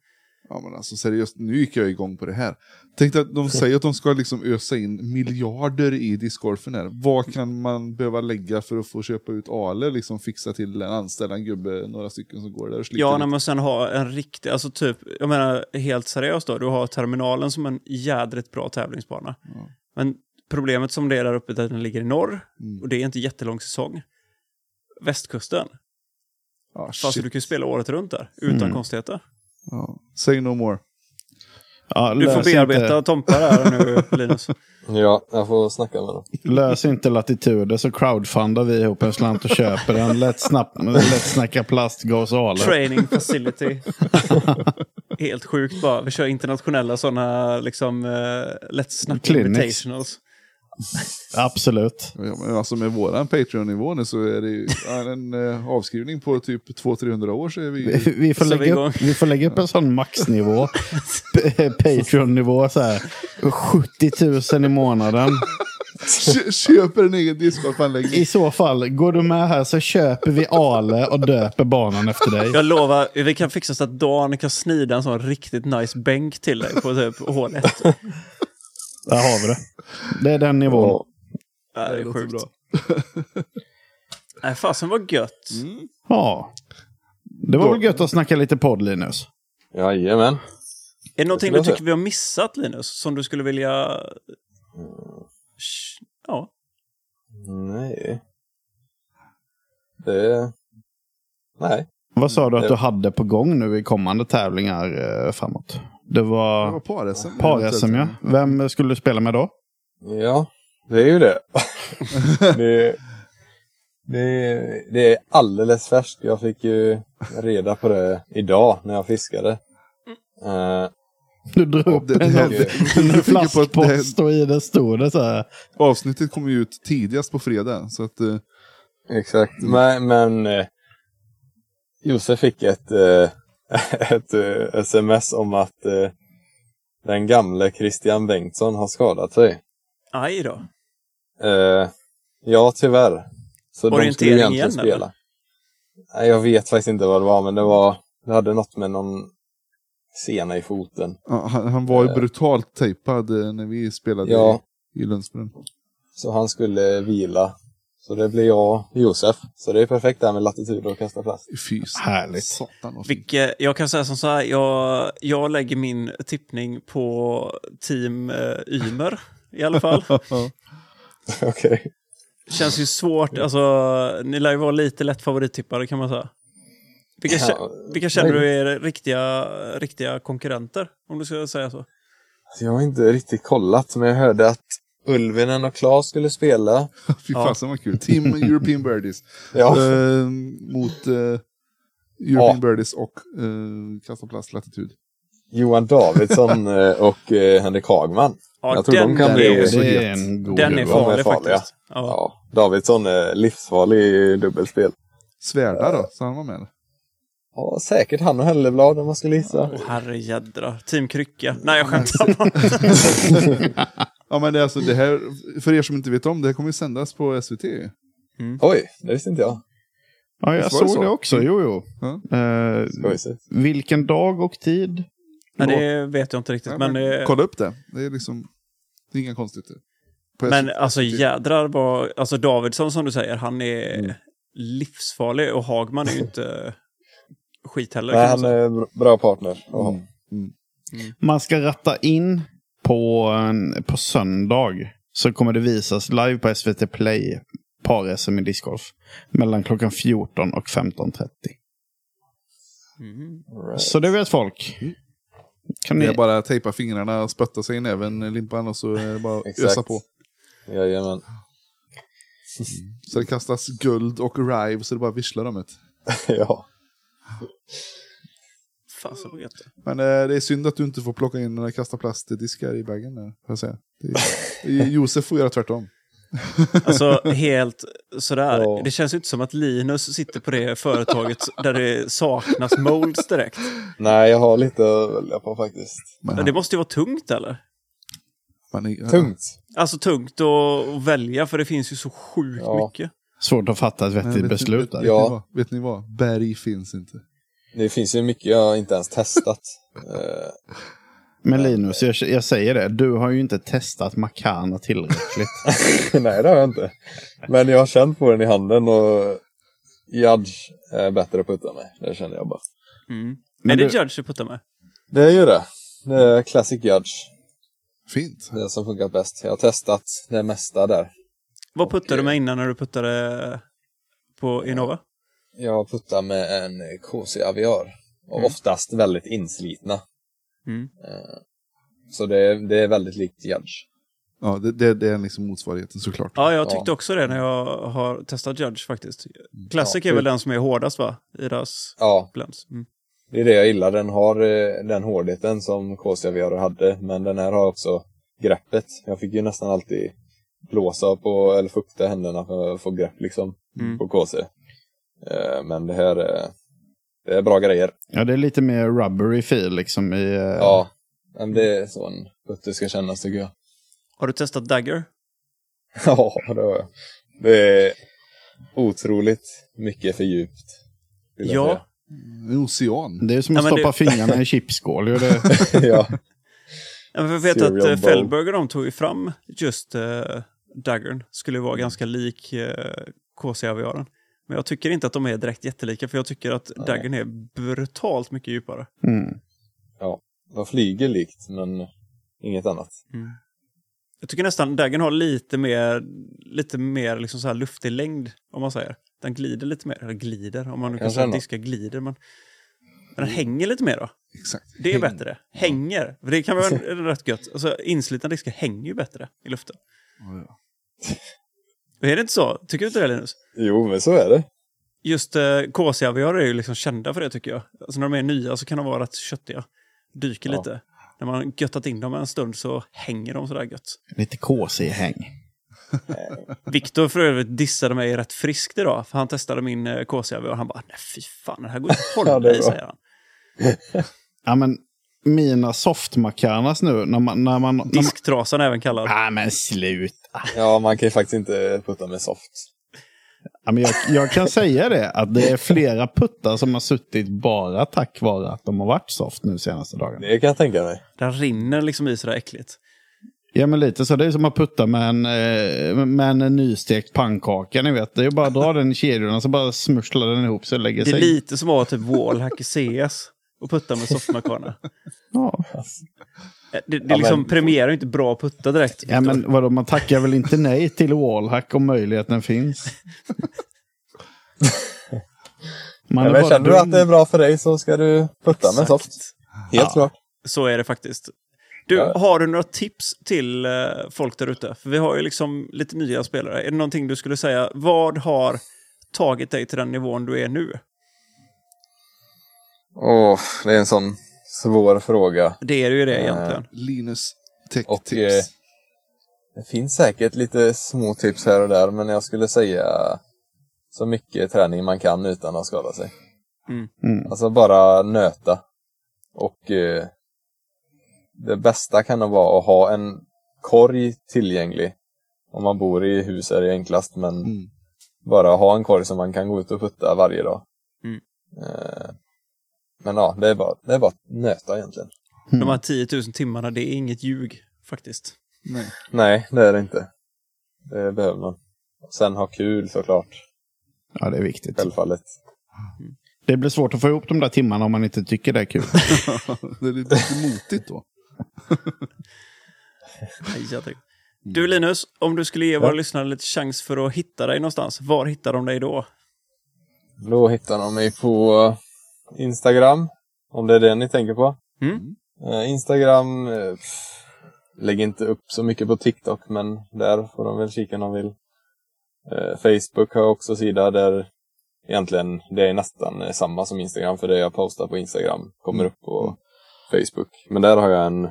C: Ja, men alltså seriöst, nu gick jag igång på det här. Tänk dig att de säger att de ska liksom ösa in miljarder i discgolfen här. Vad kan man behöva lägga för att få köpa ut Ale, liksom fixa till en anställa en gubbe, några stycken som går där och sliter
A: Ja,
C: lite.
A: när man sen har en riktig, alltså typ, jag menar helt seriöst då, du har terminalen som en jädrigt bra tävlingsbana.
C: Ja.
A: Men problemet som det är där uppe är att den ligger i norr och det är inte jättelång säsong. Västkusten,
C: ja,
A: fast
C: Ah, shit.
A: du kan ju spela året runt där utan konstigheter.
C: Ja. Say no more.
B: Ja,
A: Du får
B: lös
A: bearbeta
B: Inte,
A: Tompa där nu, Linus.
D: Ja, jag får snacka med dem.
B: lös inte latituder så crowdfundar vi ihop en slant och köper den. Lätt, snapp, lätt snacka plast, gas och ale.
A: Training facility. Helt sjukt bara. Vi kör internationella sådana liksom eh, Let's Snap
B: Clinics.
A: Invitationals.
B: Absolut.
C: Ja, men alltså med våran Patreon-nivå nu så är det ju ja, en eh, avskrivning på typ 200-300 år så är vi ju...
B: Vi får,
A: Så vi
B: lägga
A: är igång.
B: upp, vi får lägga upp en sån maxnivå. P- Patreon-nivå så här. 70 000 i månaden.
C: Kö- köper en egen discgolfanläggning.
B: I så fall, går du med här så köper vi Ale och döper banan efter dig.
A: Jag lovar, vi kan fixa så att Dan kan snida en sån riktigt nice bänk till dig på typ hålet.
B: Där har vi det. Det är den nivån.
D: Ja.
A: Det är
C: låter
A: sjukt.
C: bra.
A: Nej, fasen vad gött.
C: Mm.
B: Ja. Det var väl gött att snacka lite podd, Linus?
D: Jajamän.
A: Är det någonting
D: skulle
A: du
D: jag säga.
A: tycker vi har missat, Linus, som du skulle vilja... Sh- Ja,
D: Nej. Det... Nej.
B: Vad sa du att du hade på gång nu i kommande tävlingar eh, framåt? Det
C: Det var
B: var
C: par-SM.
B: par-SM, ja. Vem skulle du spela med då?
D: Ja, det är ju det. det, det, det är alldeles färskt. Jag fick ju reda på det idag när jag fiskade. Eh,
B: Du drog
C: Ja,
B: upp
C: det- det-
B: en,
D: det-
B: en,
C: det- det-
B: flaskpost och i den stod det så här.
C: Avsnittet kommer ju ut tidigast på fredag. Så att, eh,
D: Exakt, men, men eh, Josef fick ett, eh, ett eh, sms om att eh, den gamle Christian Bengtsson har skadat sig.
A: aj då.
D: Eh, ja, tyvärr. Så de skulle
A: Orientering
D: ju
A: igen,
D: egentligen spela. Nej, jag vet faktiskt inte vad det var, men det var det hade något med någon sena i foten.
C: ja, han, han var ju brutalt tejpad eh, när vi spelade
D: Ja,
C: i, i Lundsbrunn.
D: så han skulle vila. Så det blir jag och Josef. Så det är perfekt där med latitud och kasta plast.
C: Fy
B: Härligt.
C: satan vad fint.
A: Vilket, jag kan säga som så här, jag, jag lägger min tippning på team eh, Ymer i alla fall.
D: Okej.
A: Känns ju svårt,
D: Mm.
A: alltså ni lär ju vara lite lätt favorittippare kan man säga. Vilka, kä-
D: Ja,
A: vilka känner du är riktiga, riktiga konkurrenter? Om du ska säga så.
D: Jag har inte riktigt kollat, men jag hörde att Ulvinen och Klas skulle spela.
C: Fy fasen vad kul. Team European Birdies.
D: Ja,
C: Eh, mot eh, European
D: Ja.
C: Birdies och eh, Kasta Plast Latitud.
D: Johan Davidsson eh, och eh, Henrik Hagman.
A: Ja,
D: Jag tror de kan
A: är-
D: bli-
A: den,
D: så
B: Det är
C: het.
B: en god
A: är
B: duo.
D: fan-
A: farlig
D: farliga.
A: faktiskt. Ja.
D: Ja, Davidsson är livsfarlig i dubbelspel.
C: Svärda då, så han var med.
D: Ja, säkert han och Helleblad om man skulle gissa.
A: Åh, herrejädrar. Team Krycka. Nej, jag skämtar bara.
C: Ja men det är alltså det här, för er som inte vet om det, här kommer ju sändas på SVT.
D: Oj, det visste inte jag.
B: Ja, jag
C: Visst var det
B: såg
C: så?
B: det också. Jo, jo.
C: Ja.
B: Eh,
D: Skojsigt.
B: vilken dag och tid?
A: Nej, det vet jag inte riktigt.
C: Ja,
A: men,
C: men
A: eh,
C: Kolla upp det. Det är liksom, det är inga konstigheter. På
A: Men
C: SVT.
A: alltså jädrar vad... Alltså Davidsson som du säger, han är
D: Mm.
A: livsfarlig och Hagman är ju inte skit heller.
D: Nej,
A: Kan man
D: han
A: säga.
D: är br- bra partner. att ha.
B: Man ska ratta in på, en, på söndag. Så kommer det visas live på SVT Play. Par-SM i discgolf. Mellan klockan 14 och 15.30.
A: Mm.
D: Right.
B: Så det vet folk. Kan
C: Det
B: ni...
C: är bara att tejpa fingrarna, spötta sig i näven, limpan och så är det bara att
D: Exakt.
C: ösa på.
D: Jajamän.
C: Så det kastas guld och rive så det bara visslar om det.
D: ja.
A: Fan, så vet jag.
C: Men eh, det är synd att du inte får plocka in några kasta plastdiskar i bagen där, får jag säga. Det är, Josef får göra tvärtom.
A: Alltså helt sådär.
D: Ja.
A: Det känns ju inte som att Linus sitter på det företaget där det saknas molds direkt.
D: Nej, jag har lite att välja på faktiskt.
C: Men
A: Men det måste ju vara tungt eller?
C: man är,
D: Tungt.
A: Alltså tungt att att välja för det finns ju så sjukt
D: Ja.
A: mycket.
B: Svårt att fatta ett
C: Men
B: vettigt
C: vet-
B: beslut.
C: Vet,
B: Där.
C: vet,
D: Ja.
C: ni vad? vet ni vad? Berg finns inte.
D: Det finns ju mycket jag inte ens testat. Eh,
B: Men Linus, jag, jag säger det. Du har ju inte testat Makana tillräckligt.
D: Nej, det har jag inte. Men jag har känt på den i handen och Judge är bättre på att putta med. Det känner jag bara.
A: Mm.
B: Men
A: är det
B: du-
A: Judge du puttar med?
D: Det är ju det. Det är Classic Judge.
C: Fint.
D: Det som funkat bäst. Jag har testat det mesta där.
A: Vad puttade du
D: Okej.
A: med innan när du puttade på Innova?
D: Jag puttar med en KC Aviar. Och
A: Mm.
D: oftast väldigt inslitna.
A: Mm.
D: Eh, Så det är, det är väldigt likt Judge.
C: Ja, det, det, det är liksom motsvarigheten såklart.
A: Ja, jag
D: Ja.
A: tyckte också det när jag har testat Judge faktiskt. Classic är väl den som är hårdast va? I deras
D: Ja,
A: blends. Mm.
D: Det är det jag gillar. Den har eh, den hårdheten som KCVR hade, men den här har också greppet. Jag fick ju nästan alltid blåsa på, eller fukta händerna för att få grepp liksom,
A: Mm.
D: på KC. Eh, Men det här eh, det är bra grejer.
B: ja, det är lite mer rubbery feel liksom i... eh,
D: Ja, men det är så en putte ska kännas tycker jag.
A: Har du testat Dagger?
D: Ja, det har jag. Det är otroligt mycket för djupt. vill jag
A: Ja.
C: En ocean.
B: Det är som
A: Ja,
B: att
A: men
B: stoppa fingrarna i en chipsskål. ju. Det,
D: säga. ja.
A: Ja, men Jag vet
D: Serial
A: att eh,
D: Bowl.
A: Fellberger de tog ju fram just eh, Daggern. Skulle vara
D: Mm.
A: ganska lik eh, KC-aviaren. Men jag tycker inte att de är direkt jättelika för jag tycker att
D: Nej.
A: Daggern är brutalt mycket djupare.
B: mm.
D: De flyger likt, men inget annat.
A: Jag tycker nästan Daggern har lite mer, lite mer liksom så här luftig längd om man säger. Den glider lite mer, eller glider om man nu kan
D: Jag
A: säga
D: Mm.
A: att
D: känner.
A: diska glider. Men, men den hänger lite mer då.
C: Exakt.
A: Det är bättre. Hänger. För det kan vara en- rätt gött. Alltså, inslitna diskar hänger ju bättre i luften.
C: Ja, ja.
A: Är det inte så? Tycker du inte det Linus?
D: Jo, men så är det.
A: Just eh, KC-aviarer är ju liksom kända för det tycker jag. Alltså när de är nya så kan de vara rätt köttiga. Dyker
D: Ja.
A: lite. När man har göttat in dem en stund så hänger de sådär gött.
B: Lite KC-häng.
A: Viktor för övrigt dissade mig rätt friskt idag. För han testade min eh, KC-aviar. Han bara, nej fy fan, den här går inte att
D: Ja,
A: hålla
D: det är
A: i,
D: bra.
A: säger han.
B: Ja, men mina soft Macanas nu, när man... När man, när man
A: Disktrasan även kallad.
B: Nej, men sluta.
D: Ja, man kan ju faktiskt inte putta med soft.
B: Ja, men jag, jag kan säga det, att det är flera puttar som har suttit bara tack vare att de har varit soft nu senaste dagarna.
D: Det kan jag tänka mig.
A: Den rinner liksom i sådär äckligt.
B: Ja, men lite så. Det är som att putta med en, eh, med en nystekt pannkaka, ni vet. Det är bara att dra den i kedjorna, så bara smurslar den ihop sig och lägger
A: Det är
B: sig.
A: lite som att ha typ wallhack i CS och putta med softmakarna.
B: Ja.
A: Eh, Det, det
D: men-
A: liksom premierar ju inte bra att putta direkt.
B: ja,
A: Viktor.
B: men vadå, man tackar väl inte nej till wallhack om möjligheten finns? Man
D: Ja,
B: är
D: men
B: bara
D: känner du
B: dum.
D: att det är bra för dig så ska du putta med
A: Exakt.
D: soft. Helt klart.
A: Så är det faktiskt. Du,
D: Ja.
A: har du några tips till eh, folk där ute? För vi har ju liksom lite nya spelare. Är det någonting du skulle säga, vad har tagit dig till den nivån du är nu?
D: Åh, det är en sån svår fråga.
A: Det är ju det
D: Eh,
A: egentligen.
C: Linus
D: Och,
C: tech-tips.
D: eh, Det finns säkert lite små tips här och där, men jag skulle säga så mycket träning man kan utan att skada sig.
A: Mm.
B: Mm.
D: Alltså bara nöta. Och eh, det bästa kan nog vara att ha en korg tillgänglig. Om man bor i hus är det enklast, men
C: Mm.
D: bara ha en korg som man kan gå ut och putta varje dag.
A: Mm.
D: Eh, Men ja, det är bara, det är bara att nöta egentligen. hmm.
A: De här 10 000 timmarna, det är inget ljug faktiskt.
C: Nej.
D: Nej, det är det inte. Det behöver man. Och sen ha kul såklart,
B: Ja, det är viktigt.
D: självfallet.
B: Det blir svårt att få ihop de där timmarna om man inte tycker det är kul.
C: det är lite motigt då.
A: Nej, jag tycker-
D: Mm.
A: Du Linus, om du skulle ge våra lyssnare lite chans för att hitta dig någonstans, var hittar de dig då?
D: Då hittar de mig på eh, Instagram, om det är det ni tänker på.
A: Mm.
D: Eh, Instagram, eh, pff, lägger inte upp så mycket på TikTok, men där får de väl kika om de vill. Eh, Facebook har jag också sida där egentligen det är nästan eh, samma som Instagram, för det jag postar på Instagram kommer upp på Facebook. Men där har jag en,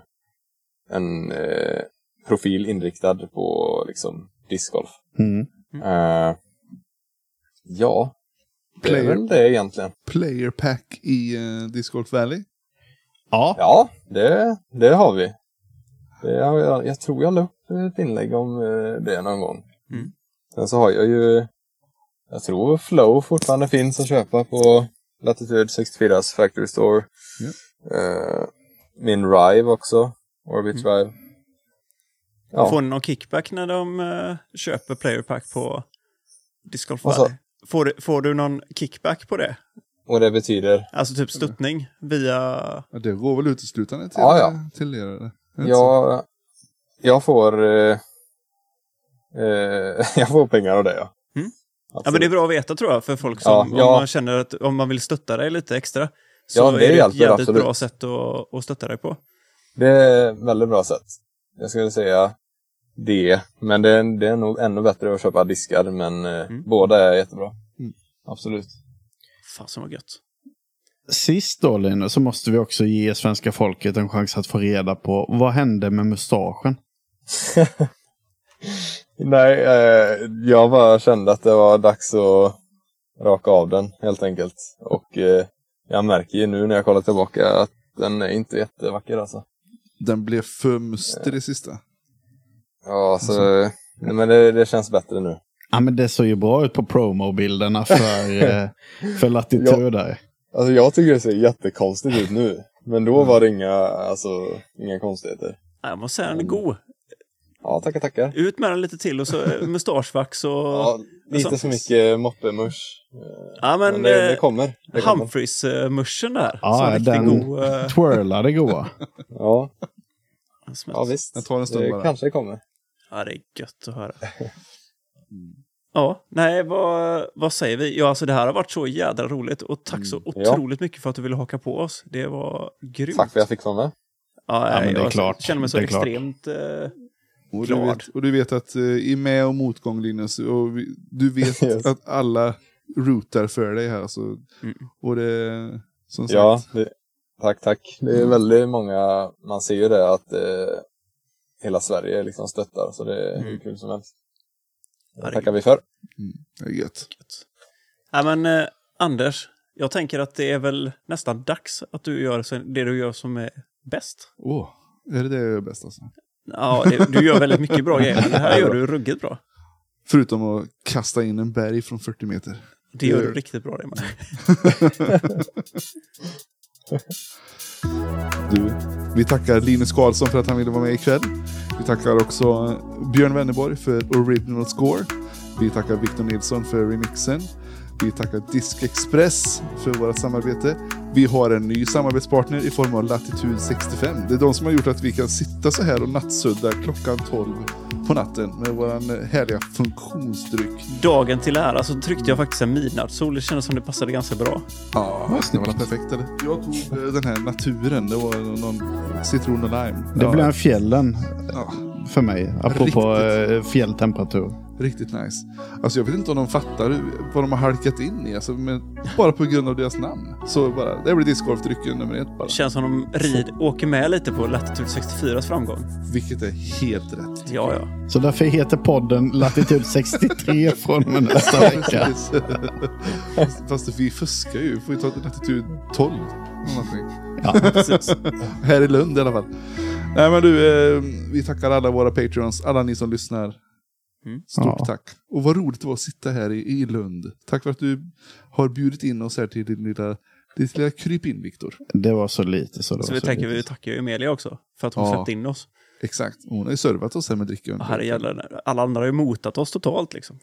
D: en eh, profil inriktad på liksom discgolf.
B: Mm.
D: Eh, ja, det är
C: Player.
D: väl det egentligen.
C: Player Pack i uh, Discord Valley.
B: Ja,
D: Ja, det, det har vi. Det, jag, jag, jag tror jag la upp ett inlägg om eh, det någon gång.
A: Mm.
D: Sen så har jag ju, jag tror Flow fortfarande finns att köpa på Latitude 64s Factory Store.
C: Ja.
D: Eh, min Rive också, Orbit
A: Mm.
D: Rive. Ja.
A: Får ni någon kickback när de eh, köper player pack på Disc Golf
D: Vad sa-
A: Valley? Får, du- får du någon kickback på det?
D: Och det betyder?
A: Alltså typ stöttning via...
C: Ja, Det går väl uteslutande till, eh,
D: Ja, ja.
C: till er? eller? Är det
D: Jag, jag får eh, eh, jag får pengar av det, ja.
A: Mm. Ja,
D: Absolut.
A: men det är bra att veta tror jag för folk som
D: Ja, ja.
A: Om man känner att om man vill stötta dig lite extra. Så
D: Ja,
A: är
D: det
A: det ett
D: hjälper
A: jävligt
D: absolut.
A: bra sätt att, att stötta dig på.
D: Det är ett väldigt bra sätt. Jag skulle säga det, men det är, det är nog ännu bättre att köpa diskar, men eh,
A: Mm.
D: båda är jättebra.
C: Mm.
D: Absolut.
A: Fasen vad gött.
B: sist då Linus, så måste vi också ge svenska folket en chans att få reda på vad hände med mustaschen?
D: Nej, eh, jag bara kände att det var dags att raka av den helt enkelt. Och eh, jag märker ju nu när jag kollar tillbaka att den är inte jättevacker alltså.
C: Den blev fumst i det sista.
D: Ja, så, nej, men det, det känns bättre nu.
B: Ja, men det såg ju bra ut på promobilderna för, eh, för Latitude. där.
D: Alltså jag tycker det ser jättekonstigt ut nu. Men då var det inga, alltså, inga konstigheter.
A: Ja, Jag måste säga
D: Mm.
A: den är god.
D: Ja, tackar, tackar.
A: Ut med den lite till och så eh, mustaschvax och... Ja,
D: Ja, lite
A: sånt
D: för
A: finns.
D: mycket moppemusch.
A: men,
D: Men det, det
A: eh, kommer.
D: kommer. Det kommer.
A: Humphreys-muschen där.
B: Ja,
A: som är riktigt
B: den-
A: god. eh,
B: Twirlade goa.
D: Ja,
A: smält.
D: ja, visst.
C: Jag tar en stund
D: det
C: bara.
D: kanske kommer.
A: Ja, det är gött att höra.
D: Mm.
A: Ja, nej, vad, vad säger vi? Ja, alltså det här har varit så jädra roligt och tack så
D: Mm, Ja.
A: otroligt mycket för att du ville haka på oss. Det var grymt.
D: Tack för att jag fick vara med.
A: Ja,
B: Ja, men
A: nej,
B: det är
A: jag
B: klart.
A: känner mig så
B: Det är klart.
A: extremt... Eh,
C: Och du,
A: Glad.
C: vet, och du vet att eh, i med och motgång Linus, och vi, du vet
D: Yes.
C: att alla routar för dig här. Så,
A: Mm.
C: Och det, som sagt,
D: Ja, det, tack, tack. Det är väldigt många, man ser ju det att eh, hela Sverige liksom stöttar. Så det är hur
A: Mm.
D: kul som helst.
A: Ja, det är
D: Det tackar vi för.
C: det är gött.
A: gött. Nej, men eh, Anders, jag tänker att det är väl nästan dags att du gör så- det du gör som är bäst.
C: Åh, är det det jag gör bäst alltså?
A: Ja, det, du gör väldigt mycket bra grejer, men det här gör du ruggigt bra.
C: Förutom att kasta in en berg från 40 meter.
A: Det gör
B: Mm.
A: du riktigt bra det med.
C: Du, vi tackar Linus Karlsson för att han ville vara med ikväll. Vi tackar också Björn Wennerborg för Original Score. Vi tackar Victor Nilsson för remixen. Vi tackar Disk Express för vårt samarbete. Vi har en ny samarbetspartner i form av Latitude 65. Det är de som har gjort att vi kan sitta så här och nattsudda klockan 12 på natten med vår härliga funktionsdryck.
A: Dagen till ära så tryckte jag faktiskt en midnattssol. Det kändes som det passade ganska bra.
C: Ja, det var perfekt eller? Jag tog eh, den här naturen. Det var någon citron och lime.
B: Det
C: ja,
B: blev fjällen
C: ja,
B: för mig, apropå eh, fjälltemperatur.
C: riktigt nice. Alltså jag vet inte om de fattar vad de har halkat in i. Alltså, men bara på grund av deras namn. Så bara, det blir discgolfdrycken nummer ett bara.
A: Känns som de rid, åker med lite på Latitude 64s framgång.
C: Vilket är helt rätt.
A: Ja, ja.
B: Så därför heter podden Latitude 63 från och med nästa vecka.
C: Precis. Fast- Fast vi fuskar ju. Får ju ta latitud 12. eller någonting.
A: Precis.
C: Här i Lund i alla fall. Nej men du, eh, vi tackar alla våra patreons, alla ni som lyssnar.
A: Mm.
C: Stort
B: Ja.
C: tack. Och vad roligt det var att sitta här i, i Lund. Tack för att du har bjudit in oss här till din lilla, ditt lilla krypin, Viktor.
B: Det var så lite så det
A: Så
B: var
A: vi
B: så
A: tänker vi
B: lite.
A: tackar ju Emilia också för att hon
C: Ja.
A: släppte in oss.
C: Exakt. Hon har ju servat oss här med dricka.
A: Och herrejävlar, alla andra har ju motat oss totalt liksom.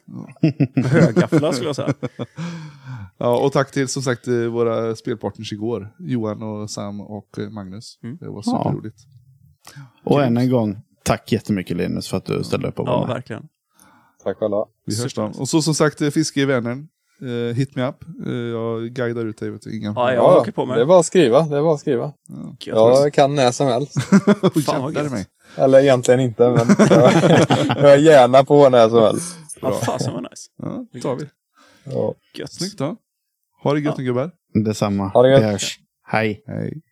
A: Högafflar skulle jag säga.
C: Ja, och tack till som sagt eh, våra spelpartners igår. Johan och Sam och eh, Magnus.
A: Mm.
C: Det var
B: Ja.
C: superroligt.
B: Och än en gång, tack jättemycket Linus för att du ställde upp och var
A: Ja,
B: med.
A: verkligen.
D: Tack själva.
C: Vi hörs då.
A: Supernice.
C: Och så som sagt, eh, fiske i Vänern. Eh, hit me up. Eh, jag guidar ut dig. Vet du. Inga
A: Ja, jag
D: Ja,
A: åker på
D: det är
A: mig.
D: bara att skriva. Det är bara att skriva.
A: Gött.
D: Jag kan när som helst.
C: Oj,
A: Fan, vad
C: jävlar i
A: gött.
C: mig.
D: Eller egentligen inte, men jag, jag är gärna på när som helst.
A: Ja, fasen vad nice.
C: Ja, det tar vi.
D: Ja.
A: Gött.
C: Snyggt då. Ha det gött
A: Ja.
C: nu gubbar.
B: Detsamma.
D: Ha det gött.
B: Vi hörs. Hej.
C: Hej.